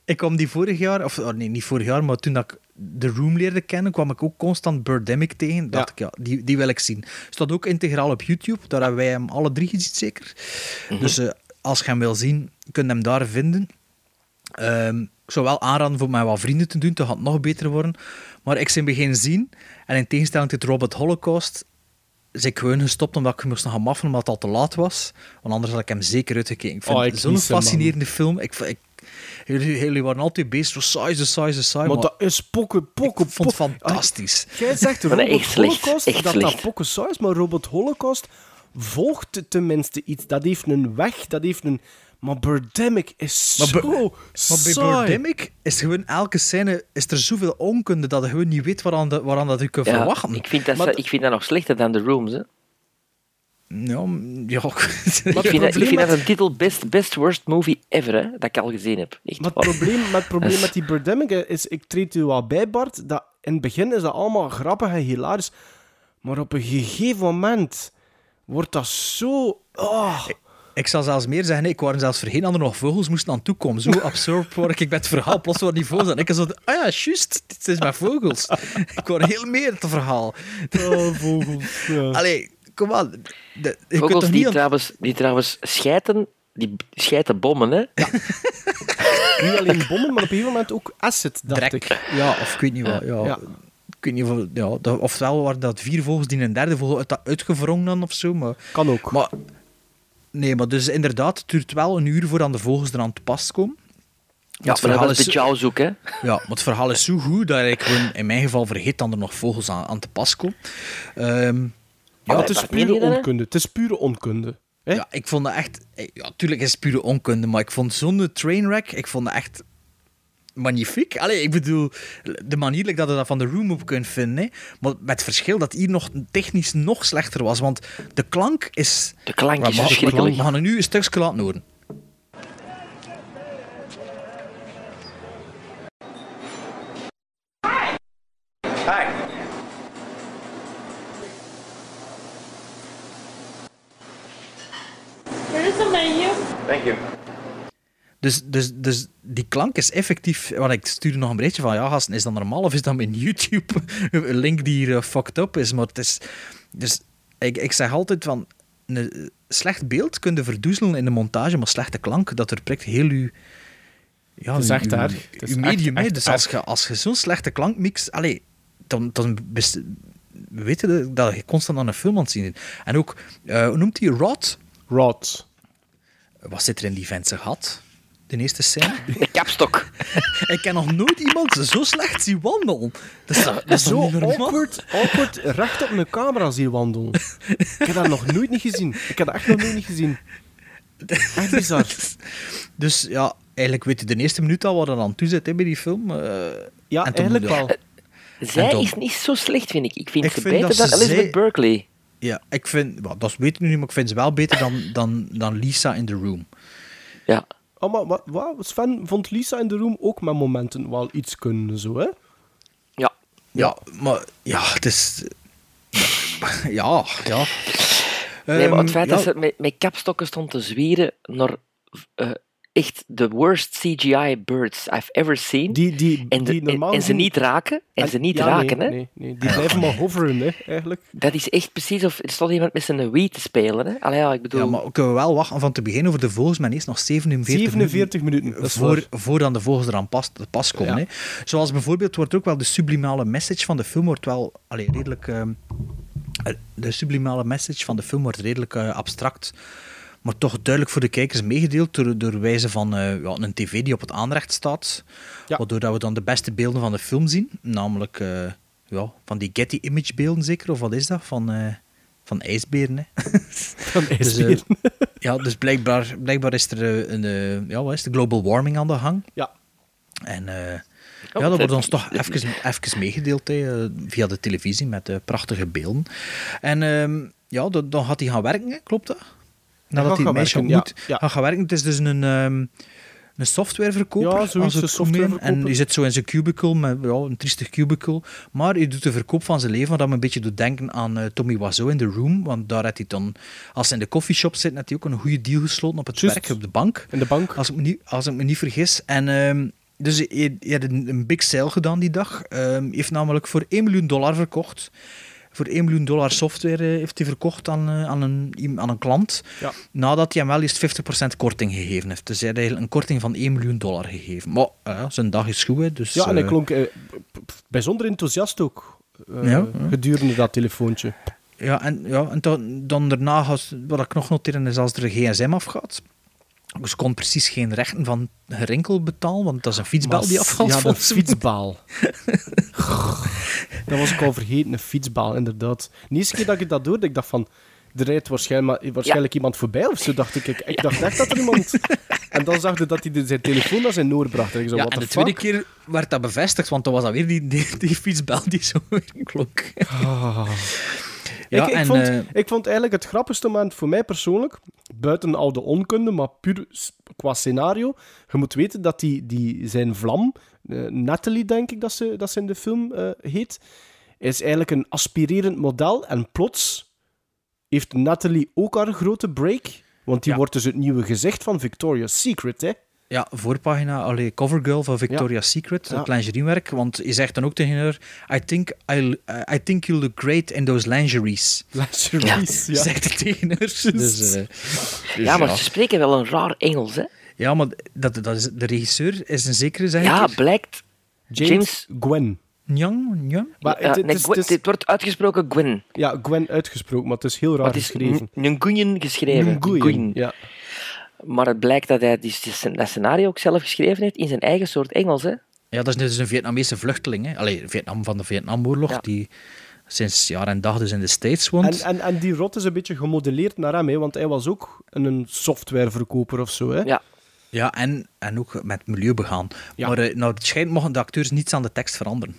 Ik kwam die vorig jaar, of oh nee, niet vorig jaar, maar toen dat ik de Room leerde kennen, kwam ik ook constant Birdemic tegen. Dacht ja. ik, ja, die, die wil ik zien. Staat ook integraal op YouTube, daar hebben wij hem alle drie gezien zeker. Mm
Mhm.
-hmm. Dus uh, als je hem wil zien, kun je hem daar vinden. Um, ik zou wel aanraden voor mijn wat vrienden te doen, dat gaat nog beter worden. Maar ik zijn begin zien, en in tegenstelling tot Robert Holocaust, Dus ik gewoon gestopt omdat ik moest nog gaan maffen omdat het al te laat was. Want anders had ik hem zeker uitgekeken. Ik vind
Oh, ik
het zo'n
mis hem, man.
fascinerende film. Ik, v- ik, jullie, jullie waren altijd bezig door saai, zo saai, zo saai.
Maar dat is pokken, pokken, Ah,
Ik vond het fantastisch.
Jij zegt
Maar
Robot
nee, echt slecht,
Holocaust,
echt
dat
slecht.
dat pokken saai is, maar Robot Holocaust volgt tenminste iets. Dat heeft een weg, dat heeft een... Maar Birdemic is
Maar, Bur-
zo
maar bij
saai.
Birdemic is gewoon elke scène is er zoveel onkunde dat je gewoon niet weet waaraan, de, waaraan dat je kunt
Ja,
verwachten.
ik, vind dat,
Maar
ik vind dat nog slechter dan The Rooms. Hè.
Ja, m- ja.
Ik vind, dat, ik vind dat een titel best, best worst movie ever, hè, dat ik al gezien heb. Echt Oh.
Maar het
waar.
probleem, maar het
Dat
probleem
is-
met die Birdemic eh, is, ik treed u wat bij, Bart, dat in het begin is dat allemaal grappig en hilarisch, maar op een gegeven moment wordt dat zo... Oh.
Ik zal zelfs meer zeggen, ik was zelfs vergeten dat er nog vogels moesten aan toekomen. Zo absurd word ik bij het verhaal plots wat niveaus aan. Ik was zo, ah ja, juist, dit is met vogels. Ik word heel meer het verhaal. eh,
Oh, vogels.
Allee, kom aan. De- je kunt toch
Vogels
niet
die,
aan-
trouwens, die trouwens schijten, die b- schijten bommen, hè?
Niet alleen bommen, maar op een gegeven moment ook acid, dacht ik.
Ja, of ik weet niet wat. Ja.
Ja.
Ik weet niet of, ja, dat- ofwel waren dat vier vogels die een derde vogel uit, dat uitgevrongen dan of zo. Maar,
kan ook.
Maar, nee, maar dus inderdaad, het duurt wel een uur voordat de vogels er aan te pas komen.
Ja, maar dat is de Jaws ook, hè?
Ja, maar het verhaal is zo goed dat ik gewoon in mijn geval vergeet dat er nog vogels aan, aan te pas komen. Ehm,
Maar
ja,
het is pure onkunde. Het is pure onkunde.
Ja, ik vond dat echt... eh, Ja, tuurlijk is het pure onkunde, maar ik vond zo'n trainwreck... Ik vond dat echt magnifiek. Allee, ik bedoel, de manier like dat je dat van de room op kunt vinden. Hè. Maar met het verschil dat hier nog technisch nog slechter was. Want de klank is...
De klank is
we,
verschrikkelijk.
We gaan er nu een stukje laten horen.
There is a menu.
Thank you.
Dus, dus, dus die klank is effectief. Want ik stuurde nog een berichtje van: ja, gasten, is dat normaal of is dat mijn YouTube? een link die hier eh, fucked up is. Maar het is. Dus ik, ik zeg altijd van: een slecht beeld kun je verdoezelen in de montage, maar slechte klank, dat er prikt heel uw. Ja,
Het is
uw-
echt
uw-
erg. Het is
uw
echt,
medium mee.
echt
Dus als
erg.
je, als je zo'n slechte klank mixt, allee, dan, dan best- we weten dat je constant aan een film aan het zien bent. En ook, eh, hoe noemt hij Rod?
Rod.
Wat zit er in die vent zijn gat? De eerste scène?
De kapstok.
Ik ken nog nooit iemand zo slecht zien wandelen. Dat is, toch- dat is
zo
toch niet normaal?
awkward, awkward recht op mijn camera zien wandelen. ik heb dat nog nooit niet gezien. Ik heb dat echt nog nooit niet gezien. Echt bizar.
Dus ja, eigenlijk weet je de eerste minuut al wat er aan toe zit hè, bij die film. eh,
ja, eigenlijk wel.
Zij is niet zo slecht, vind ik. Ik vind
Ik
ze
vind
beter
dat
dan
ze
Elizabeth
zij-
Berkeley.
Ja, ik vind... wel, dat weet ik nu niet, maar ik vind ze wel beter dan, dan, dan Lisa in The Room.
Ja.
Oh, maar wat, wat? Sven vond Lisa in de room ook met momenten wel iets kunnen, zo hè?
Ja.
Ja, maar... Ja, het is... Ja, ja.
Nee, maar het feit
Ehm,
dat
ja.
ze met, met kapstokken stond te zwieren naar eh, echt de worst CGI birds I've ever seen.
Die, die,
en, de-
die
en,
normaal
en ze
gezien-
niet raken. En ze niet raken,
nee,
hè?
Nee, nee, die blijven maar hoveren, hè, eigenlijk.
Dat is echt precies of er stond iemand met zijn Wii te spelen. Hè? Allee, ja, ik bedoel...
Ja, maar we kunnen wel wachten van te beginnen over de vogels, maar eerst nog 47,
47 minuten, dat is
voor,
waar.
voordat de vogels eraan pas, te pas komen.
Ja.
Hè. Zoals bijvoorbeeld wordt ook wel de sublimale message van de film wordt wel allee, redelijk... ehm, eh, de sublimale message van de film wordt redelijk eh, abstract, maar toch duidelijk voor de kijkers meegedeeld door, door wijze van eh, ja, een tv die op het aanrecht staat, waardoor dat we dan de beste beelden van de film zien, namelijk eh, ja, van die Getty image beelden zeker, of wat is dat? Van, eh, van ijsberen, hè?
Van
Dus, eh,
ijsberen.
ja, dus blijkbaar, blijkbaar is er eh, een eh, ja, wat is de global warming aan de gang.
Ja.
En eh, ja, dat wordt ons toch even, even meegedeeld hè, eh, via de televisie met eh, prachtige beelden. En ehm, ja, dan, dan gaat hij gaan werken, hè, klopt dat? Nadat
gaat
hij
gaan
het meisje
werken, ja,
ontmoet,
ja.
gaat gaan werken. Het is dus een, ehm, een softwareverkoper.
Ja,
als
zoiets,
we
een
het goed meen. En
softwareverkoper.
je zit zo in zijn cubicle, met, ja, een triestig cubicle. Maar hij doet de verkoop van zijn leven, wat dat me een beetje doet denken aan eh, Tommy Wiseau in The Room. Want daar had hij dan, als hij in de coffeeshop zit, had hij ook een goede deal gesloten op het werk, op de bank.
In de bank.
Als ik me niet, als ik me niet vergis. En ehm, dus hij, hij had een, een big sale gedaan die dag. Ehm, Hij heeft namelijk voor 1 miljoen dollar verkocht. Voor 1 miljoen dollar software eh, heeft hij verkocht aan, eh, aan, een, iem- aan een klant.
Ja.
Nadat hij hem wel eens 50% korting gegeven heeft. Dus hij had eigenlijk een korting van 1 miljoen dollar gegeven. Maar eh, ja, zijn dag is goed, hè, dus...
Ja, en hij
eh,
klonk eh, p- p- bijzonder enthousiast ook. eh,
Ja, ja.
Gedurende dat telefoontje.
Ja, en, ja, en dan, dan daarna, gaat- wat ik nog noteren, is als er een gsm afgaat. Ze kon precies geen rechten van gerinkel betalen, want dat is een fietsbel
Maar
die
s-
afvalt.
ja, de
volgens mij.
fietsbaal. dat was ik al vergeten, een fietsbaal, inderdaad. De eerste keer dat ik dat hoorde, ik dacht van... Er rijdt waarschijnlijk, waarschijnlijk iemand voorbij of zo, dacht ik. Ik, ik dacht echt dat er iemand... En dan zag je dat hij de- zijn telefoon naar zijn noor bracht. En ik zo,
Ja,
what
en de
the
tweede
fuck?
keer werd dat bevestigd, want dan was dat weer die, die, die fietsbel die zo weer klonk. Ja,
Ah. ik, ik,
en,
vond,
eh,
ik vond eigenlijk het grappigste moment voor mij persoonlijk, buiten al de onkunde, maar puur s- qua scenario. Je moet weten dat die, die zijn vlam, eh, Natalie denk ik dat ze, dat ze in de film eh, heet, is eigenlijk een aspirerend model. En plots heeft Natalie ook haar grote break, want die wordt dus het nieuwe gezicht van Victoria's Secret, hè?
Ja, voorpagina, allee, covergirl van Victoria's Secret,
Ja.
dat lingeriewerk. Want je zegt dan ook tegen haar, I think, I'll, eh, I think you look great in those lingeries.
Lingeries,
ja.
Zegt het tegen haar. Dus, eh, dus
ja, maar ze spreken wel een raar Engels, hè?
Ja, maar dat, dat is, de regisseur is een zekere, zeg
Ja,
ik er.
blijkt.
James
James
Gwen.
Nyang, Nyang?
Maar het- het
nee,
is-
Gwen-
het is-
dit wordt uitgesproken Gwen.
Ja, Gwen uitgesproken, maar het is heel raar
Maar het is
geschreven.
N- Nguyen geschreven.
Nguyen, ja.
Maar het blijkt dat hij die, die- dat scenario ook zelf geschreven heeft in zijn eigen soort Engels. Hè?
Ja, dat is dus een Vietnamese vluchteling. Hè. Allee, Vietnam van de Vietnamoorlog, die sinds jaar en dag dus in de States woont.
En, en, en die rot is een beetje gemodelleerd naar hem, hè, want hij was ook een- een softwareverkoper of zo. Hè.
Ja.
Ja, en, en ook met milieu begaan. Maar eh, nou, het schijnt mogen de acteurs niets aan de tekst veranderen.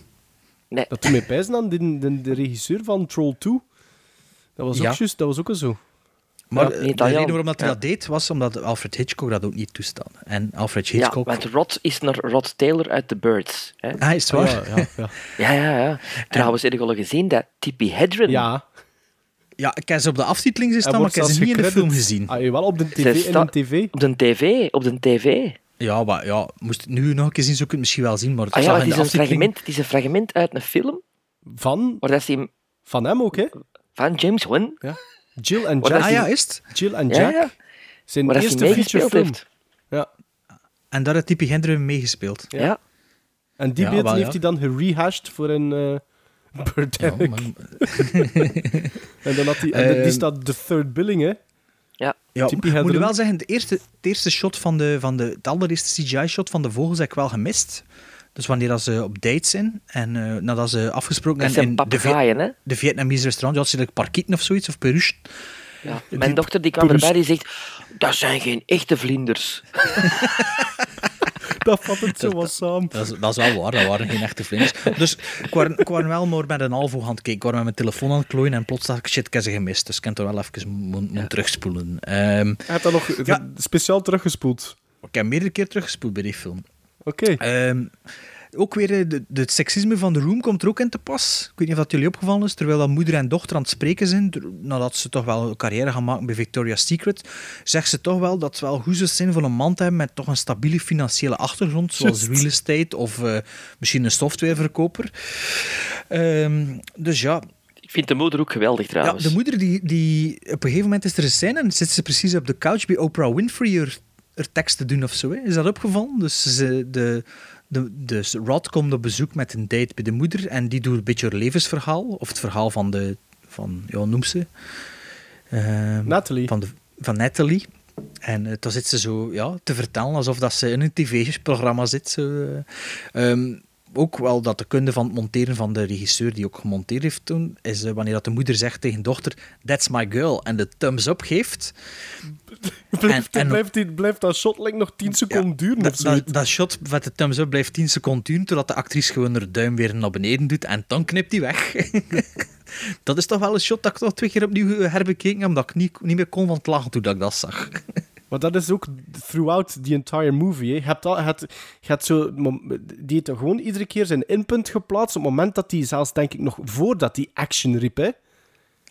Dat doet mij pijzen aan de, de, de regisseur van Troll 2. Dat was ook
Ja.
juist, dat was ook zo.
Maar
Ja,
eh, de
Italiaan.
reden waarom dat hij
Ja.
dat deed, was omdat Alfred Hitchcock dat ook niet toestaat. En Alfred
Ja,
Hitchcock...
want Rod is naar Rod Taylor uit The Birds. Hè?
Ah, is het waar?
Ja, ja, ja.
Ja, ja, ja. Trouwens, heb je al gezien dat Tippi Hedren...
Ja.
Ja, ik heb ze op de aftiteling zien
Hij
staan, maar
wordt
ik heb ze
zelfs
niet in de film
gecredit.
gezien.
Ah, wel op de
Zij sta- Op de tv, op de
Ah,
tv.
Ja, maar ja, moest ik nu nog een keer zien, zou ik het misschien wel zien, maar het
Ah ja,
zag
het
in de
is, een
aftiteling...
fragment, het is een fragment uit een film.
Van?
Waar dat ze,
Van hem ook, hè?
Van James Wan.
Ja. Jill en
Waar
Jack.
dat
Ah,
ze-
Jill en
Ja,
Jack.
ja.
Zijn
Waar dat ze
eerste feature
meegespeeld
film.
heeft.
Ja.
En daar heeft Tippi Hendren meegespeeld.
Ja.
En die
Ja,
beelden
wel,
heeft
ja.
hij dan gerehashed voor een eh Birdemic. en dan had hij... en de- die
Ehm.
staat de third billing, hè?
Ja.
Ja,
Tippi
ik moet
Hedren.
wel zeggen, de eerste, het eerste shot van de, van de, het allereerste CGI-shot van de vogels heb ik wel gemist. Dus wanneer dat ze op date zijn en eh, nadat ze afgesproken
Dat
hebben
zijn
in de,
papegaaien, hè?
de Vietnamese restaurant, ja, ze like parkieten of zoiets, of peruche.
Ja.
Die-
Mijn dochter die kwam
Purus-
erbij, die zegt... Dat zijn geen echte vlinders.
Dat vat het zo wat samen.
Dat is, dat is wel waar, dat waren geen echte vlinders. Dus ik waren- ik waren wel maar met een half oog aan het kijken. Ik waren met mijn telefoon aan het klooien en plots dacht ik, shit, ik heb ze gemist. Dus ik kan er wel even moet moet terugspoelen. Ehm,
Hij heeft dat nog
Ja.
speciaal teruggespoeld.
ik heb meerdere keer teruggespoeld bij die film.
Oké.
Ehm, ook weer, eh, de, de- het seksisme van de room komt er ook in te pas. Ik weet niet of dat jullie opgevallen is, terwijl dat moeder en dochter aan het spreken zijn, ter- nadat ze toch wel een carrière gaan maken bij Victoria's Secret, zegt ze toch wel dat het wel goed zou zijn voor een man te hebben met toch een stabiele financiële achtergrond, zoals
Juist.
real estate of eh, misschien een softwareverkoper. Ehm, dus ja,
Ik vind de moeder ook geweldig,
ja,
trouwens.
de moeder die, die... Op een gegeven moment is er een scène en zit ze precies op de couch bij Oprah Winfrey er, er tekst te doen of zo. Hè. Is dat opgevallen? Dus, ze, de, de, dus Rod komt op bezoek met een date bij de moeder en die doet een beetje haar levensverhaal. Of het verhaal van de... Van, ja, hoe noem ze? Ehm,
Natalie.
Van, de, van Natalie. En eh, dan zit ze zo ja, te vertellen alsof dat ze in een tv-programma zit. Zo, eh. Ehm, ook wel dat de kunde van het monteren van de regisseur die ook gemonteerd heeft toen, is eh, wanneer dat de moeder zegt tegen dochter, that's my girl, en de thumbs up geeft.
Blijft,
en-
blijft, die- blijft dat shotlink nog 10 seconden duren of
Dat,
zo?
dat, dat shot met de thumbs up blijft 10 seconden duren, totdat de actrice gewoon haar duim weer naar beneden doet en dan knipt hij weg. dat is toch wel een shot dat ik toch twee keer opnieuw eh, herbekeken heb, omdat ik niet, niet meer kon van het lachen toen dat ik dat zag.
Maar dat is ook throughout the entire movie. Hè. Je hebt al, je hebt, je hebt zo, het mom- die heeft gewoon iedere keer zijn inpunt geplaatst. Op het moment dat hij zelfs, denk ik, nog voordat hij action riep. Hè.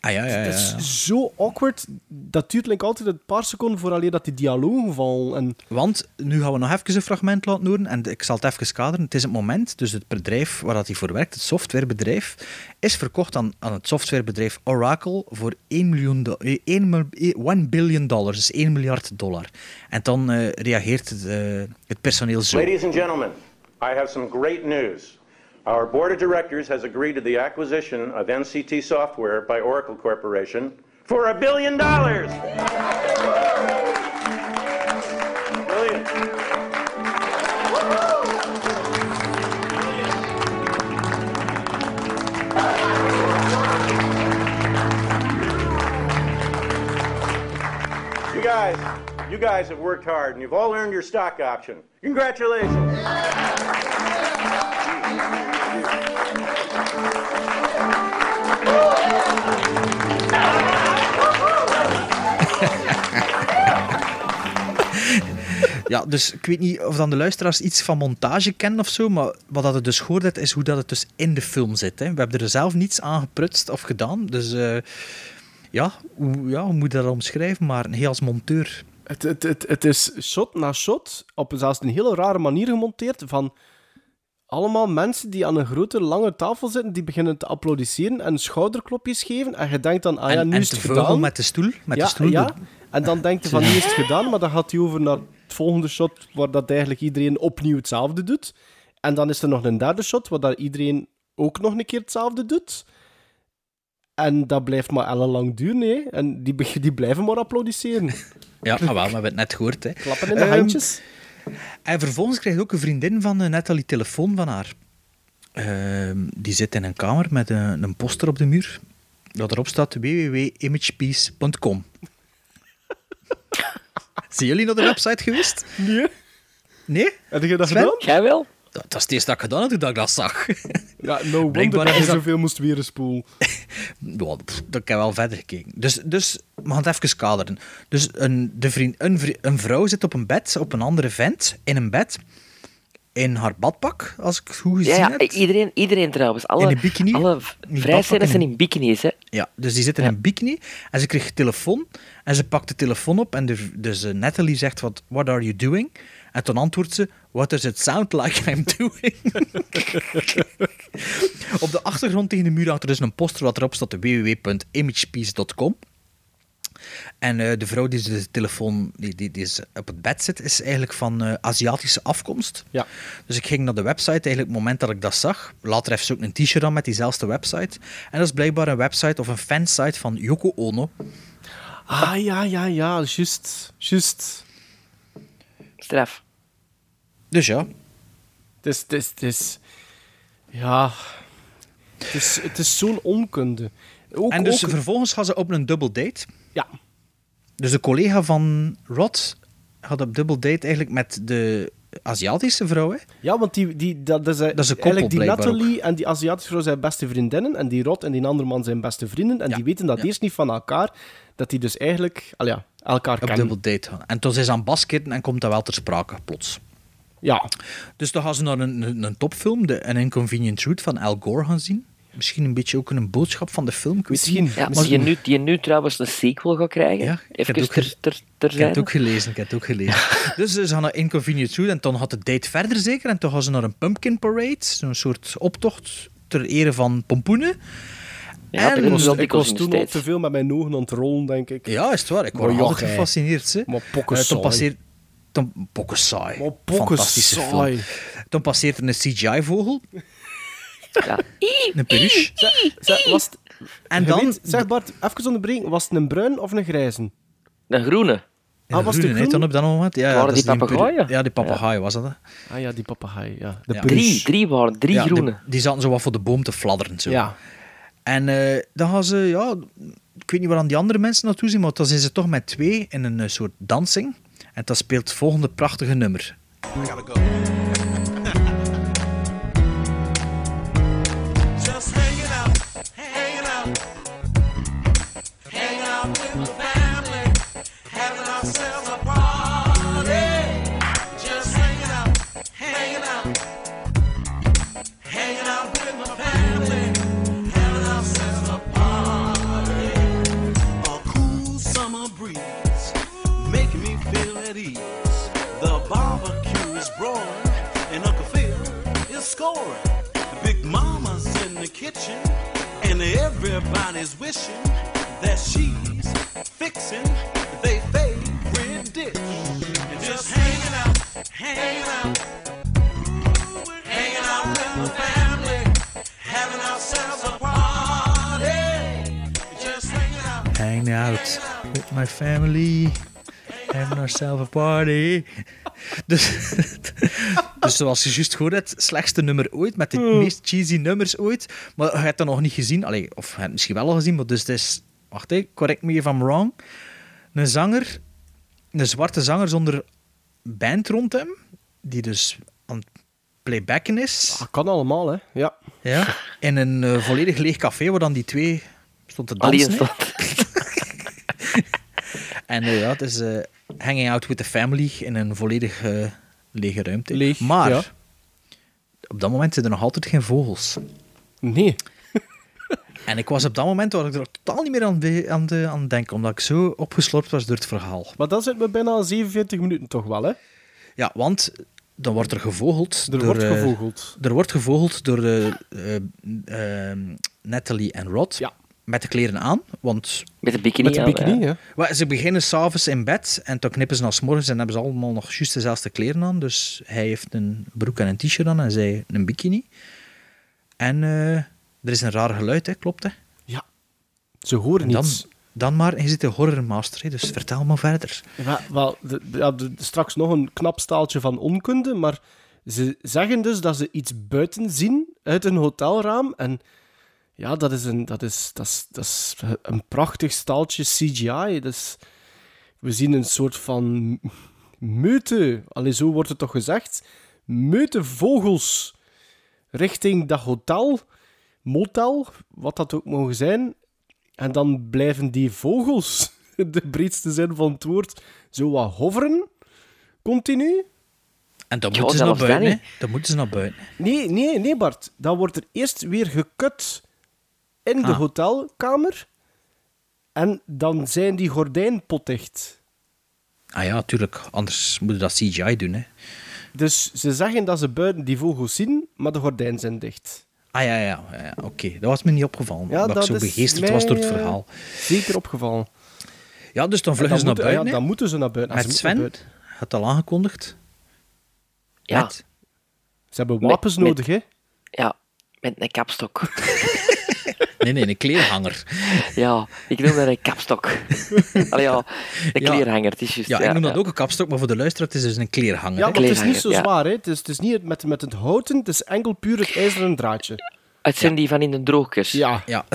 Ah ja, ja, ja.
Dat is
ja.
zo awkward. Dat duurt like, altijd een paar seconden vooraleer dat die dialoog valt. En
Want nu gaan we nog even een fragment laten horen. En ik zal het even kaderen. Het is het moment, dus het bedrijf waar dat hij voor werkt, het softwarebedrijf, is verkocht aan, aan het softwarebedrijf Oracle voor 1, miljoen do- eh, 1, mil- eh, 1 billion dollars, dus 1 miljard dollar. En dan eh, reageert het, eh, het personeel zo.
Ladies and gentlemen, I have some great news. Our board of directors has agreed to the acquisition of NCT Software by Oracle Corporation for a billion dollars. Billion. You guys, you guys have worked hard and you've all earned your stock option. Congratulations.
Ja, dus ik weet niet of dan de luisteraars iets van montage kennen of zo, maar wat dat het dus gehoord heeft, is hoe dat het dus in de film zit. Hè. We hebben er zelf niets aan geprutst of gedaan, dus eh, ja, hoe, ja, hoe moet je dat omschrijven? Maar een heel als monteur.
Het, het, het, het is shot na shot, op zelfs een hele rare manier gemonteerd, van allemaal mensen die aan een grote, lange tafel zitten, die beginnen te applaudisseren en schouderklopjes geven. En je denkt dan, ah ja,
en
nu
en
is het
te vleugel
gedaan.
met de stoel. Met
ja,
de stoel
ja.
door.
En dan denkt hij van, nu is het gedaan, maar dan gaat hij over naar het volgende shot, waar dat eigenlijk iedereen opnieuw hetzelfde doet. En dan is er nog een derde shot, waar dat iedereen ook nog een keer hetzelfde doet. En dat blijft maar ellenlang duren, hè. En die, beg- die blijven maar applaudisseren.
Ja, ah, wel, maar we hebben het net gehoord. Hè.
Klappen in de
Ehm,
handjes.
En vervolgens krijgt ook een vriendin van eh, Natalie telefoon van haar. Ehm, die zit in een kamer met een, een poster op de muur. Dat erop staat www.imagepeace.com. Zijn jullie naar de website geweest?
Nee.
Nee?
Heb je dat
gedaan? Jij wel?
Dat, dat is het eerste dat ik gedaan heb, toen ik dat zag.
Ja, no wonder
Blijkbaar
dat je
is dat-
zoveel moest weer spoel.
Ja, pff, dat ik heb wel verder gekeken. Dus, dus we gaan het even kaderen. Dus een, de vriend, een, vri- een vrouw zit op een bed, op een andere vent, in een bed, in haar badpak, als ik het goed gezien
Ja, ja,
heb.
iedereen, iedereen trouwens. Alle,
In een bikini?
Alle
badpak
vrijstellers
en-
zijn in bikini's, hè.
Ja, dus die zit in een bikini en ze kreeg telefoon en ze pakt de telefoon op en de, dus eh, Natalie zegt wat what are you doing? En toen antwoordt ze, what does it sound like I'm doing? op de achtergrond tegen de muur hangt er dus een poster wat erop staat, www.imagepeace.com. En eh, de vrouw die de telefoon die, die, die is op het bed zit, is eigenlijk van eh, Aziatische afkomst.
Ja.
Dus ik ging naar de website, eigenlijk het moment dat ik dat zag. Later heeft ze ook een t-shirt aan met diezelfde website. En dat is blijkbaar een website of een fansite van Yoko Ono.
Ah, ja, ja, ja, juist. Juist.
Straf.
Dus ja.
Het is, het is, het is... Ja... Het is, het is zo'n onkunde. Ook,
en dus
ook-
vervolgens gaan ze op een double date.
Ja.
Dus de collega van Rod had op double date eigenlijk met de Aziatische vrouw. Hè?
Ja, want die, die, dat, is, eh,
Dat is een koppel,
eigenlijk die
blijkbaar
Natalie en die Aziatische vrouw zijn beste vriendinnen en die Rod en die andere man zijn beste vrienden en die weten dat eerst niet van elkaar, dat die dus eigenlijk al ja, elkaar
Op
kennen.
double date gaan. En toen zijn ze aan basketten en komt dat wel ter sprake, plots.
Ja.
Dus dan gaan ze naar een, een, een topfilm, de An Inconvenient Truth van Al Gore gaan zien. Misschien een beetje ook een boodschap van de film, ik weet
Misschien.
niet.
Ja,
Maar-
die, nu, die nu trouwens een sequel gaat krijgen.
Ja, ik heb
Even
ook ge-
ter, ter,
Ik heb het
terzijde.
ook gelezen, ik heb het ook gelezen. dus ze gaan naar Inconvenient Truth en toen had de date verder zeker. En toen gaan ze naar een pumpkin parade, zo'n soort optocht ter ere van pompoenen.
En ik was, ik was toen al
op
te veel met mijn ogen aan het rollen, denk ik.
Ja, is het waar. Ik
Maar
word
ja,
altijd
gij.
gefascineerd. Ze.
Maar pokken
Eh, Toen
saai.
passeert... Toen, pokken saai.
pokken
Fantastische
saai.
film. Toen passeert er een CGI-vogel.
Ja.
Een peruche.
Zeg, was het-
En
je
dan-
weet- zeg Bart, even onderbreken. Was het een bruin of een grijze?
Een groene.
En
Ah, was het
groene,
groen?
hè, dan op dat moment. Ja, ja, dat
Waren die
is een peru-
papegaaien?
Ja, die papegaai was dat. hè.
Ah ja, die papegaai, ja. De
Ja.
peruche.
Drie, drie waren, drie
Dus- Ja, de-
groene.
die zaten zo wat voor de boom te fladderen. Zo.
Ja.
En eh, dan gaan ze, ja, ik weet niet waar aan die andere mensen naartoe zien, maar dan zijn ze toch met twee in een eh, soort dansing. En dat speelt het volgende prachtige nummer.
Gotta go. Just hanging out, hanging out, hanging out with the family, having ourselves a party. Just hanging out, hanging out, hanging out with my family, having ourselves a party. A cool summer breeze, making me feel at ease. The barbecue is roaring, and Uncle Phil is scoring. Big Mama's in the kitchen, and everybody's wishing that she's fixing their favorite dish. And just hanging out, hanging out, hanging out with the family,
hanging out with my family. Having ourselves a party. Dus, dus zoals je juist gehoord hebt, slechtste nummer ooit, met de meest cheesy nummers ooit. Maar je hebt dat nog niet gezien. Allee, of je hebt het misschien wel al gezien, maar dus het is... Wacht, hè, correct me if I'm wrong. Een zanger, een zwarte zanger zonder band rond hem, die dus aan het playbacken is.
Dat Ah, kan allemaal, hè. Ja.
Ja, in een eh, volledig leeg café waar dan die twee stonden te
Alleen
dansen. hè. en eh, ja, het is eh, hanging out with the family in een volledig eh, lege ruimte. maar
ja.
op dat moment zijn er nog altijd geen vogels.
Nee.
en ik was op dat moment was ik er totaal niet meer aan, de- aan, de, aan het denken, omdat ik zo opgeslorpt was door het verhaal.
Maar dan zitten we bijna aan 47 minuten toch wel, hè?
Ja, want dan wordt er gevogeld.
Er wordt
eh,
gevogeld.
er wordt gevogeld door eh, eh, eh, Natalie en Rod. Met de kleren aan, want...
Met de bikini Met de aan, bikini, ja. ja.
Maar ze beginnen s'avonds in bed en dan knippen ze naar 's morgens en hebben ze allemaal nog juist dezelfde kleren aan. Dus hij heeft een broek en een t-shirt aan en zij een bikini. En eh, er is een raar geluid, hè, klopt hè?
Ja. Ze horen
dan,
niets.
Dan maar, je zit de horror master, hè, dus vertel maar verder.
Ja, wel, de- ja, de- straks nog een knap staaltje van onkunde, maar ze zeggen dus dat ze iets buiten zien uit een hotelraam. En ja, dat is een, dat is, dat is, dat is een prachtig staaltje CGI. Dus we zien een soort van meute, allee, zo wordt het toch gezegd, meute vogels richting dat hotel, motel, wat dat ook mogen zijn. En dan blijven die vogels, in de breedste zin van het woord, zo wat hoveren. Continu.
En dan
Ja,
moeten ze naar
zelfs
buiten,
dat
hè.
niet.
Dan moeten ze naar buiten.
Nee, nee, nee, Bart. Dan wordt er eerst weer gekut in de
Ah.
hotelkamer. En dan zijn die gordijnen potdicht.
Ah ja, tuurlijk, anders moeten dat CGI doen, hè.
Dus ze zeggen dat ze buiten die vogels zien, maar de gordijnen zijn dicht.
Ah ja, ja, ja, ja, oké. Dat was me niet opgevallen.
Ja,
omdat
dat
ik zo
is
begeesterd
mij,
was door het
eh,
verhaal.
Zeker opgevallen.
Ja, dus dan
En
vluggen ze naar
moeten-
buiten.
Ja,
hè.
dan moeten ze naar buiten. Ah,
Met
ze moeten
Sven,
naar buiten.
had al aangekondigd.
Ja.
Met?
Ze hebben wapens
Met- met-
nodig, hè?
Ja, met een kapstok.
Nee, nee, een kleerhanger.
ja, ik noem dat een kapstok. Allee, ja, een
Ja.
kleerhanger, het is juist.
Ja, ik noem dat
ja.
ook een kapstok, maar voor de luisteraar, het is dus een kleerhanger.
Ja,
hè.
maar het is niet zo zwaar, hè? Het is, het is niet met, met het houten, het is enkel puur het ijzeren draadje.
Het zijn die van in de droogkers.
Ja.
ja.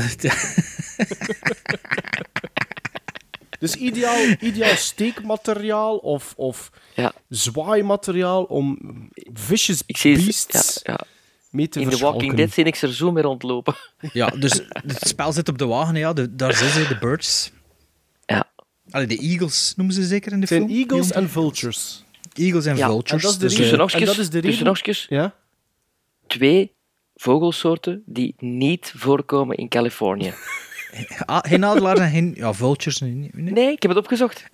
Dus ideaal, ideaal steekmateriaal of, of zwaaimateriaal om vicious beasts mee te
In The
verschalken.
Walking Dead zie ik ze er zo mee rondlopen.
Ja, dus het spel zit op de wagen, ja. De, daar zijn ze, de birds.
Ja.
Allee, de eagles noemen ze zeker in de
Het zijn
film.
eagles
Die-
en vultures.
Eagles en
Ja,
vultures.
en dat is de
dus,
reden-
eh,
Tussen nokjes, tussen nokjes.
Ja?
Twee vogelsoorten die niet voorkomen in Californië.
ah, geen adelaars en geen... Ja, vultures. Nee, nee.
Nee, ik heb het opgezocht.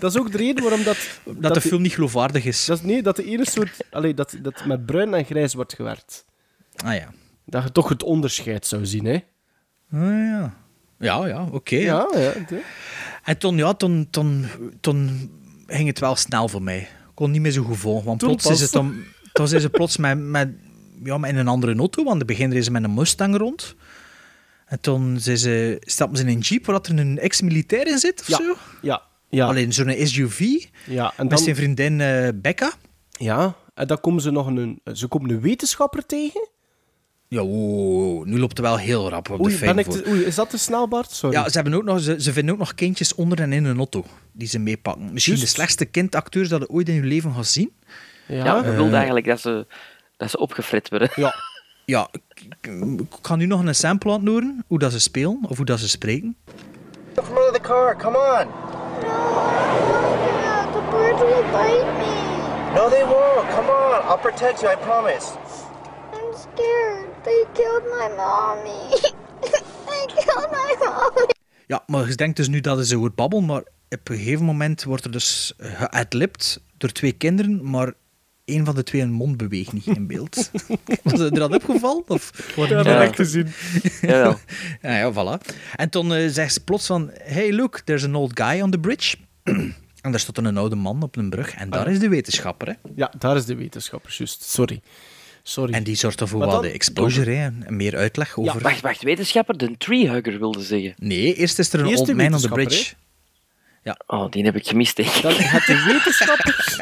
Dat is ook de reden waarom dat... Dat,
de film niet geloofwaardig is.
Dat, nee, dat de ene soort... Allee, dat, dat met bruin en grijs wordt gewerkt.
Ah ja.
Dat je toch het onderscheid zou zien, hè?
Ah, ja. Ja, ja, oké.
Ja, ja.
En toen, ja, toen, toen, toen ging het wel snel voor mij. Ik kon niet meer zo goed volgen. Want
Toen
plots
pas.
is het dan... Toen zijn ze plots met, met, ja, maar in een andere auto, want in het begin reden ze met een Mustang rond. En toen zijn ze, stappen ze in een jeep waar dat er een ex-militair in zit of zo.
Ja. Ja.
Alleen zo'n SUV
Ja, en
met
dan...
zijn vriendin eh, Becca.
Ja, en dan komen ze nog een... Ze komen een wetenschapper tegen.
Ja, wow, wow, nu loopt het wel heel rap op de
Oei,
fijn
ben ik
voor.
te- oei, is dat te snel, Bart? Sorry.
Ja, ze, hebben ook nog, ze, ze vinden ook nog kindjes onder en in een auto die ze meepakken. Misschien de slechtste kindacteurs dat je ooit in je leven gaat zien.
Ja,
Ah.
Eh,
ik bedoelde eigenlijk dat ze, dat ze opgefrit worden.
Ja.
Ja, ik, ik- ik ga nu nog een sample laten horen, hoe dat ze spelen of hoe dat ze spreken.
Get from under the car. Come on.
The birds will bite me.
No, they won't. Come on. I'll protect you. I promise.
I'm scared. They killed my mommy. they killed my mommy.
Ja, maar je denkt dus nu dat ze hoort babbelen, maar op een gegeven moment wordt er dus geadlipt door twee kinderen, maar één van de twee een mond beweegt niet in beeld. Was het er dat opgevallen? Of wordt
Ja,
het
dat
niet
heb ik gezien.
Jawel.
ja, ja, voilà. En toen eh, zegt ze plots van, hey look, there's an old guy on the bridge. en daar
Ah.
stond een oude man op een brug en daar is de wetenschapper, hè.
Ja, daar is de wetenschapper, juist. Sorry. Sorry.
En die soort van
Maar
voor
dan-
wat de exposure, hè, en meer uitleg over...
Wacht, wacht, wetenschapper, de treehugger wilde zeggen.
Nee, eerst is er een
Eerst de
old man on the
wetenschapper,
bridge. Ja.
Oh, die heb ik gemist, denk ik.
Dan had de wetenschappers,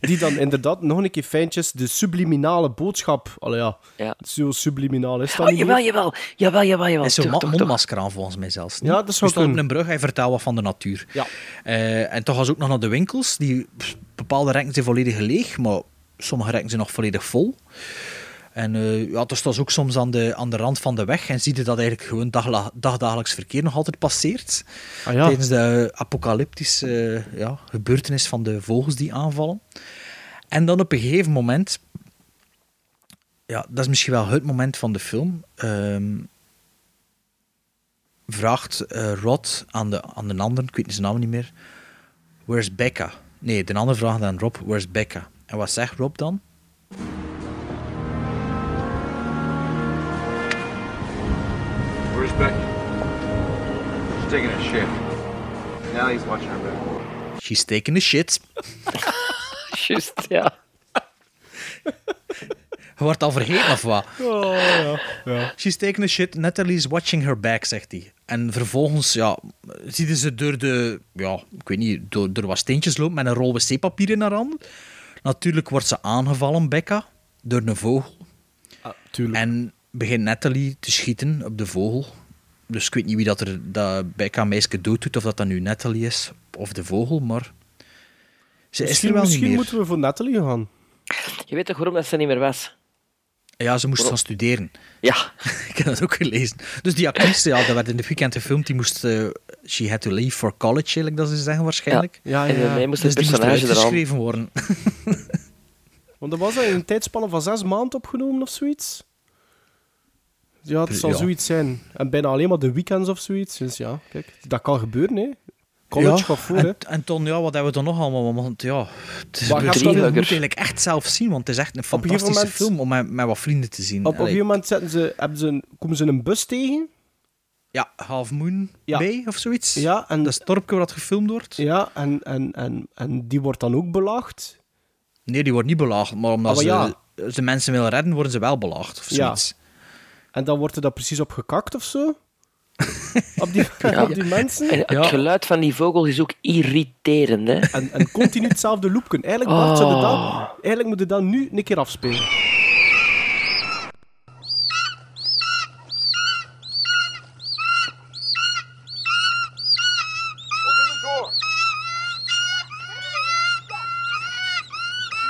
die dan inderdaad nog een keer fijntjes de subliminale boodschap... Allee, ja, zo subliminaal is dat
Oh,
niet
jawel,
meer.
jawel, jawel, jawel, jawel.
Hij is zo'n
Toch,
ma-
toch, toch.
mondmasker aan, volgens mij zelfs. niet?
Ja, dat zou
Je stond op
kunnen.
een brug, hij vertelde wat van de natuur.
Ja.
Eh, en toch was ook nog naar de winkels. Die, pff, bepaalde rekken zijn volledig leeg, maar sommige rekken zijn nog volledig vol. En eh ja, dus dat is ook soms aan de, aan de rand van de weg. En zie je dat eigenlijk gewoon dagla- dagdagelijks verkeer nog altijd passeert.
Ah, ja.
Tijdens de eh, apocalyptische eh, ja, gebeurtenis van de vogels die aanvallen. En dan op een gegeven moment... Ja, dat is misschien wel het moment van de film. ehm, vraagt eh, Rod aan de, aan de ander, ik weet zijn naam niet meer, where's Becca? Nee, de ander vraagt aan Rob, where's Becca? En wat zegt Rob dan?
Where's Becky? She's taking a shit. Now he's watching her back.
She's taking a shit.
Just, ja.
Je wordt al vergeten of wat?
Oh, ja. ja.
She's taking a shit, Natalie's watching her back, zegt hij. En vervolgens, ja, ziet ze door de, ja, ik weet niet, door, door wat steentjes lopen met een rol wc-papier in haar hand. Natuurlijk wordt ze aangevallen, Becca, door een vogel. En begint Natalie te schieten op de vogel. Dus ik weet niet wie dat er dat Becca meisje dood doet, of dat dat nu Natalie is of de vogel, maar ze is
Misschien,
er wel niet
misschien
meer.
moeten we voor Natalie gaan.
Je weet toch waarom dat ze niet meer was?
Ja, ze moest
Waarom?
gaan studeren.
Ja.
Ik heb dat ook gelezen. Dus die actrice, ja, dat werd in het weekend gefilmd, die moest... eh, she had to leave for college, eigenlijk dat ze zeggen, waarschijnlijk.
Ja, ja, En ja. bij mij moest
dus
het
die moest
personage
eruit
er al-
geschreven worden.
Want dat was dat in een tijdspanne van zes maanden opgenomen of zoiets. Ja, het zal
Ja.
zoiets zijn. En bijna alleen maar de weekends of zoiets. Dus ja, kijk, dat kan gebeuren, hè. College gaat voor, hè.
en, en Ton, ja, wat hebben we dan nog allemaal? Want ja, het is
Maar
een thriller.
gaat dat-
je moet
Drieluggers.
eigenlijk echt zelf zien, want het is echt een
een gegeven
fantastische film om met, met wat vrienden te zien.
Op een
Allee,
gegeven moment zetten ze, hebben ze een, komen ze een bus tegen.
Ja, Half Moon Bay of zoiets.
Ja, en...
Dat is het dorpje waar dat gefilmd wordt.
Ja, en, en, en, en die wordt dan ook belaagd.
Nee, die wordt niet belaagd, maar omdat
Ah,
ze
maar
de mensen willen redden, worden ze wel belaagd of zoiets.
En dan wordt er daar precies op gekakt of zo. op die, op die mensen.
En het geluid van die vogel is ook irriterend, hè?
En, en continu hetzelfde loopje. Eigenlijk, Bart, zou je dat-
Oh.
eigenlijk moet je dat nu een keer afspelen.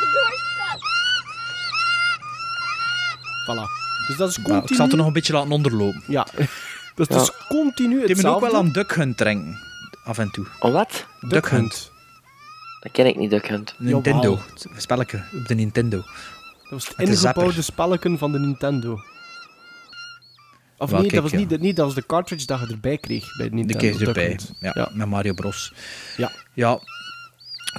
The door's stuck.
Voilà. Dus dat is
Ja,
continu...
Nou, ik zal het er nog een beetje laten onderlopen.
Ja. Dat is dus continu
Die moet ook
hetzelfde.
wel aan Duck Hunt denken, af en toe.
Om Oh, wat?
Duck Hunt.
Dat ken ik niet, Duck Hunt.
Nintendo. Het Spelletje op de Nintendo.
Dat was het
Met de zapper.
ingebouwde spelletje van de Nintendo. Of
Wel,
nee,
kijk,
dat was
ja.
niet, de- niet, dat was de cartridge dat je erbij kreeg bij de
De
Nintendo.
keer
Duck
erbij.
Hunt.
Ja,
Ja.
Met Mario Bros.
Ja.
Ja.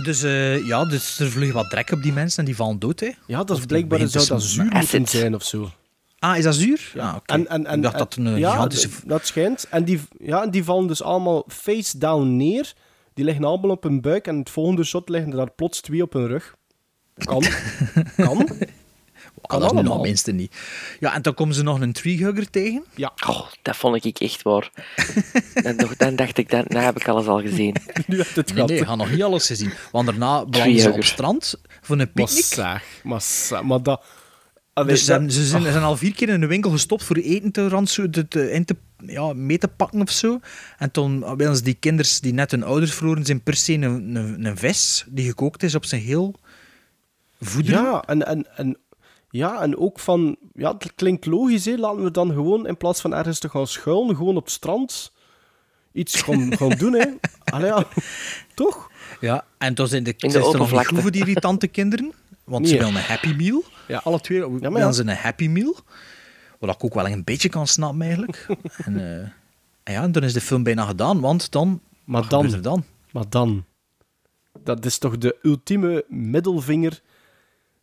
Dus, eh, ja, dus er vliegen wat drek op die mensen en die vallen dood, hè.
Ja, dat is
die
blijkbaar
begint
zou
te
dat
smoren.
zuur moeten zijn of zo.
Ah, is dat zuur? Ja, oké.
En, en, en,
Ik dacht
en-
dat een
ja,
gigantische...
d- dat schijnt. En die, ja, en die vallen dus allemaal face down neer. Die liggen allemaal op hun buik en het volgende shot liggen er daar plots twee op hun rug. Kan.
Ah,
kan.
dat is nu nog
allemaal.
minste niet. Ja, en dan komen ze nog een treehugger tegen.
Ja.
Oh, dat vond ik echt waar. en nog, dan dacht ik, dat, nou heb ik alles al gezien.
Nu had het
Nee,
gehad.
nee, we gaan nog niet alles gezien. Want daarna belanden ze op
Treehugger.
het strand voor een
Maar
picknick.
saag. Maar, sa- maar dat... Allee,
Dus ze,
dat-
hebben- ze zijn, ze zijn al vier keer in de winkel gestopt voor eten te rantsoen, te, te- in te, ja, mee te pakken of zo. En toen willen ze die kinders die net hun ouders verloren zijn per se een, een, een vis die gekookt is op zijn heel voederen.
Ja, en, en, en, ja, en ook van... Ja, het klinkt logisch, hè. Laten we dan gewoon, in plaats van ergens te gaan schuilen, gewoon op het strand iets gaan, gaan doen, hè. Allee, ja. Toch?
Ja, en toen zijn de,
de
zijn ze nog niet
oppervlakte.
goed voor die irritante kinderen, want ze
Nee.
willen een Happy Meal. Alle twee willen
ja.
ze een Happy Meal. Wat ik ook wel een beetje kan snappen, eigenlijk. en, eh, en ja, en dan is de film bijna gedaan, want dan...
Maar
wat
dan,
gebeurt er dan?
Maar dan. Dat is toch de ultieme middelvinger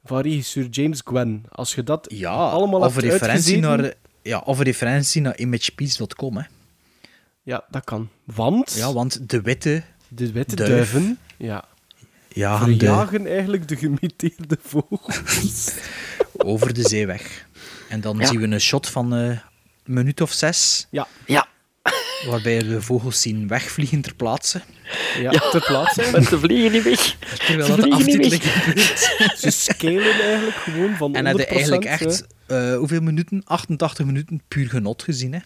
van regisseur James Gwen. Als je dat allemaal
of een
hebt
referentie
uitgezeten-
naar, ja, of een referentie naar imagepeace.com. Hè.
Ja, dat kan. Want...
Ja, want de witte,
de witte
duif.
duiven... Ja.
Jagende-
Verjagen eigenlijk de gemiteerde vogels.
over de zee weg. En dan
Ja.
zien we een shot van eh, een minuut of zes.
Ja.
ja.
Waarbij we de vogels zien wegvliegen ter plaatse.
Ja, ter plaatse.
Want ze vliegen niet weg.
Terwijl
Ze
dat de
vliegen niet
aftiteling
weg.
gebeurt.
Ze scalen eigenlijk gewoon van
En hebben
100%,
eigenlijk
hè.
echt, eh, hoeveel minuten? 88 minuten puur genot gezien, hè?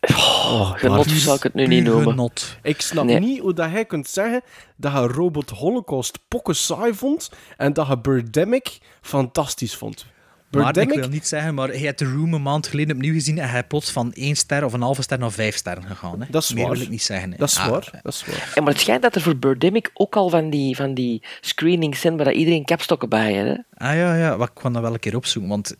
Oh, genot
Puur-
zou ik het nu niet
puur
noemen.
genot.
Ik snap
Nee.
niet hoe dat hij kunt zeggen dat hij Robot Holocaust pokken saai vond en dat hij Birdemic fantastisch vond.
Maar ik
Birdemic,
wil niet zeggen, maar je hebt de Room een maand geleden opnieuw gezien en hij is plots van één ster of een halve ster naar vijf sterren gegaan. Hè?
Dat is
Meer
waar.
wil ik niet zeggen. hè.
Dat is
Ah,
waar, dat is waar.
En maar het schijnt dat er voor Birdemic ook al van die, van die screenings zijn waar dat iedereen kapstokken bij heeft. Hè?
Ah ja, ja, wat- ik kwam dat wel een keer opzoeken, want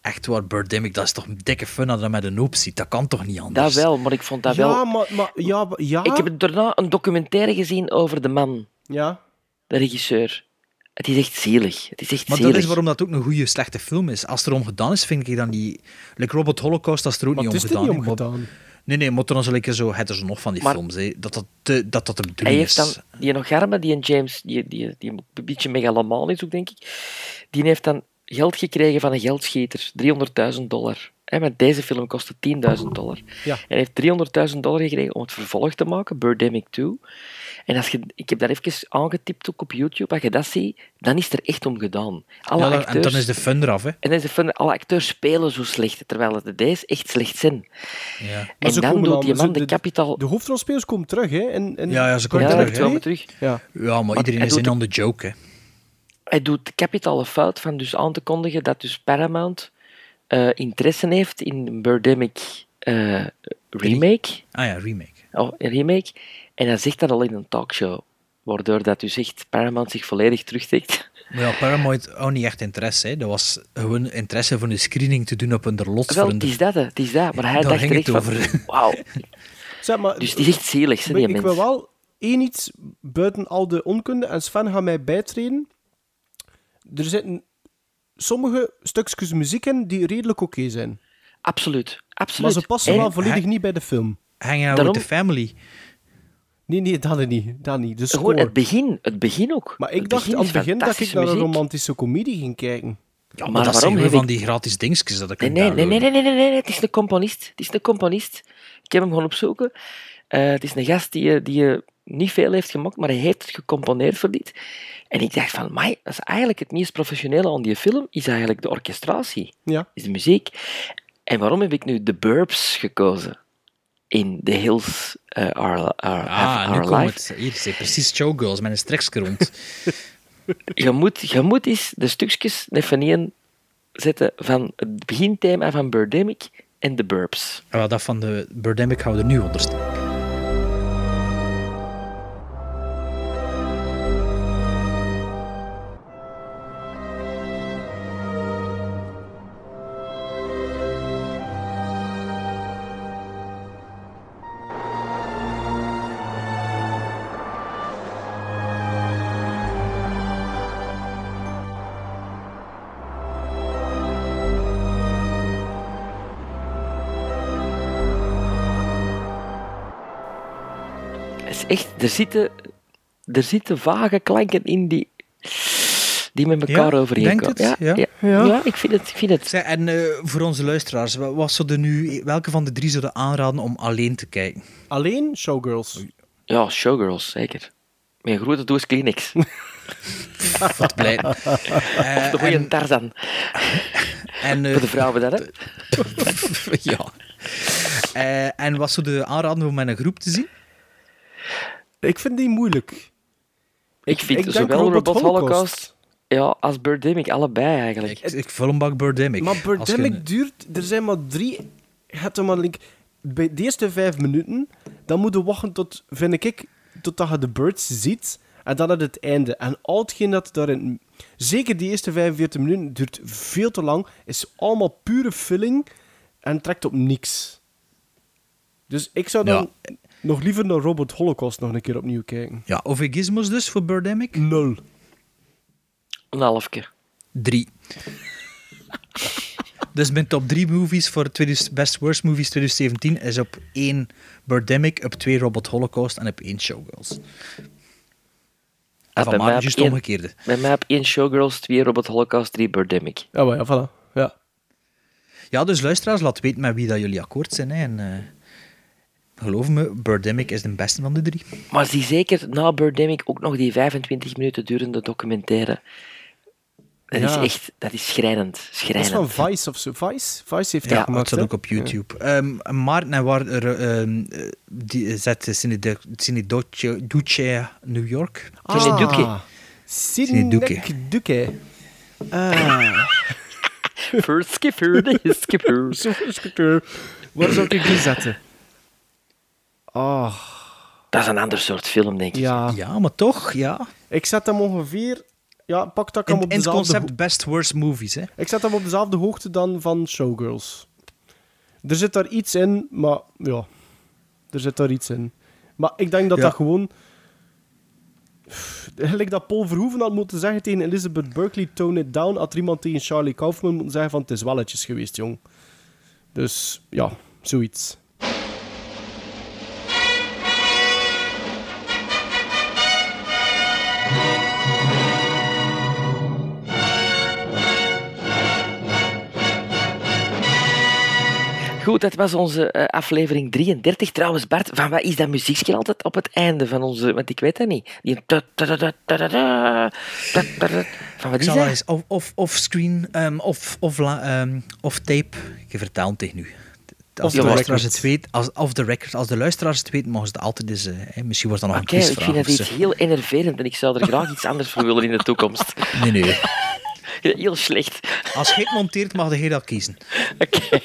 echt waar, Birdemic, dat is toch een dikke fun dat je dat met een hoop ziet. Dat kan toch niet
Dat
anders?
wel, maar ik vond dat
ja,
Ah, wel...
maar, maar, ja, maar- ja,
Ik heb daarna een documentaire gezien over de man,
ja.
de regisseur. Het is echt zielig. Het is echt
Maar
zielig.
dat is waarom dat ook een goede, slechte film is. Als er om gedaan is, vind ik dat niet... Like Robot Holocaust, dat is er ook
Maar
niet
het
om
is er
gedaan.
niet
hè,
om
maar-
gedaan.
Nee, nee, maar dan zal ik er zo... Het is nog van die
Maar-
films, hè, dat, dat, te- dat dat de
Hij
bedoeling
heeft
is.
dan, die nog arme, die een James, die, die, die een beetje megalomaan is ook, denk ik, die heeft dan geld gekregen van een geldschieter, 300.000 dollar. Hè, maar deze film kostte 10.000 dollar.
Ja.
En hij heeft 300.000 dollar gekregen om het vervolg te maken, Birdemic 2. En als je, ik heb daar even aangetipt ook op YouTube, als je dat ziet, dan is het er echt om gedaan. Alle
Ja, dan-
acteurs,
en dan is de fun eraf, hè.
en dan is de fun, alle acteurs spelen zo slecht, terwijl het de deze echt slecht zijn.
Ja.
En
ze
dan
komen
doet die
ze-
man de kapitaal...
De hoofdrolspelers komen terug, hè? En, en
Ja, ja, ze komen
Ja,
terug,
ze
hè.
komen terug.
Ja.
Ja, maar iedereen
hij
is
doet
in
de-
aan de joke, hè.
hij doet de kapitale fout van dus aan te kondigen dat dus Paramount eh, interesse heeft in een Birdemic eh, remake,
Ah ja, remake.
oh, een remake. En hij zegt dat al in een talkshow. Waardoor dat dus echt Paramount zich volledig terugtrekt.
Maar ja, Paramount ook niet echt interesse, hè. Dat was gewoon interesse voor een screening te doen op een derlots.
Wel,
voor een
het is dat, hè, het is dat. Maar hij
Daar
dacht
ging het
direct van,
over.
wauw.
Zeg maar,
Dus het is echt zielig, hè,
Maar
die
ik wil
mensen.
wel één iets buiten al de onkunde, en Sven gaat mij bijtreden. Er zitten sommige stukjes muziek in die redelijk oké zijn.
Absoluut, absoluut.
Maar ze passen
En-
wel volledig
hij-
niet bij de film.
Hang out
Daarom-
with the family.
Nee, nee, dat niet. Dat niet. De
Gewoon
score.
het begin, het begin ook.
Maar ik
Het
dacht
begin
aan
is
het begin dat ik
fantastische
naar een
muziek.
romantische komedie ging kijken.
Ja, maar,
Maar
dat
waarom
zijn we
heb ik-
van die gratis dingetjes dat ik
Nee,
kan
nee, nee,
downloaden.
nee, nee, nee, nee, nee,
Ah.
het is een componist. Het is een componist. Ik heb hem gewoon opzoeken. Eh, het is een gast die, eh, die eh, niet veel heeft gemaakt, maar hij heeft het gecomponeerd voor dit. En ik dacht van, mij, dat is eigenlijk het meest professionele aan die film, is eigenlijk de orchestratie,
Ja.
is de muziek. En waarom heb ik nu The Burbs gekozen? In The Hills eh, Are, are, Have
Ah, nu
Our
komt
Life.
het. Hier, zie je, precies showgirls met een strekske rond.
Je moet, je moet eens de stukjes even in zetten van het beginthema van Birdemic en The Burbs.
En wel, dat van de Birdemic gaan we er nu onder steken.
Het is echt, er zitten, er zitten vage klanken in die, die met elkaar
Ja,
overeenkomen.
denkt het? Ja.
Ja,
Ja.
ja, ik vind het. Ik vind het.
Zeg, en eh, voor onze luisteraars, wa- wat zouden nu, welke van de drie zouden aanraden om alleen te kijken?
Alleen Showgirls.
Ja, showgirls, zeker. Mijn grote doos Kleenex.
Wat blij.
of de goeie Tarzan.
eh, En, eh,
Voor de vrouwen dan, hè?
ja. Eh, en wat zouden aanraden om met een groep te zien?
Ik vind die moeilijk.
Ik vind
ik denk
zowel
Robot
Robot,
Holocaust.
Holocaust, ja, als Birdemic, allebei eigenlijk.
Ik, ik vul een bak Birdemic.
Maar
Als je
Birdemic
een-
duurt... Er zijn maar drie... je hebt er maar link. Bij de eerste vijf minuten, dan moet je wachten tot, vind ik, totdat je de birds ziet. En dan het einde. En al hetgeen dat daarin... Zeker die eerste 45 minuten duurt veel te lang. Is allemaal pure filling. En trekt op niks. Dus ik zou dan nog liever naar Robot Holocaust nog een keer opnieuw kijken.
Ja, ovegismos dus voor Birdemic?
Nul.
Een halfje.
Drie. dus mijn top drie movies voor 2000 Best Worst Movies 2017 is op één Birdemic, op twee Robot Holocaust en op één Showgirls.
Ah,
Van Mario is het
één-
omgekeerde.
Bij mij op één Showgirls, twee Robot Holocaust, drie Birdemic.
Ah, maar ja, voilà. Ja.
Ja, dus luisteraars, laat weten met wie dat jullie akkoord zijn. Hè. En, eh, geloof me, Birdemic is de beste van de drie.
Maar zie zeker na Birdemic ook nog die 25 minuten durende documentaire. Dat is
Ja.
echt, dat is schrijnend.
Dat is
schrijnend.
van Vice of zo. Vice, Vice heeft dat
Ja,
gemaakt.
dat staat
hè?
ook op YouTube. Ehm Maarten en waar, er, ehm, die zet Cine Cine Doce- Duce New York.
Ah, Cineduke. Cineduke. Ah.
Voor skipper, de skipper.
Voor skipper. eh, Waar zou ik die zetten? Ah.
Dat is een ander soort film, denk ik.
Ja.
ja, maar toch, ja.
Ik zet hem ongeveer... Ja, pak dat ik
In, in
hem op
het
dezelfde...
concept best worst movies, hè.
ho- Ik zet hem op dezelfde hoogte dan van Showgirls. Er zit daar iets in, maar ja... Er zit daar iets in. Maar ik denk dat
Ja.
dat gewoon... Gelijk dat Paul Verhoeven had moeten zeggen tegen Elizabeth Berkley, tone it down, had er iemand tegen Charlie Kaufman moeten zeggen van het is welletjes geweest, jong. Dus ja, zoiets.
Goed, dat was onze eh, aflevering 33. Trouwens, Bart, van wat is dat muziekje altijd op het einde van onze... Want ik weet dat niet. Die... ta- ta- ta- ta- ta- ta- ta- ta- ta- ta- Van wat
Ik
is
zal dat
dat?
eens of, of, of screen, ehm, of, of, la- ehm, of tape, je vertaalt tegen u. Als
Off
de
the
luisteraars
record.
het weten, als, of the record, als de luisteraars het weten, mogen ze het altijd eens, eh, hè, misschien wordt dat nog
Oké,
een
ik
quizvraag.
vind dat
of
iets
zo.
heel enerverend en ik zou er graag iets anders voor willen in de toekomst.
Nee, nee.
Heel slecht.
Als je het monteert, mag je dat kiezen.
Oké.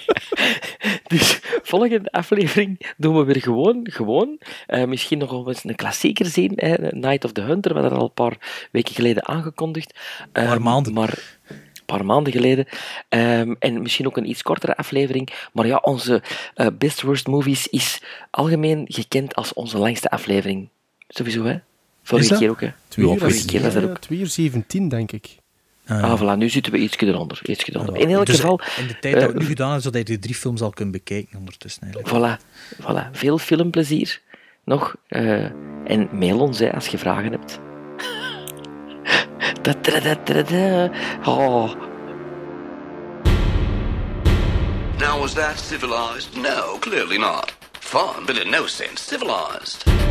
Dus volgende aflevering doen we weer gewoon. gewoon. Eh, misschien nog wel eens een klassieker zien. Hè? Night of the Hunter, we hadden dat al een paar weken geleden aangekondigd. Een paar maanden. Maar een paar maanden geleden. Ehm, en misschien ook een iets kortere aflevering. Maar ja, onze eh, Best Worst Movies is algemeen gekend als onze langste aflevering. Sowieso, hè? Vorige keer ook, hè?
Twee
Ja,
uur,
vorige keer was dat
ja,
ook.
2 uur 17, denk ik.
Ah, voilà, nu zitten we ietsje eronder. Ietsje eronder. In elk
Eh, Dus
geval...
In de tijd dat we het
eh,
nu gedaan hebben, zodat je de drie films al kunt bekijken ondertussen. Eigenlijk.
Voilà, voilà. Veel filmplezier nog. eh, en mail ons hè, als je vragen hebt. Da, da, da, da, da. Oh.
Now, was that civilized? No, clearly not. Fun, but in no sense civilized.